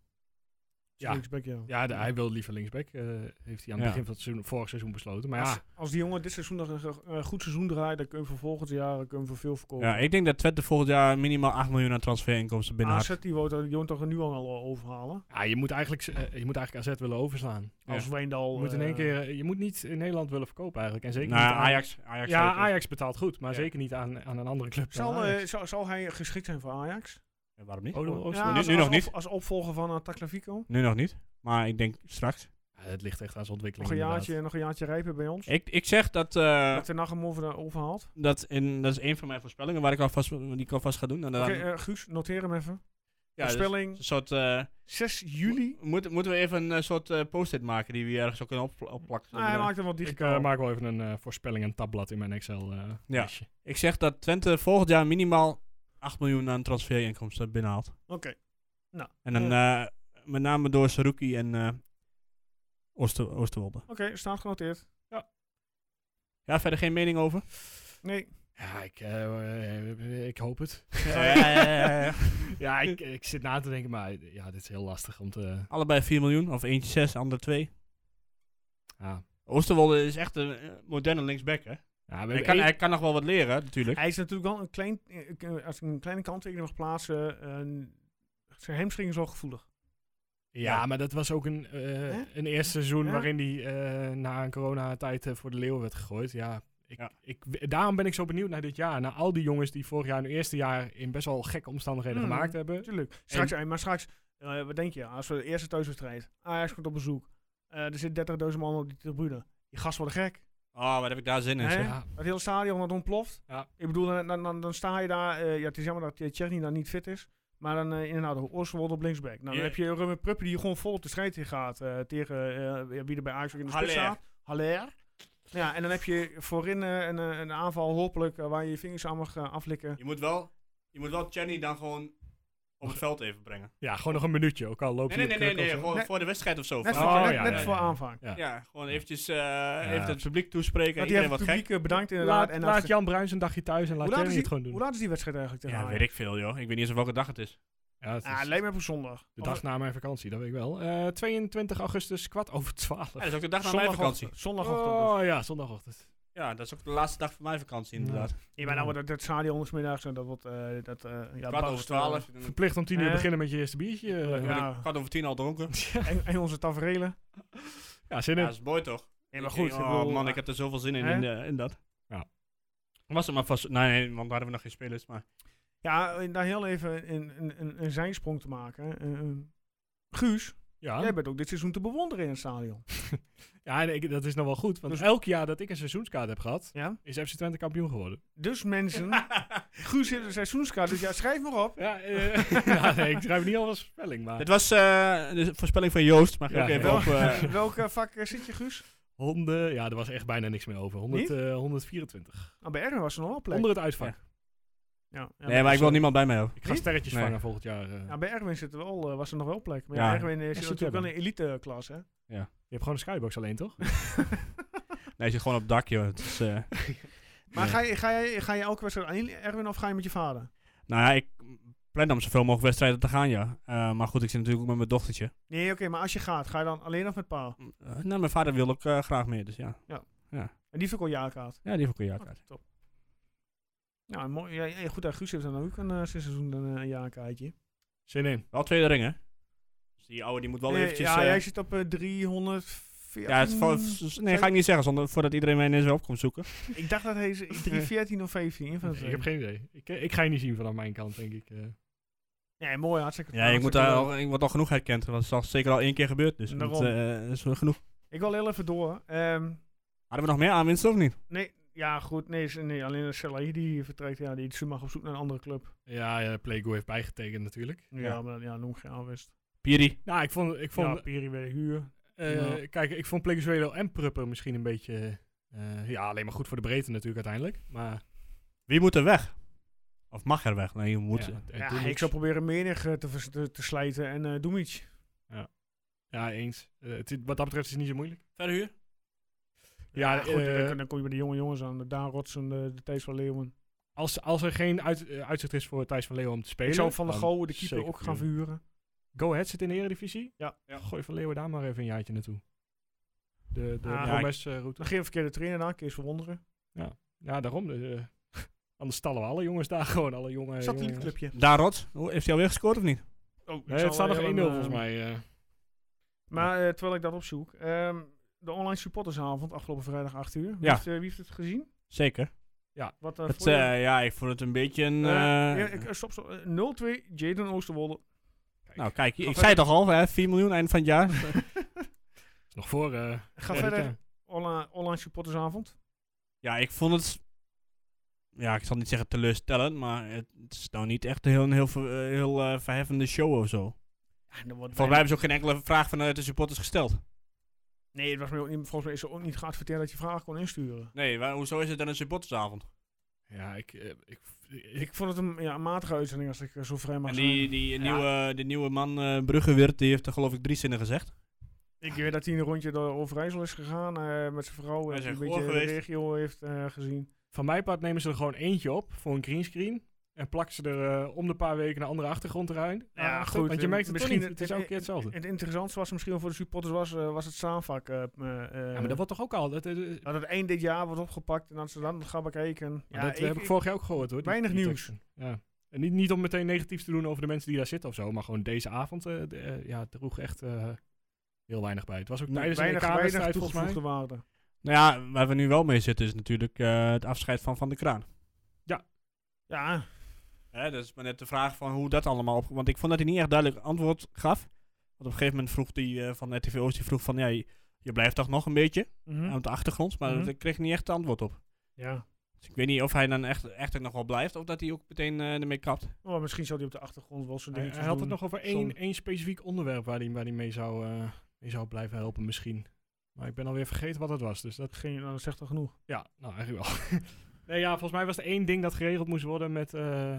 Speaker 5: Ja.
Speaker 4: Linksback, ja.
Speaker 5: Ja, de- hij wil liever linksback. eh, heeft hij aan het
Speaker 6: Ja.
Speaker 5: begin van het seizoen, vorig seizoen besloten. Maar
Speaker 4: Als,
Speaker 5: ja,
Speaker 4: als die jongen dit seizoen nog een, ge- een goed seizoen draait, dan kun je hem voor volgend jaar kun je hem voor veel verkopen.
Speaker 6: Ja, ik denk dat Twente volgend jaar minimaal 8 miljoen aan transferinkomsten binnen had.
Speaker 4: AZ die wou dat- die jongen toch nu al eh, overhalen.
Speaker 5: ja, je, moet eigenlijk, z- eh, je moet eigenlijk AZ willen overslaan.
Speaker 6: Ja.
Speaker 4: Als Wijndal...
Speaker 5: Je moet, in
Speaker 4: eh,
Speaker 5: één keer, je moet niet in Nederland willen verkopen eigenlijk. En zeker
Speaker 6: Nou,
Speaker 5: niet aan-
Speaker 6: Ajax. Ajax
Speaker 5: Ja,
Speaker 6: zeker.
Speaker 5: Ajax betaalt goed, maar
Speaker 6: Ja.
Speaker 5: zeker niet aan, aan een andere club.
Speaker 4: Zal,
Speaker 5: dan
Speaker 4: eh,
Speaker 5: Ajax.
Speaker 4: zal, zal hij geschikt zijn voor Ajax?
Speaker 6: Ja, waarom niet?
Speaker 5: Oh, dan- oh,
Speaker 4: Ja,
Speaker 5: sorry.
Speaker 6: nu-
Speaker 4: als,
Speaker 6: nu
Speaker 4: als
Speaker 6: nog niet.
Speaker 4: op- als opvolger van uh, Taclavico.
Speaker 6: Nu nog niet, maar ik denk straks.
Speaker 5: Ja, het ligt echt aan zijn ontwikkeling.
Speaker 4: Nog een,
Speaker 5: inderdaad.
Speaker 4: jaartje, nog een jaartje rijpen bij ons.
Speaker 6: Ik, ik zeg dat, eh,
Speaker 4: Dat de nacht hem over, overhaalt.
Speaker 6: dat, in, dat is een van mijn voorspellingen waar ik alvast, die ik alvast ga doen. En dan,
Speaker 4: Oké, eh, Guus, noteer hem even.
Speaker 6: ja, dus
Speaker 4: Voorspelling
Speaker 6: een soort, eh,
Speaker 4: 6 juli.
Speaker 6: mo- moeten- moeten we even een eh, soort eh, post-it maken die we ergens ook kunnen op, opplakken?
Speaker 4: Nou, hij
Speaker 6: Zodat-
Speaker 4: maakt hem wat
Speaker 5: Ik
Speaker 4: digitaal.
Speaker 5: eh, maak wel even een eh, voorspelling en tabblad in mijn Excel. eh
Speaker 6: Ja.
Speaker 5: lijstje.
Speaker 6: Ik zeg dat Twente volgend jaar minimaal 8 miljoen aan transferinkomsten binnenhaalt.
Speaker 4: Oké. Nou,
Speaker 6: En dan
Speaker 4: eh,
Speaker 6: eh, met name door Saruki en eh, Ooster, Oosterwolde.
Speaker 4: Oké, staat genoteerd.
Speaker 6: Ja, verder geen mening over?
Speaker 4: Nee.
Speaker 5: Ja, ik, eh, eh, ik hoop het.
Speaker 6: Eh,
Speaker 5: ja, ik, ik zit na te denken, maar ja, dit is heel lastig om te...
Speaker 6: Allebei 4 miljoen, of eentje 6, ander 2.
Speaker 5: Ah.
Speaker 6: Oosterwolde is echt een eh, moderne linksback, hè?
Speaker 5: Ja, we
Speaker 6: Hij
Speaker 5: hebben
Speaker 6: kan,
Speaker 5: één-
Speaker 6: hij kan nog wel wat leren, natuurlijk.
Speaker 4: Hij is natuurlijk wel een klein... eh, ik, eh, als ik een kleine kanttekening mag plaatsen... eh, zijn hamstring is wel gevoelig.
Speaker 5: ja, maar dat was ook een, eh,
Speaker 4: Hè?
Speaker 5: een eerste seizoen
Speaker 4: Ja?
Speaker 5: waarin hij eh, na een coronatijd eh, voor de Leeuwen werd gegooid. Ja, ik,
Speaker 6: Ja.
Speaker 5: Ik, daarom ben ik zo benieuwd naar dit jaar. Naar al die jongens die vorig jaar hun eerste jaar in best wel gekke omstandigheden
Speaker 4: Mm.
Speaker 5: gemaakt hebben.
Speaker 4: Natuurlijk. Straks, eh, maar straks... eh, wat denk je? Als we de eerste thuiswedstrijd... Ajax komt op bezoek. eh, er zitten 30.000 man op die tribune. Je gast wordt gek.
Speaker 6: Oh, wat heb ik daar zin in,
Speaker 4: Hè?
Speaker 6: zeg.
Speaker 5: Ja,
Speaker 4: Het hele stadion dat ontploft.
Speaker 5: Ja.
Speaker 4: Ik bedoel, dan, dan, dan, dan sta je daar... eh, ja, het is jammer dat eh, Tsjechny daar niet fit is. Maar dan eh, inderdaad, Oosterwold op linksback. Nou, dan
Speaker 6: Ja.
Speaker 4: heb je Ruben Pruppen die gewoon vol op de strijd in gaat. eh, tegen eh, wie er bij Ajax ook in de spits
Speaker 6: Haller.
Speaker 4: staat. Haller. Ja, en dan heb je voorin eh, een, eh, een aanval, hopelijk, eh, waar je je vingers aan mag eh, aflikken.
Speaker 6: Je moet wel, je moet wel Chenny dan gewoon op het veld even brengen.
Speaker 5: ja, gewoon nog een minuutje, ook al loopt hij
Speaker 6: Nee, nee,
Speaker 5: op
Speaker 6: nee, nee,
Speaker 5: kruk of
Speaker 6: nee,
Speaker 5: zo.
Speaker 6: gewoon
Speaker 4: Nee.
Speaker 6: voor de wedstrijd of zo.
Speaker 4: Net,
Speaker 5: Oh,
Speaker 4: voor, net,
Speaker 5: ja,
Speaker 4: net
Speaker 5: ja,
Speaker 4: voor
Speaker 5: ja.
Speaker 4: aanvang.
Speaker 5: Ja.
Speaker 6: Ja, gewoon eventjes eh, even het publiek toespreken.
Speaker 4: Want die hebben
Speaker 6: iedereen wat
Speaker 4: het
Speaker 6: gek.
Speaker 4: publiek eh, bedankt inderdaad.
Speaker 5: Laat,
Speaker 4: en
Speaker 5: laat
Speaker 4: dat-
Speaker 5: Jan Bruins een dagje thuis en laat
Speaker 4: hoe, laat
Speaker 5: Jerry
Speaker 4: is die,
Speaker 5: het gewoon doen.
Speaker 4: hoe laat is die wedstrijd eigenlijk tegen
Speaker 6: Ja,
Speaker 4: Ajax?
Speaker 6: weet ik veel, joh. Ik weet niet eens op welke dag het is.
Speaker 5: Ja, het is
Speaker 4: Ah, lijkt me op een zondag.
Speaker 5: de dag na mijn vakantie, dat weet ik wel. Eh, 22 augustus, kwart over 12.
Speaker 6: Ja, dat is ook de dag na mijn vakantie.
Speaker 4: Zondagochtend. dus.
Speaker 5: Oh ja, zondagochtend.
Speaker 6: Ja, dat is ook de laatste dag van mijn vakantie, inderdaad.
Speaker 4: Ja, maar nou, dat, dat stadion is middags en dat wordt... eh dat, eh ja,
Speaker 6: Kwart over
Speaker 4: barst,
Speaker 6: twaalf.
Speaker 5: Verplicht om 10 uur
Speaker 4: Eh?
Speaker 5: beginnen met je eerste biertje. eh.
Speaker 4: Ja.
Speaker 6: Ja. Kwart over tien al dronken.
Speaker 4: eh, en, en onze taferelen.
Speaker 5: Ja, zin
Speaker 6: Ja,
Speaker 5: in.
Speaker 6: dat is mooi toch?
Speaker 4: Nee, maar goed.
Speaker 6: Ik-
Speaker 4: ik
Speaker 6: Oh
Speaker 4: bedoel,
Speaker 6: man,
Speaker 4: eh,
Speaker 6: ik heb er zoveel zin in,
Speaker 4: hè?
Speaker 6: in, de- in dat.
Speaker 5: Ja.
Speaker 6: Was het maar vast... Nee, nee, want daar hadden we nog geen spelers, maar...
Speaker 4: Ja, eh, daar heel even een, een, een, een zijsprong te maken. Eh, eh, Guus,
Speaker 5: Ja,
Speaker 4: jij bent ook dit seizoen te bewonderen in het stadion.
Speaker 5: ja en ik, dat is nog wel goed. Want
Speaker 4: Dus-
Speaker 5: elk jaar dat ik een seizoenskaart heb gehad,
Speaker 4: Ja?
Speaker 5: is FC Twente kampioen geworden.
Speaker 4: Dus mensen, Guus heeft een seizoenskaart, dus ja, schrijf maar op.
Speaker 5: Ja, eh, ja, nee, ik schrijf niet al als spelling, maar...
Speaker 6: Dit was eh, de voorspelling van Joost, maar
Speaker 5: Ja,
Speaker 6: ook even
Speaker 5: ja.
Speaker 6: op... eh,
Speaker 4: Welk eh, vak eh, zit je, Guus?
Speaker 5: Honden, ja, er was echt bijna niks meer over. 100,
Speaker 4: Niet?
Speaker 5: eh, 124.
Speaker 4: Ah, bij Erwin was er nog wel plek.
Speaker 5: Onder het uitvak.
Speaker 4: Ja, ja,
Speaker 6: nee, maar ik wil niemand bij mij hebben.
Speaker 5: Ik ga sterretjes
Speaker 6: Nee.
Speaker 5: vangen volgend jaar. eh.
Speaker 4: Ja, bij Erwin zit er wel, eh, was er nog wel plek. Maar
Speaker 6: Ja.
Speaker 4: ja, Erwin is
Speaker 5: zit
Speaker 4: natuurlijk
Speaker 5: hebben.
Speaker 4: wel een elite eh, klas, hè?
Speaker 5: Je hebt gewoon een skybox alleen, toch?
Speaker 6: Nee, je zit gewoon op het dak, joh. Het is, eh,
Speaker 4: Maar
Speaker 6: Nee.
Speaker 4: ga, je, ga, je, ga je elke wedstrijd alleen Erwin of ga je met je vader?
Speaker 6: nou ja, ik plan om zoveel mogelijk wedstrijden te gaan, ja. Eh, maar goed, ik zit natuurlijk ook met mijn dochtertje.
Speaker 4: Nee, oké, maar als je gaat, ga je dan alleen of met pa?
Speaker 6: Eh, nou, mijn vader wil ook eh, graag mee, dus ja.
Speaker 4: En die heeft ook al jaarkaart.
Speaker 6: Ja, die heeft ook een jaarkaart.
Speaker 4: Top. Ja, Nou, mooi. Ja, ja, goed, hè, Guus heeft dan ook een eh, sinds seizoen een, eh, jaarkaartje.
Speaker 5: Zin in.
Speaker 6: Wel tweede ring, hè? Dus die oude die moet wel
Speaker 4: Nee,
Speaker 6: eventjes...
Speaker 4: ja,
Speaker 6: eh,
Speaker 4: jij zit op eh 314.
Speaker 6: ja, het vo- s- nee, ga ik niet zeggen, zonder, voordat iedereen mij ineens weer op komt zoeken.
Speaker 4: Ik dacht dat hij ze- 314 of 15. een van de
Speaker 5: ik
Speaker 4: twee.
Speaker 5: heb geen idee. Ik, eh, ik ga je niet zien vanaf mijn kant, denk ik. eh.
Speaker 4: Nee, mooi, hartstikke
Speaker 6: Ja, ik, eh, moet
Speaker 4: hartstikke
Speaker 6: daar
Speaker 4: leuk.
Speaker 6: al, ik word al genoeg herkend, want het is al zeker al één keer gebeurd, dus dat
Speaker 4: Daarom.
Speaker 6: eh, is wel genoeg.
Speaker 4: Ik wil heel even door. Ehm,
Speaker 6: Hadden we nog meer aanwinsten of niet?
Speaker 4: nee, ja, goed. Nee, ze- nee alleen Selahi die vertrekt. Ja, die mag op zoek naar een andere club.
Speaker 5: Ja, ja Playgo heeft bijgetekend natuurlijk.
Speaker 4: Ja,
Speaker 6: Ja.
Speaker 4: maar ja, noem geen aanwist.
Speaker 6: Piri.
Speaker 5: Nou, ik vond... Ik
Speaker 4: Van
Speaker 5: vond
Speaker 4: ja, Piri bij de huur.
Speaker 5: eh,
Speaker 4: ja.
Speaker 5: Kijk, ik vond Plegozuelo en Prupper misschien een beetje... eh, ja, alleen maar goed voor de breedte natuurlijk uiteindelijk. Maar
Speaker 6: Wie moet er weg? Of mag er weg? Nee, je moet...
Speaker 5: ja, eh,
Speaker 4: Ja,
Speaker 5: doe
Speaker 4: ik
Speaker 5: niks.
Speaker 4: zou proberen menig eh, te, vers- te, te slijten en eh Doemic.
Speaker 5: ja eens. Eh, het is- wat dat betreft is het niet zo moeilijk.
Speaker 6: Verhuur?
Speaker 5: Ja,
Speaker 4: goed,
Speaker 5: eh,
Speaker 4: dan, dan kom je bij de jonge jongens aan. De Daan Rotsen, de, de Thijs van Leeuwen.
Speaker 5: Als, als er geen uit, eh, uitzicht is voor Thijs van Leeuwen om te spelen...
Speaker 4: Ik zou Van de
Speaker 5: dan
Speaker 4: Gouwen, de keeper,
Speaker 5: Oh, zeker
Speaker 4: ook gaan
Speaker 5: verhuren.
Speaker 4: verhuren.
Speaker 5: Go Ahead zit in de Eredivisie.
Speaker 4: Ja.
Speaker 5: Gooi Van Leeuwen daar maar even een jaartje naartoe. De, de
Speaker 4: Ah.
Speaker 6: Ja, ik-
Speaker 5: Promes-route.
Speaker 4: Dan geen verkeerde trainer aan, Kees Verwonderen.
Speaker 5: Ja, daarom. eh, anders stallen we alle jongens daar gewoon. Alle jonge jongens.
Speaker 4: Satellietclubje.
Speaker 6: Daarot, hoe- heeft hij alweer gescoord of niet?
Speaker 4: Oh, ik
Speaker 5: Nee,
Speaker 4: zal
Speaker 5: het staat nog
Speaker 4: wel
Speaker 5: 1-0
Speaker 4: even, eh,
Speaker 5: volgens mij. eh.
Speaker 4: Maar eh, terwijl ik dat opzoek. ehm, de online supportersavond afgelopen vrijdag 8 uur. Wie,
Speaker 6: Ja.
Speaker 4: heeft, eh, wie heeft het gezien?
Speaker 6: Zeker.
Speaker 4: Wat, eh,
Speaker 6: Het,
Speaker 4: voor je-
Speaker 6: eh, ja, ik vond het een beetje een...
Speaker 4: Eh,
Speaker 6: eh,
Speaker 4: ja, ik- eh, stop, stop. Eh, 0-2, Jaden Oosterwolde.
Speaker 6: nou, kijk, ik
Speaker 4: Nog
Speaker 6: zei het toch al, hè, 4 miljoen eind van het jaar.
Speaker 5: is nog voor... eh,
Speaker 4: Ga
Speaker 5: ja,
Speaker 4: verder.
Speaker 5: dit, eh,
Speaker 4: Online, online supportersavond.
Speaker 6: Ja, ik vond het. Ja, ik zal niet zeggen teleurstellend, maar het het is nou niet echt een heel, een heel, ver- eh, heel eh, verheffende show of zo. Volgens mij hebben ze ook geen enkele vraag vanuit de supporters gesteld.
Speaker 4: Nee, het was mij ook niet, volgens mij is er ook niet geadverteerd dat je vragen kon insturen.
Speaker 6: Nee, waar- hoezo is het dan een supportersavond?
Speaker 5: Ja, ik... eh, ik, ik
Speaker 4: Ik vond het een, ja, een matige uitzending als ik eh, zo vrij mag
Speaker 6: En
Speaker 4: zijn.
Speaker 6: die, die, nieuwe, die nieuwe man eh Bruggeweert, die heeft er geloof ik drie zinnen gezegd.
Speaker 4: Ik weet dat hij een rondje door Overijssel is gegaan eh, met zijn vrouw.
Speaker 6: Hij
Speaker 4: En
Speaker 6: is
Speaker 4: die een
Speaker 6: in
Speaker 4: beetje
Speaker 6: Goor
Speaker 4: de
Speaker 6: geweest.
Speaker 4: regio heeft eh, gezien.
Speaker 5: van mijn part nemen ze er gewoon eentje op voor een greenscreen. En plakken ze er eh, om de paar weken een andere achtergrond eruit.
Speaker 4: Ja,
Speaker 5: Achter-
Speaker 4: goed,
Speaker 5: Want je
Speaker 4: eh,
Speaker 5: merkt het misschien
Speaker 4: misschien
Speaker 5: niet. Het is
Speaker 4: het-
Speaker 5: elke keer hetzelfde.
Speaker 4: En het interessantste was misschien wel voor de supporters was, eh, was het Saanvak. eh, m, eh,
Speaker 5: Ja, maar dat wordt toch ook al... Dat, eh, eh,
Speaker 4: dat het eind dit jaar wordt opgepakt en dat ze dan gaan bekijken.
Speaker 5: Maar dat heb ik, vorig jaar ook gehoord hoor. die-
Speaker 4: weinig
Speaker 5: die
Speaker 4: nieuws.
Speaker 5: teksten. Ja. En niet, niet om meteen negatief te doen over de mensen die daar zitten of zo, maar gewoon deze avond eh, d- eh, ja, droeg echt eh, heel weinig bij. Het was ook tijdens
Speaker 4: weinig,
Speaker 5: de
Speaker 4: weinig
Speaker 5: EK-wedstrijd volgens mij.
Speaker 4: toegevoegde waarde.
Speaker 6: Nou ja, waar we nu wel mee zitten is natuurlijk eh, het afscheid van Van de Kraan.
Speaker 4: Ja,
Speaker 6: Hè, dat is maar net de vraag van hoe dat allemaal op... Want ik vond dat hij niet echt duidelijk antwoord gaf. Want op een gegeven moment vroeg die eh, van RTV Oost, die vroeg van... Ja, je, je blijft toch nog een beetje?
Speaker 5: Hm?
Speaker 4: mhm.
Speaker 6: aan de achtergrond, maar
Speaker 4: Mhm.
Speaker 6: daar kreeg ik niet echt antwoord op.
Speaker 4: ja.
Speaker 6: Dus ik weet niet of hij dan echt, echt nog wel blijft of dat hij ook meteen eh, ermee kapt.
Speaker 4: Maar Oh, misschien zal hij op de achtergrond wel zo'n
Speaker 5: Hij,
Speaker 4: dingetje
Speaker 5: hij had het
Speaker 4: doen.
Speaker 5: nog over één,
Speaker 4: Zonde.
Speaker 5: één specifiek onderwerp waar hij, waar hij mee, zou, eh, mee zou blijven helpen misschien. Maar ik ben alweer vergeten wat het was, dus dat...
Speaker 4: Geen, nou, dat zegt al genoeg.
Speaker 5: Ja, nou eigenlijk wel. nee, ja, volgens mij was er één ding dat geregeld moest worden met eh,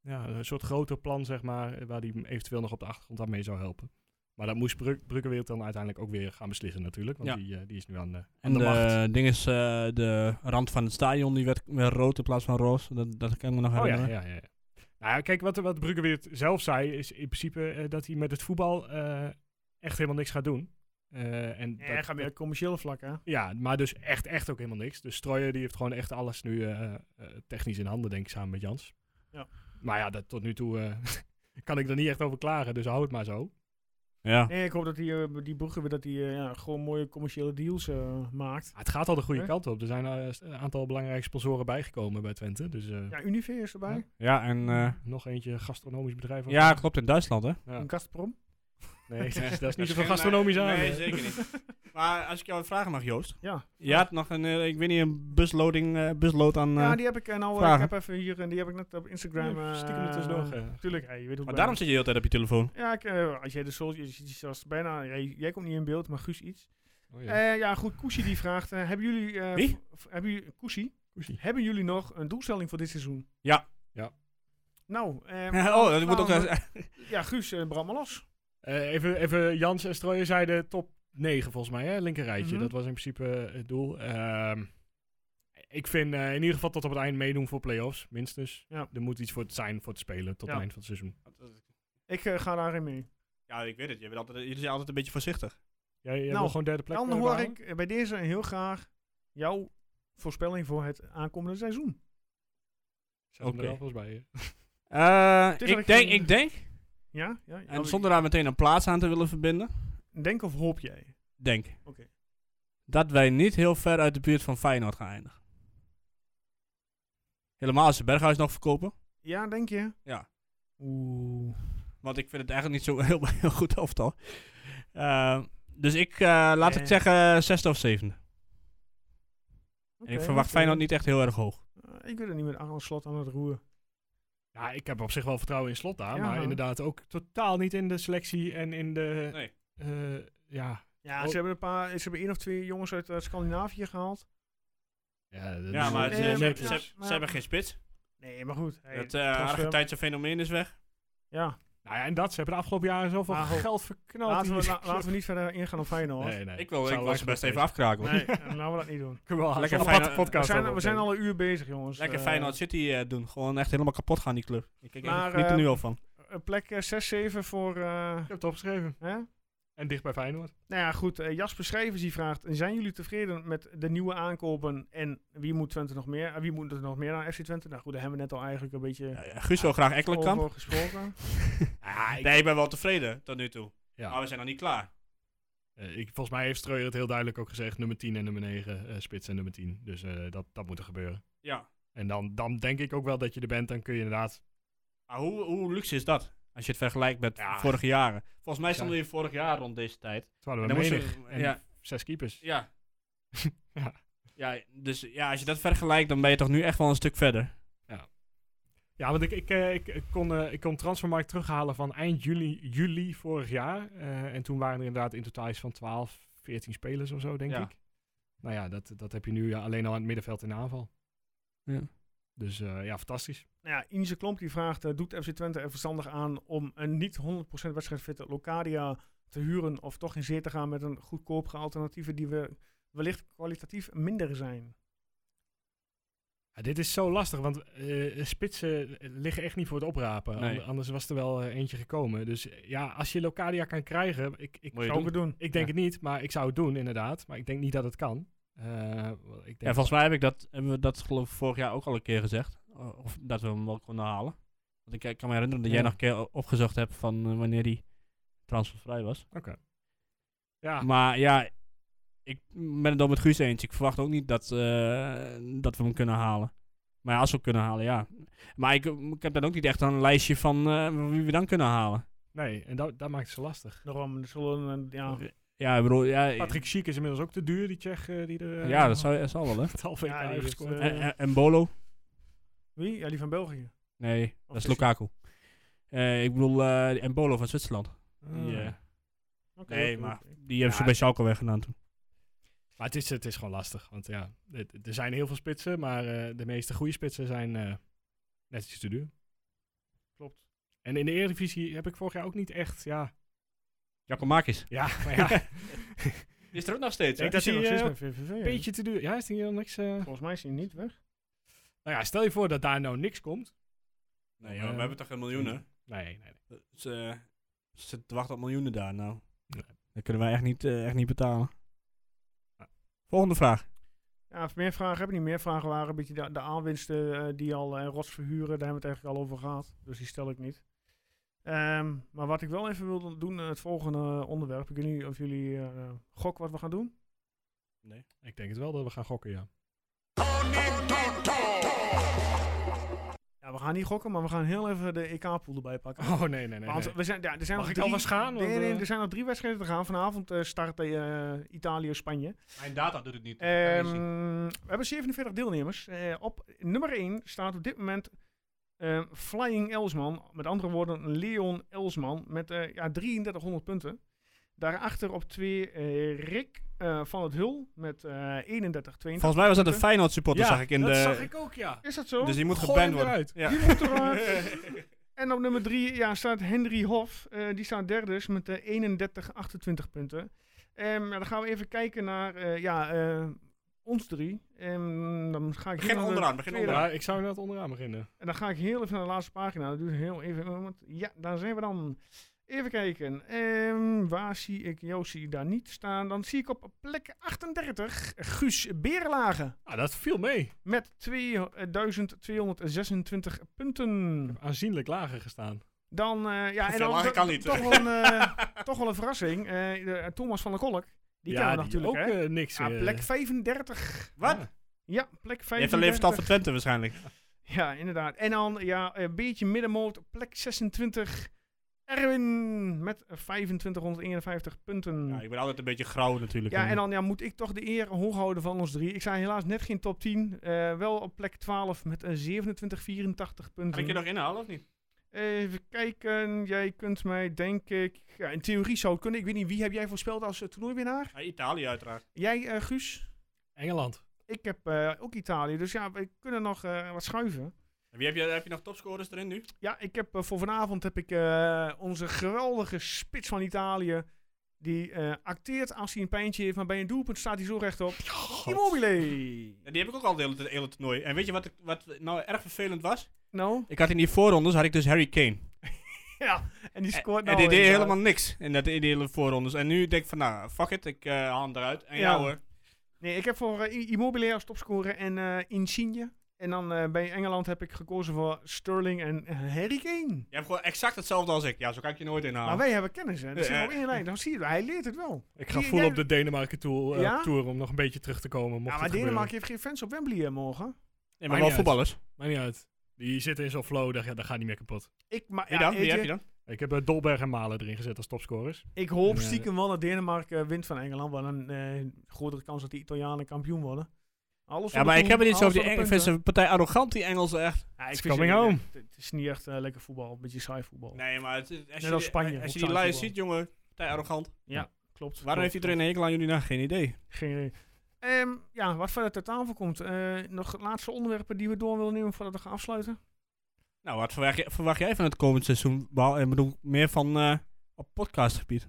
Speaker 5: ja, een soort groter plan, zeg maar, eh, waar die hem eventueel nog op de achtergrond aan mee zou helpen. Maar dat moest Brug Bruggeweert dan uiteindelijk ook weer gaan beslissen natuurlijk, want
Speaker 6: Ja.
Speaker 5: die, eh, die is nu aan de, aan
Speaker 6: En
Speaker 5: de macht.
Speaker 6: de ding is, eh, de rand van het stadion die werd, werd rood in plaats van roze. Dat, dat kan ik me nog
Speaker 5: Oh ja,
Speaker 6: herinneren.
Speaker 5: ja, ja. ja. Nou, ja, kijk, wat, wat Bruggeweert zelf zei, is in principe eh, dat hij met het voetbal eh, echt helemaal niks gaat doen. Eh, en
Speaker 4: Ja, hij
Speaker 5: dat-
Speaker 4: gaat meer
Speaker 5: dat-
Speaker 4: op commerciële vlak, hè?
Speaker 5: ja, maar dus echt, echt ook helemaal niks. Dus Strooijer die heeft gewoon echt alles nu eh, eh, technisch in handen, denk ik, samen met Jans.
Speaker 4: Ja.
Speaker 5: Maar ja, dat, tot nu toe eh, kan ik er niet echt over klagen, dus hou het maar zo.
Speaker 6: Ja.
Speaker 4: Nee, ik hoop dat die, eh, die Brugge weer dat die, eh, ja, gewoon mooie commerciële deals eh, maakt.
Speaker 5: Maar Ah, het gaat al de goede
Speaker 4: Hè?
Speaker 5: kant op. Er zijn eh, st- een aantal belangrijke sponsoren bijgekomen bij Twente. Dus eh,
Speaker 4: Ja, Unive is erbij.
Speaker 6: Ja, en... eh,
Speaker 5: nog eentje gastronomisch bedrijf. of
Speaker 6: ja,
Speaker 5: zo.
Speaker 6: klopt in Duitsland, hè?
Speaker 5: Ja.
Speaker 4: Een Gazprom.
Speaker 5: Nee, dat is niet zoveel gastronomisch aan. eh.
Speaker 6: niet. Maar als ik jou vragen mag, Joost.
Speaker 4: Ja.
Speaker 6: Je had nog een, eh, ik weet niet, een busloading, eh, busload aan... eh,
Speaker 4: ja, die heb ik eh, nou, eh, ik
Speaker 6: vragen.
Speaker 4: heb even hier, en die heb ik net op Instagram. eh
Speaker 5: Stiekem er tussendoor. eh.
Speaker 4: Tuurlijk, hey, je weet hoe
Speaker 6: maar
Speaker 4: ik
Speaker 6: daarom
Speaker 4: ben.
Speaker 6: zit je de hele tijd op je telefoon.
Speaker 4: Ja, ik, eh, als jij de soldier ziet, zoals bijna, jij, jij komt niet in beeld, maar Guus iets.
Speaker 5: Oh,
Speaker 4: Eh,
Speaker 5: ja.
Speaker 4: Ja, goed, Koesie die vraagt, eh, hebben jullie... eh,
Speaker 6: Wie?
Speaker 4: v- v- Hebben jullie, Koesie,
Speaker 5: Koesie.
Speaker 4: hebben jullie nog een doelstelling voor dit seizoen?
Speaker 6: Ja.
Speaker 5: Ja.
Speaker 4: Nou, eh,
Speaker 6: oh, dat moet ook...
Speaker 4: nou,
Speaker 6: eh,
Speaker 4: ja, Guus, eh, brand maar los.
Speaker 5: Eh, even, even Jans en Strooijen zeiden top 9 volgens mij, hè? linker rijtje.
Speaker 4: Mhm.
Speaker 5: Dat was in principe eh, het doel. Ehm, ik vind eh, in ieder geval tot op het eind meedoen voor play-offs, minstens.
Speaker 4: Ja.
Speaker 5: Er moet iets voor het zijn, voor het spelen, tot
Speaker 4: Ja.
Speaker 5: het eind van het seizoen.
Speaker 4: Ik eh, ga daarin mee.
Speaker 6: ja, ik weet het. Je bent altijd, jullie zijn altijd een beetje voorzichtig.
Speaker 5: Jij, jij
Speaker 4: Nou,
Speaker 5: wil gewoon derde plek
Speaker 4: Dan
Speaker 5: eh,
Speaker 4: hoor
Speaker 5: behalen?
Speaker 4: ik eh, bij deze heel graag jouw voorspelling voor het aankomende seizoen.
Speaker 5: Zet hem er
Speaker 6: Oké.
Speaker 5: wel volgens bij. eh.
Speaker 4: is
Speaker 6: Eh, ik,
Speaker 4: eigenlijk
Speaker 6: denk,
Speaker 4: een-
Speaker 6: ik denk,
Speaker 4: Ja? ja
Speaker 6: en
Speaker 4: Nou,
Speaker 6: zonder daar meteen een plaats aan te willen verbinden,
Speaker 4: Denk of hoop jij?
Speaker 6: denk
Speaker 4: Oké.
Speaker 6: dat wij niet heel ver uit de buurt van Feyenoord gaan eindigen. Helemaal als ze Berghuis nog verkopen.
Speaker 4: Ja, denk je?
Speaker 6: Ja.
Speaker 4: Oeh.
Speaker 6: Want ik vind het eigenlijk niet zo heel, heel goed elftal. Eh dus ik, eh, laat
Speaker 4: Eh.
Speaker 6: ik zeggen, zesde of zevende. En ik
Speaker 4: Oké,
Speaker 6: verwacht
Speaker 4: oké.
Speaker 6: Feyenoord niet echt heel erg hoog.
Speaker 4: Eh, ik weet het niet met Arnold Slot aan het roer.
Speaker 5: Ja, ik heb op zich wel vertrouwen in slot daar,
Speaker 4: Ja.
Speaker 5: maar inderdaad ook totaal niet in de selectie en in de...
Speaker 6: Nee.
Speaker 5: eh, ja,
Speaker 4: Ja,
Speaker 5: Oh.
Speaker 4: ze hebben een paar, ze hebben één of twee jongens uit eh, Scandinavië gehaald.
Speaker 5: ja, dat
Speaker 6: Ja,
Speaker 5: is-
Speaker 6: maar ze,
Speaker 4: Nee,
Speaker 6: ze-
Speaker 4: maar-
Speaker 6: ze-
Speaker 4: ja,
Speaker 6: ze
Speaker 4: maar-
Speaker 6: hebben geen spits.
Speaker 4: Nee, maar goed. hey,
Speaker 6: Het
Speaker 4: transfer-
Speaker 6: eh Argentijnse fenomeen is weg.
Speaker 4: ja,
Speaker 5: Nou ja, en dat, ze hebben de afgelopen jaren zoveel
Speaker 4: Maar goed.
Speaker 5: geld verknald.
Speaker 4: Nou, laten we,
Speaker 5: hier.
Speaker 4: la- laten we niet verder ingaan op Feyenoord.
Speaker 5: Nee, nee.
Speaker 6: Ik wil, ik
Speaker 5: Zou
Speaker 6: wil
Speaker 5: lang
Speaker 6: ze best
Speaker 5: genoeg
Speaker 6: even afkraken. hoor.
Speaker 4: Nee, eh, laten we dat niet doen.
Speaker 5: Wel, zo'n
Speaker 6: Lekker fijn-
Speaker 5: aparte
Speaker 4: We
Speaker 5: podcast
Speaker 4: zijn,
Speaker 5: over
Speaker 4: we zijn
Speaker 5: meteen.
Speaker 4: al een uur bezig, jongens.
Speaker 6: Lekker
Speaker 4: Eh,
Speaker 6: Feyenoord City eh, doen. Gewoon echt helemaal kapot gaan, die club. Ik kijk
Speaker 4: Maar,
Speaker 6: echt niet
Speaker 4: eh,
Speaker 6: er nu al van.
Speaker 4: eh, Plek eh, 6-7 voor... eh,
Speaker 5: Ik heb het opgeschreven.
Speaker 4: hè?
Speaker 5: En dicht bij Feyenoord.
Speaker 4: Nou ja, goed. eh, Jasper Schrijvers die vraagt: Zijn jullie tevreden met de nieuwe aankopen? En wie moet Twente nog meer? eh, Wie moet er nog meer aan FC Twente? Nou goed, daar hebben we net al eigenlijk een beetje
Speaker 6: Ja, ja, Guus wil graag Ekkelenkamp.
Speaker 4: over gesproken.
Speaker 6: nee, ik ben wel tevreden tot nu toe.
Speaker 5: Ja.
Speaker 6: Maar we zijn nog niet klaar.
Speaker 5: Eh, ik, volgens mij heeft Streuer het heel duidelijk ook gezegd. Nummer 10 en nummer 9. eh, spits en nummer 10. Dus eh, dat, dat moet er gebeuren.
Speaker 6: Ja.
Speaker 5: En dan, dan denk ik ook wel dat je er bent. Dan kun je inderdaad...
Speaker 6: Maar hoe, hoe luxe is dat? Als je het vergelijkt met
Speaker 5: Ja.
Speaker 6: vorige jaren. Volgens mij stonden we vorig jaar rond deze tijd.
Speaker 5: Terwijl we
Speaker 6: En dan moesten
Speaker 5: menig.
Speaker 6: we-
Speaker 5: en
Speaker 6: ja.
Speaker 5: zes keepers.
Speaker 6: Ja.
Speaker 5: Ja.
Speaker 6: ja. Dus ja, als je dat vergelijkt, dan ben je toch nu echt wel een stuk verder.
Speaker 5: Ja, want ik, ik, eh, ik, ik kon, eh, ik kon Transfermarkt terughalen van eind juli, juli vorig jaar. Eh, en toen waren er inderdaad in totaal iets van 12, 14 spelers of zo, denk
Speaker 6: Ja.
Speaker 5: ik. Nou ja, dat, dat heb je nu ja, alleen al aan het middenveld in de aanval.
Speaker 6: Ja.
Speaker 5: Dus eh, ja, fantastisch.
Speaker 4: nou ja, Inze Klomp die vraagt: eh, Doet FC Twente er verstandig aan om een niet 100% wedstrijdfitte Locadia te huren? Of toch in zeer te gaan met een goedkopere alternatieven die we wellicht kwalitatief minder zijn?
Speaker 5: Ja, dit is zo lastig, want eh, spitsen liggen echt niet voor het oprapen.
Speaker 6: Nee.
Speaker 5: Ander- Anders was er wel eh, eentje gekomen. Dus eh, ja, als je Locadia kan krijgen, ik, ik,
Speaker 6: Moet
Speaker 5: zou-
Speaker 6: je
Speaker 4: Zou ik het doen?
Speaker 5: ik denk
Speaker 6: Ja.
Speaker 5: het niet, maar ik zou het doen inderdaad. Maar ik denk niet dat het kan. Eh, wel, ik
Speaker 6: Ja,
Speaker 5: denk
Speaker 6: volgens mij heb ik dat, hebben we dat geloof ik vorig jaar ook al een keer gezegd. O- Of dat we hem wel konden halen. Want ik, ik kan me herinneren dat jij
Speaker 5: Ja.
Speaker 6: nog een keer o- opgezocht hebt van eh, wanneer die transfervrij was.
Speaker 5: ja.
Speaker 6: Maar ja, ik ben het ook met Guus eens. Ik verwacht ook niet dat, eh, dat we hem kunnen halen. Maar ja, als we hem kunnen halen, ja. Maar ik, ik heb dan ook niet echt een lijstje van eh, wie we dan kunnen halen.
Speaker 5: Nee, en dat, dat maakt het zo lastig.
Speaker 4: Daarom er zullen eh, ja,
Speaker 6: Ja, ik bedoel, ja,
Speaker 5: Patrick Schiek is inmiddels ook te duur, die Tsjech eh, die er... eh,
Speaker 6: ja dat, zou, dat zal wel, hè.
Speaker 5: Het halve
Speaker 4: Ja,
Speaker 5: jaar
Speaker 4: die
Speaker 5: heeft
Speaker 4: heeft,
Speaker 5: gescoord.
Speaker 4: eh,
Speaker 6: En- en- en Bolo?
Speaker 4: wie? Ja, die van België.
Speaker 6: Nee, dat is
Speaker 4: is-
Speaker 6: Lukaku. Eh, ik bedoel, eh en Bolo van Zwitserland.
Speaker 5: Ah.
Speaker 6: Die, eh,
Speaker 4: Oké,
Speaker 6: nee,
Speaker 4: oké,
Speaker 6: maar
Speaker 4: oké.
Speaker 6: die hebben ze bij Schalke weggedaan toen.
Speaker 5: Maar het is, het is gewoon lastig, want ja, het- er zijn heel veel spitsen, maar eh, de meeste goede spitsen zijn eh net iets te duur.
Speaker 4: Klopt.
Speaker 5: En in de Eredivisie heb ik vorig jaar ook niet echt, ja...
Speaker 6: Jakomakis.
Speaker 5: Ja, maar ja,
Speaker 6: Is er ook nog steeds,
Speaker 5: hè?
Speaker 4: Ik zie
Speaker 5: die,
Speaker 4: nog steeds
Speaker 5: eh,
Speaker 4: bij VVV. hè?
Speaker 5: een beetje te duur. Ja, is die hier dan niks... eh?
Speaker 4: Volgens mij is hij niet weg.
Speaker 5: Nou ja, stel je voor dat daar nou niks komt.
Speaker 6: Nee, joh, we hebben toch geen miljoenen?
Speaker 5: Nee, nee, nee.
Speaker 6: Ze, ze wachten op miljoenen daar, nou.
Speaker 5: Nee.
Speaker 6: Dat kunnen wij echt niet, eh, echt niet betalen.
Speaker 5: Ja.
Speaker 6: Volgende vraag.
Speaker 4: Ja, meer vragen heb ik niet. Meer vragen waren een beetje de, de aanwinsten eh, die al eh, rots verhuren. Daar hebben we het eigenlijk al over gehad. Dus die stel ik niet. Ehm, maar wat ik wel even wil doen, eh, het volgende onderwerp. Ik weet niet of jullie eh, gok wat we gaan doen.
Speaker 5: Ik denk het wel dat we gaan gokken, ja.
Speaker 4: Ja, we gaan niet gokken, maar we gaan heel even de EK-pool erbij pakken.
Speaker 5: Oh, nee, nee, nee.
Speaker 4: Want
Speaker 5: nee.
Speaker 4: we zijn, ja, er zijn
Speaker 5: Mag
Speaker 4: nog
Speaker 5: ik
Speaker 4: drie,
Speaker 5: alvast gaan?
Speaker 4: Nee,
Speaker 5: Want,
Speaker 4: nee,
Speaker 5: eh,
Speaker 4: er zijn nog drie wedstrijden te gaan. Vanavond eh, start eh, Italië, Spanje.
Speaker 6: Mijn data doet het niet.
Speaker 4: Ehm, we hebben 47 deelnemers. Eh, op nummer 1 staat op dit moment eh, Flying Elsman. Met andere woorden, Leon Elsman. Met eh, ja, 3300 punten. Daarachter op 2 Rick eh, van het Hul. Met eh 31
Speaker 6: Volgens mij was dat een
Speaker 4: punten.
Speaker 6: Feyenoord supporter, zag ik in
Speaker 5: dat
Speaker 6: de...
Speaker 5: zag ik ook, ja.
Speaker 4: Is dat zo?
Speaker 6: Dus die moet
Speaker 5: Gooi
Speaker 6: geband
Speaker 5: hem
Speaker 6: worden.
Speaker 5: eruit.
Speaker 6: Ja.
Speaker 4: Die moet eruit. En op nummer 3 ja, staat Henry Hof. Eh, die staat derde dus met eh, 31, 28 punten. Ehm, ja, dan gaan we even kijken naar eh, ja, eh, ons drie. Ehm, dan ga ik
Speaker 6: Begin
Speaker 4: heel even-
Speaker 6: onderaan, begin
Speaker 4: tweede-
Speaker 6: onderaan.
Speaker 5: Ja, ik zou inderdaad onderaan beginnen.
Speaker 4: En dan ga ik heel even naar de laatste pagina. Dat duurt heel even. een moment. Ja, daar zijn we dan. Even kijken. Ehm, waar zie ik Josie daar niet staan? Dan zie ik op plek 38 Guus Berelagen.
Speaker 5: Ah, dat viel mee.
Speaker 4: Met 2226 punten.
Speaker 5: Aanzienlijk lager gestaan.
Speaker 4: Dan, eh, ja, en
Speaker 6: Veel
Speaker 4: dan
Speaker 6: lager
Speaker 4: to-
Speaker 6: kan niet.
Speaker 4: Toch wel, een, eh, toch wel een verrassing. Eh, de- Thomas van der Kolk, die
Speaker 5: ja,
Speaker 4: kennen we natuurlijk,
Speaker 5: ook
Speaker 4: hè?
Speaker 5: eh, niks.
Speaker 4: Ja,
Speaker 5: eh,
Speaker 4: plek 35.
Speaker 6: Wat?
Speaker 5: ja.
Speaker 4: Ja, plek
Speaker 6: Je
Speaker 4: 35.
Speaker 6: hebt alleen verstand van Twente waarschijnlijk.
Speaker 4: Ja, inderdaad. En dan, ja, een beetje middenmoot, plek 26. Erwin met 2551 punten.
Speaker 6: Ja,
Speaker 4: Ja,
Speaker 6: ik ben altijd een beetje grauw natuurlijk.
Speaker 4: en dan ja, moet ik toch de eer hoog houden van ons drie. Ik zei helaas net geen top 10. eh, wel op plek 12 met een 2784 punten.
Speaker 6: Kan ik je nog inhalen of niet?
Speaker 4: Even kijken, jij kunt mij denk ik... Ja, in theorie zou het kunnen. Ik weet niet, wie heb jij voorspeld als eh, toernooiwinnaar?
Speaker 6: Ja, Italië uiteraard.
Speaker 4: Jij, eh, Guus?
Speaker 5: Engeland.
Speaker 4: Ik heb eh, ook Italië, dus ja, we kunnen nog eh, wat schuiven.
Speaker 6: En Wie heb, je, heb je nog topscorers erin nu?
Speaker 4: Ja, ik heb eh, voor vanavond heb ik eh, onze geweldige spits van Italië. Die eh, acteert als hij een pijntje heeft, maar bij een doelpunt staat hij zo rechtop. Immobile!
Speaker 6: Ja, die heb ik ook al de hele, de hele toernooi. En weet je wat, ik- wat nou erg vervelend was?
Speaker 4: Nou,
Speaker 6: Ik had in die voorrondes had ik dus Harry Kane.
Speaker 4: ja, en die scoort
Speaker 6: Eh,
Speaker 4: nou...
Speaker 6: en die deed
Speaker 4: inderdaad.
Speaker 6: helemaal niks in, dat, in die hele voorrondes. En nu denk ik van, nou, fuck it, ik eh, haal hem eruit. En ja,
Speaker 4: Ja.
Speaker 6: hoor.
Speaker 4: Nee, ik heb voor eh, I- Immobile als topscorer en eh, Insigne. En dan eh, bij Engeland heb ik gekozen voor Sterling en eh, Harry Kane.
Speaker 6: Je hebt gewoon exact hetzelfde als ik. Ja, Eh, zo kan ik je nooit
Speaker 4: Maar
Speaker 6: inhalen.
Speaker 4: wij hebben kennis, hè. Dat zit
Speaker 6: Ja.
Speaker 4: op één lijn. Dan zie je, het. hij leert het wel.
Speaker 5: Ik ga
Speaker 4: Jij-
Speaker 5: voelen
Speaker 4: jij-
Speaker 5: op de Denemarken tour, eh,
Speaker 4: Ja?
Speaker 5: tour om nog een beetje terug te komen. Mocht
Speaker 4: ja, maar
Speaker 5: het
Speaker 4: Denemarken
Speaker 5: gebeuren.
Speaker 4: heeft geen fans op Wembley hè, morgen.
Speaker 5: maakt
Speaker 6: Nee, maar wel
Speaker 5: niet uit.
Speaker 6: voetballers.
Speaker 5: Maakt niet uit. Die zitten in zo'n flow, dat, ja, dat gaat niet meer kapot.
Speaker 4: Ik, maar,
Speaker 6: Wie
Speaker 4: ja,
Speaker 6: dan? Wie
Speaker 4: weet
Speaker 6: heb
Speaker 4: je,
Speaker 6: je dan?
Speaker 5: Ik heb eh, Dolberg en Malen erin gezet als topscorers.
Speaker 4: ik hoop
Speaker 5: Ja.
Speaker 4: stiekem wel dat Denemarken eh, wint van Engeland. Want dan eh grotere kans dat de Italianen kampioen worden. Alles
Speaker 6: Ja, maar ik heb het niet zo over die Engelse. Ik vind
Speaker 4: Engelse.
Speaker 6: ze een partij arrogant, die Engelsen echt.
Speaker 4: ik
Speaker 5: It's
Speaker 4: vind
Speaker 5: coming
Speaker 4: ze-
Speaker 5: home.
Speaker 4: Het, het is niet echt eh, lekker voetbal. Een beetje saai voetbal.
Speaker 6: Nee, maar het, is- als, je,
Speaker 4: als
Speaker 6: die-
Speaker 4: Spanje,
Speaker 6: als
Speaker 4: ook
Speaker 6: je die
Speaker 4: saai
Speaker 6: lijst
Speaker 4: voetbal.
Speaker 6: ziet, jongen, partij arrogant.
Speaker 4: Klopt.
Speaker 6: Waarom heeft iedereen een hekel aan jullie? Nou, geen idee.
Speaker 4: Geen idee. Ehm, ja, wat verder ter tafel komt. eh, nog laatste onderwerpen die we door willen nemen voordat we gaan afsluiten.
Speaker 6: Nou, wat verwacht, jij- verwacht jij van het komend seizoen? Behal- Ik bedoel, meer van eh, op podcastgebied.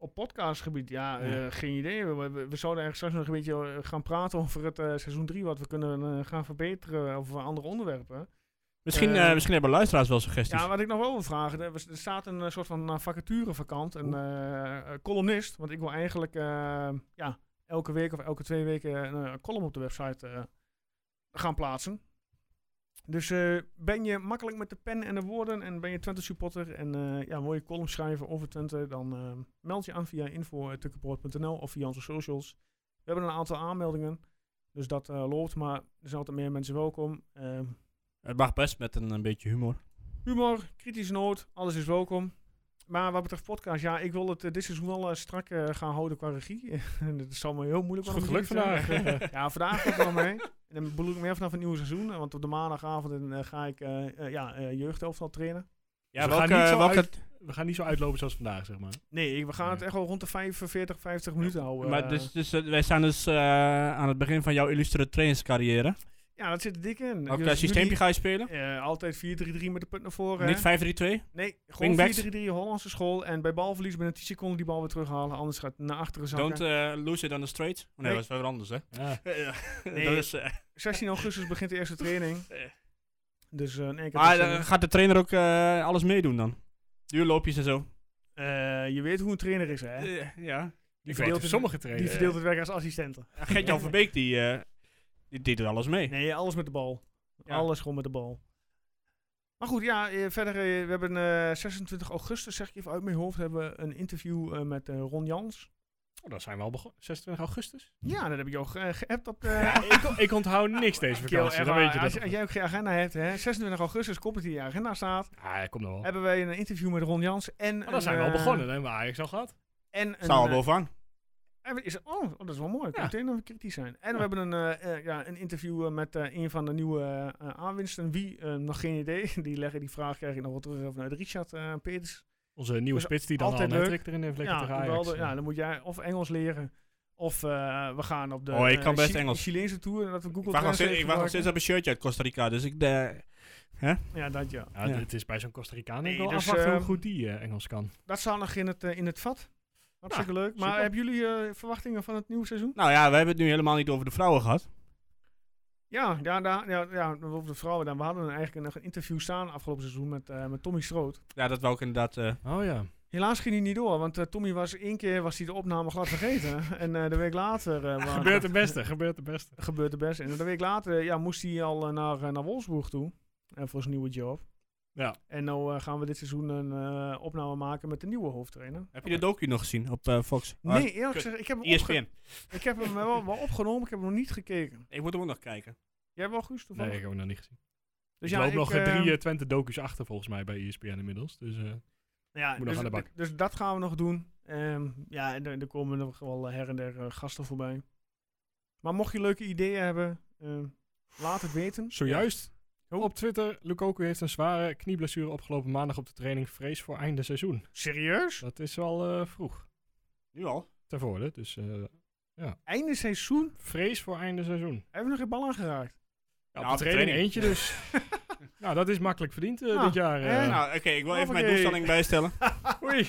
Speaker 4: Op podcastgebied, ja,
Speaker 6: Ja.
Speaker 4: eh, geen idee. We, we, we zouden eigenlijk straks nog een beetje eh, gaan praten over het eh, seizoen 3, wat we kunnen eh, gaan verbeteren of andere onderwerpen.
Speaker 6: Misschien,
Speaker 4: Eh,
Speaker 6: eh, misschien hebben luisteraars wel suggesties.
Speaker 4: Ja, wat ik nog wel wil vragen, er, was- er staat een eh, soort van eh, vacature vakant, een eh, eh, columnist, want ik wil eigenlijk eh, ja, elke week of elke twee weken een eh, column op de website eh, gaan plaatsen. Dus eh, ben je makkelijk met de pen en de woorden en ben je Twente supporter en eh ja, wil je column schrijven over Twente, dan eh, meld je aan via info.tukkenpoort.nl of via onze socials. We hebben een aantal aanmeldingen, dus dat eh, loopt, maar er zijn altijd meer mensen welkom. Eh,
Speaker 6: Het mag best met een, een beetje humor.
Speaker 4: Humor, kritische noot, alles is welkom. Maar wat betreft podcast, ja, ik wil het eh, dit seizoen wel eh, strak eh, gaan houden qua regie. En dat zal me heel moeilijk
Speaker 5: Goed
Speaker 4: worden,
Speaker 5: geluk
Speaker 4: moet ik eerlijk
Speaker 5: vandaag.
Speaker 4: zeggen. ja, vandaag gaat het wel mee. En dan bedoel ik meer vanaf het nieuwe seizoen. eh, Want op de maandagavond eh, ga ik eh eh, ja, eh jeugdhelftal trainen.
Speaker 6: Ja,
Speaker 5: we,
Speaker 6: welke,
Speaker 5: gaan niet zo
Speaker 6: welke,
Speaker 5: uit- we gaan niet zo uitlopen zoals vandaag, zeg maar.
Speaker 4: Nee, ik- we gaan het
Speaker 5: Ja.
Speaker 4: echt wel rond de 45, 50 minuten houden.
Speaker 6: maar
Speaker 4: eh.
Speaker 6: dus, dus, eh, wij staan dus eh, aan het begin van jouw illustere trainingscarrière.
Speaker 4: ja, dat zit er dik in.
Speaker 6: Welk
Speaker 4: Dus
Speaker 6: eh, systeempje
Speaker 4: jullie,
Speaker 6: ga je spelen?
Speaker 4: eh, altijd 4-3-3 met de punt naar voren. hè?
Speaker 6: Niet 5-3-2?
Speaker 4: nee, gewoon 4-3-3
Speaker 6: wingbacks?
Speaker 4: Hollandse school. En bij balverlies binnen 10 seconden die bal weer terughalen. Anders gaat het naar achteren zakken.
Speaker 6: Don't eh, lose it on the straight. Oh, nee,
Speaker 4: Nee.
Speaker 6: dat is wel weer anders, hè?
Speaker 5: Ja.
Speaker 6: Ja,
Speaker 4: Nee.
Speaker 6: dat is, eh,
Speaker 4: 16 augustus begint de eerste training.
Speaker 6: Eh.
Speaker 4: Dus eh, nee, ik heb
Speaker 6: maar
Speaker 4: er zin
Speaker 6: eh,
Speaker 4: in.
Speaker 6: gaat de trainer ook eh, alles meedoen dan? Duurloopjes en zo?
Speaker 4: Eh, je weet hoe een trainer is, hè?
Speaker 6: Eh, ja.
Speaker 5: Die
Speaker 4: verdeelt
Speaker 5: verdeelt
Speaker 4: het-
Speaker 5: sommige
Speaker 4: Die
Speaker 5: trainers.
Speaker 4: verdeelt het werk als assistenten.
Speaker 6: Gert-Jan Verbeek, die, eh, die, die doet alles mee.
Speaker 4: Nee, alles met de bal.
Speaker 6: Ja.
Speaker 4: Alles gewoon met de bal. Maar goed, ja, eh, verder, eh, we hebben eh, 26 augustus, zeg ik even uit mijn hoofd, hebben we een interview eh, met eh, Ron Jans.
Speaker 5: Oh, dan zijn we al begonnen. 26 augustus.
Speaker 4: Ja, dat heb ik jou ge- geappt op eh,
Speaker 5: ik, ik onthoud niks deze
Speaker 4: Kiel,
Speaker 5: vakantie,
Speaker 4: echt
Speaker 5: dan
Speaker 4: waar.
Speaker 5: weet je
Speaker 4: als,
Speaker 5: dat.
Speaker 4: als jij ook geen agenda hebt, hè, 26 augustus komt het in je agenda staat.
Speaker 5: Ah, ja, kom dan wel.
Speaker 4: Hebben wij een interview met Ron Jans en...
Speaker 5: Maar Oh, dan zijn we al
Speaker 4: een, eh,
Speaker 5: begonnen, dan hebben we Ajax al gehad.
Speaker 4: En een,
Speaker 6: Staan we
Speaker 4: eh,
Speaker 6: bovenaan.
Speaker 4: en we- is het, oh, oh, dat is wel mooi. Ik
Speaker 5: Ja.
Speaker 4: moet meteen even kritisch zijn. En we
Speaker 5: Ja.
Speaker 4: hebben een, eh, eh, ja, een interview eh, met eh, een van de nieuwe eh, eh, aanwinsten. Wie? Eh, nog geen idee. Die leggen die vraag krijg ik nog wel terug eh, vanuit Richard eh, Peters.
Speaker 5: Onze nieuwe
Speaker 4: Dus
Speaker 5: spits die dan al
Speaker 4: altijd
Speaker 5: een
Speaker 4: leuk.
Speaker 5: trick erin heeft liggen
Speaker 4: Ja,
Speaker 5: tegen Ajax.
Speaker 4: geweldig. ja, dan moet jij of Engels leren. Of eh, we gaan op de
Speaker 6: Oh, ik
Speaker 4: eh,
Speaker 6: kan best
Speaker 4: Chi-
Speaker 6: Engels.
Speaker 4: Chileense tour. en Dat we Google
Speaker 6: Ik wacht nog steeds-
Speaker 4: Translate
Speaker 6: ik wacht
Speaker 4: gebruiken.
Speaker 6: nog steeds op een shirtje uit Costa Rica, dus ik... de-
Speaker 4: Ja, dat ja.
Speaker 5: Ja,
Speaker 6: Ja.
Speaker 5: Het is bij zo'n Costa Ricaan
Speaker 4: Nee,
Speaker 5: ik wel
Speaker 4: dus,
Speaker 5: afwachten hoe
Speaker 4: ehm,
Speaker 5: goed die eh, Engels kan.
Speaker 4: Dat staat nog in het, eh, in het vat. Hartstikke leuk. Maar
Speaker 5: super.
Speaker 4: hebben jullie eh, verwachtingen van het nieuwe seizoen?
Speaker 6: Nou ja, we hebben het nu helemaal niet over de vrouwen gehad.
Speaker 4: Ja, ja, ja, ja, ja over de vrouwen. Dan, we hadden eigenlijk nog een interview staan afgelopen seizoen met, eh, met Tommy Stroot.
Speaker 6: Ja, dat wou ik inderdaad... eh,
Speaker 5: Oh ja.
Speaker 4: Helaas ging hij niet door, want eh, Tommy was één keer was hij de opname glad vergeten. en eh, de week later eh, wa-
Speaker 5: Gebeurt het beste, gebeurt het beste.
Speaker 4: gebeurt het best. En de week later eh, ja, moest hij al eh, naar, eh, naar Wolfsburg toe eh, voor zijn nieuwe job.
Speaker 5: Ja.
Speaker 4: En nou eh, gaan we dit seizoen een eh, opname maken met de nieuwe hoofdtrainer.
Speaker 6: heb je de docu nog gezien op eh, Fox?
Speaker 5: Ah,
Speaker 4: Nee, eerlijk
Speaker 6: kut.
Speaker 4: gezegd, ik heb hem,
Speaker 5: E
Speaker 4: opge-
Speaker 6: ESPN.
Speaker 4: ik heb hem wel, wel opgenomen, ik heb hem nog niet gekeken.
Speaker 6: Ik moet hem ook nog kijken.
Speaker 4: Jij hebt wel Guus toevallig?
Speaker 5: Nee, ik heb hem nog niet gezien.
Speaker 4: Dus
Speaker 5: ik loop nog eh,
Speaker 4: eh,
Speaker 5: drie eh, Twente docus achter volgens mij bij ESPN inmiddels. Dus eh,
Speaker 4: Ja,
Speaker 5: Moet nog
Speaker 4: dus,
Speaker 5: aan de bak.
Speaker 4: d- dus dat gaan we nog doen. Ehm, ja, en er, er komen nog wel eh, her en der eh, gasten voorbij. Maar mocht je leuke ideeën hebben, ehm, laat het weten.
Speaker 5: zojuist op Twitter. Lukaku heeft een zware knieblessure opgelopen maandag op de training. Vrees voor einde seizoen.
Speaker 4: Serieus?
Speaker 5: Dat is wel eh, vroeg
Speaker 6: Nu al?
Speaker 5: ter voorde. Dus eh,
Speaker 4: Einde seizoen?
Speaker 5: vrees voor einde seizoen.
Speaker 4: Hebben we nog geen bal aangeraakt?
Speaker 5: Ja,
Speaker 6: Nou,
Speaker 5: op de training, eentje dus. nou, dat is makkelijk verdiend eh,
Speaker 4: Nou,
Speaker 5: dit jaar. eh.
Speaker 4: hè?
Speaker 6: Nou, oké, ik wil even mijn
Speaker 4: Hoppakee.
Speaker 6: doelstelling bijstellen.
Speaker 5: Oei.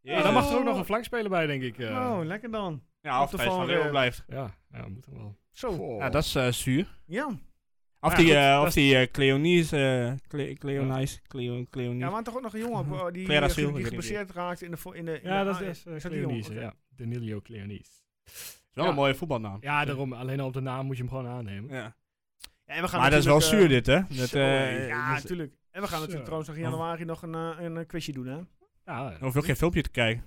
Speaker 6: Ja,
Speaker 5: dan
Speaker 6: dan
Speaker 5: Nou, mag er ook nog een flankspeler bij, denk ik. eh.
Speaker 4: Nou, lekker dan.
Speaker 6: Ja,
Speaker 4: Op
Speaker 6: of
Speaker 4: de
Speaker 6: Thijs van
Speaker 4: van
Speaker 6: Leeuwen
Speaker 4: Leeuwen.
Speaker 6: blijft.
Speaker 5: Ja, ja, moet hem wel.
Speaker 4: Zo,
Speaker 6: Ja, dat is eh, zuur.
Speaker 4: ja.
Speaker 5: Oh.
Speaker 6: Of
Speaker 5: Ja,
Speaker 6: die,
Speaker 5: goed,
Speaker 6: eh,
Speaker 5: dat
Speaker 6: of
Speaker 5: is-
Speaker 6: die eh, Cleonice, eh, Cle- Cleonice, Cleo-
Speaker 4: Ja,
Speaker 6: Cleonice.
Speaker 4: maar toch ook nog een jongen op, eh, die,
Speaker 6: Clara
Speaker 4: eh,
Speaker 6: Ziel, ik
Speaker 4: die
Speaker 6: weet
Speaker 4: geblesseerd raakte in de... vo- In de in
Speaker 5: Ja,
Speaker 4: de
Speaker 5: dat
Speaker 4: A-
Speaker 5: is eh,
Speaker 4: is dat die jongen?
Speaker 5: Cleonice,
Speaker 4: Oké.
Speaker 5: ja. Danilo Cleonice.
Speaker 6: is wel
Speaker 5: ja.
Speaker 6: een mooie voetbalnaam.
Speaker 5: Ja, daarom. Alleen al op de naam moet je hem gewoon aannemen.
Speaker 6: Ja.
Speaker 4: Ja, en we gaan
Speaker 6: Maar dat is wel
Speaker 4: natuurlijk,
Speaker 6: zuur
Speaker 4: eh,
Speaker 6: dit, hè? Dat,
Speaker 5: zo,
Speaker 6: eh,
Speaker 4: Ja,
Speaker 6: dus-
Speaker 4: natuurlijk. En we gaan
Speaker 5: Zo.
Speaker 4: natuurlijk trouwens nog in januari nog een, eh, een eh, quizje doen, hè?
Speaker 5: Ja, eh,
Speaker 6: Dan hoef je ook geen filmpje te kijken.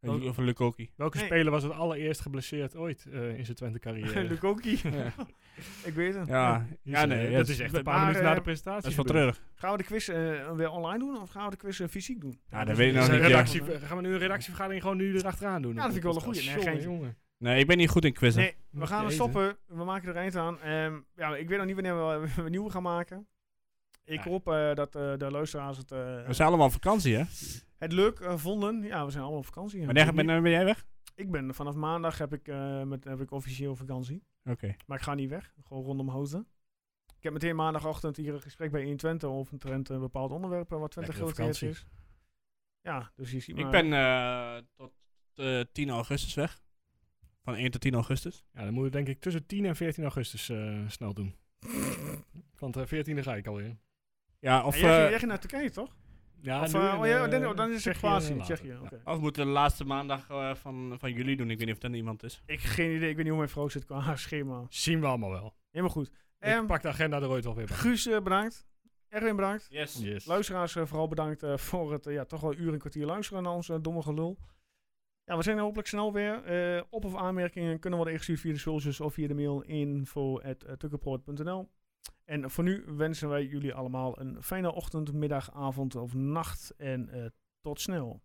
Speaker 5: Oh.
Speaker 6: Over Lukoki.
Speaker 5: welke
Speaker 4: Nee.
Speaker 5: speler was het allereerst geblesseerd ooit eh, in zijn Twente carrière?
Speaker 4: Luc Oki.
Speaker 6: Ja.
Speaker 4: Ik weet het.
Speaker 6: Ja, ja, nee.
Speaker 5: eh, dat is echt een paar
Speaker 4: maar,
Speaker 5: minuten na
Speaker 4: eh,
Speaker 5: de presentatie.
Speaker 6: Dat is wel
Speaker 5: gebeurd.
Speaker 6: treurig.
Speaker 4: Gaan we de quiz eh, weer online doen of gaan we de quiz eh, fysiek doen?
Speaker 6: Ja, dat weet ik
Speaker 5: Dus
Speaker 6: nog
Speaker 5: een
Speaker 6: niet. ja.
Speaker 5: redactie, gaan we nu een redactievergadering gewoon nu erachteraan doen?
Speaker 4: nou, Ja, dat vind ik wel een
Speaker 5: Podcast.
Speaker 4: goeie. Nee,
Speaker 5: Jongen,
Speaker 4: geen-
Speaker 5: jongen.
Speaker 6: Nee, ik ben niet goed in quizzen.
Speaker 4: Nee, we gaan er
Speaker 5: Jezus.
Speaker 4: stoppen. We maken er eind aan. Ehm, ja, ik weet nog niet wanneer we, we een nieuwe gaan maken. Ik
Speaker 5: Ja.
Speaker 4: hoop eh, dat eh, de luisteraars het, eh,
Speaker 6: We zijn allemaal op vakantie, hè?
Speaker 4: het leuk eh, vonden. Ja, we zijn allemaal op vakantie.
Speaker 6: Wanneer
Speaker 4: ik,
Speaker 6: ben, ben jij weg?
Speaker 4: ik ben vanaf maandag heb ik, eh, met, heb ik officieel vakantie.
Speaker 6: Oké.
Speaker 4: Maar ik ga niet weg. Gewoon rondom houten. Ik heb meteen maandagochtend hier een gesprek bij 120 over een trend, een bepaald onderwerp eh, wat Twente
Speaker 5: Lekkere
Speaker 4: gerelateerd is.
Speaker 5: vakantie.
Speaker 4: Ja, dus je ziet
Speaker 6: Ik
Speaker 4: maar-
Speaker 6: ben eh, tot eh, 10 augustus weg. Van 1 tot 10 augustus.
Speaker 5: Ja, dan moeten we denk ik tussen 10 en 14 augustus eh, snel doen. Want eh 14e ga ik alweer.
Speaker 6: Ja, of,
Speaker 4: Ja, jij, ging,
Speaker 6: eh,
Speaker 4: jij ging naar Turkije, toch?
Speaker 5: Ja,
Speaker 4: Of,
Speaker 5: nu
Speaker 4: eh,
Speaker 5: in,
Speaker 4: oh ja,
Speaker 5: eh,
Speaker 4: dan, oh, dan is het
Speaker 5: Tsjechië
Speaker 4: Kroatië,
Speaker 5: later.
Speaker 4: Tsjechië.
Speaker 5: Ja.
Speaker 4: oké.
Speaker 6: of moeten we de laatste maandag eh, van, van juli doen. Ik weet niet of dat iemand is.
Speaker 4: Ik heb geen idee, ik weet niet hoe mijn vrouw zit qua haar schema.
Speaker 5: Zien we allemaal wel.
Speaker 4: Helemaal goed.
Speaker 5: ik
Speaker 4: Ehm,
Speaker 5: pak de agenda er ooit wel weer bij.
Speaker 4: Guus, eh, bedankt. Erwin, bedankt.
Speaker 6: Yes.
Speaker 5: Yes.
Speaker 4: Luisteraars, eh, vooral bedankt eh, voor het eh, ja, toch wel een uur en kwartier luisteren naar ons eh, domme gelul. Ja, we zijn er hopelijk snel weer. Eh, op- of aanmerkingen kunnen worden ingestuurd via de socials of via de mail eh, info.tukkenpoort.nl. En voor nu wensen wij jullie allemaal een fijne ochtend, middag, avond of nacht. En eh, tot snel.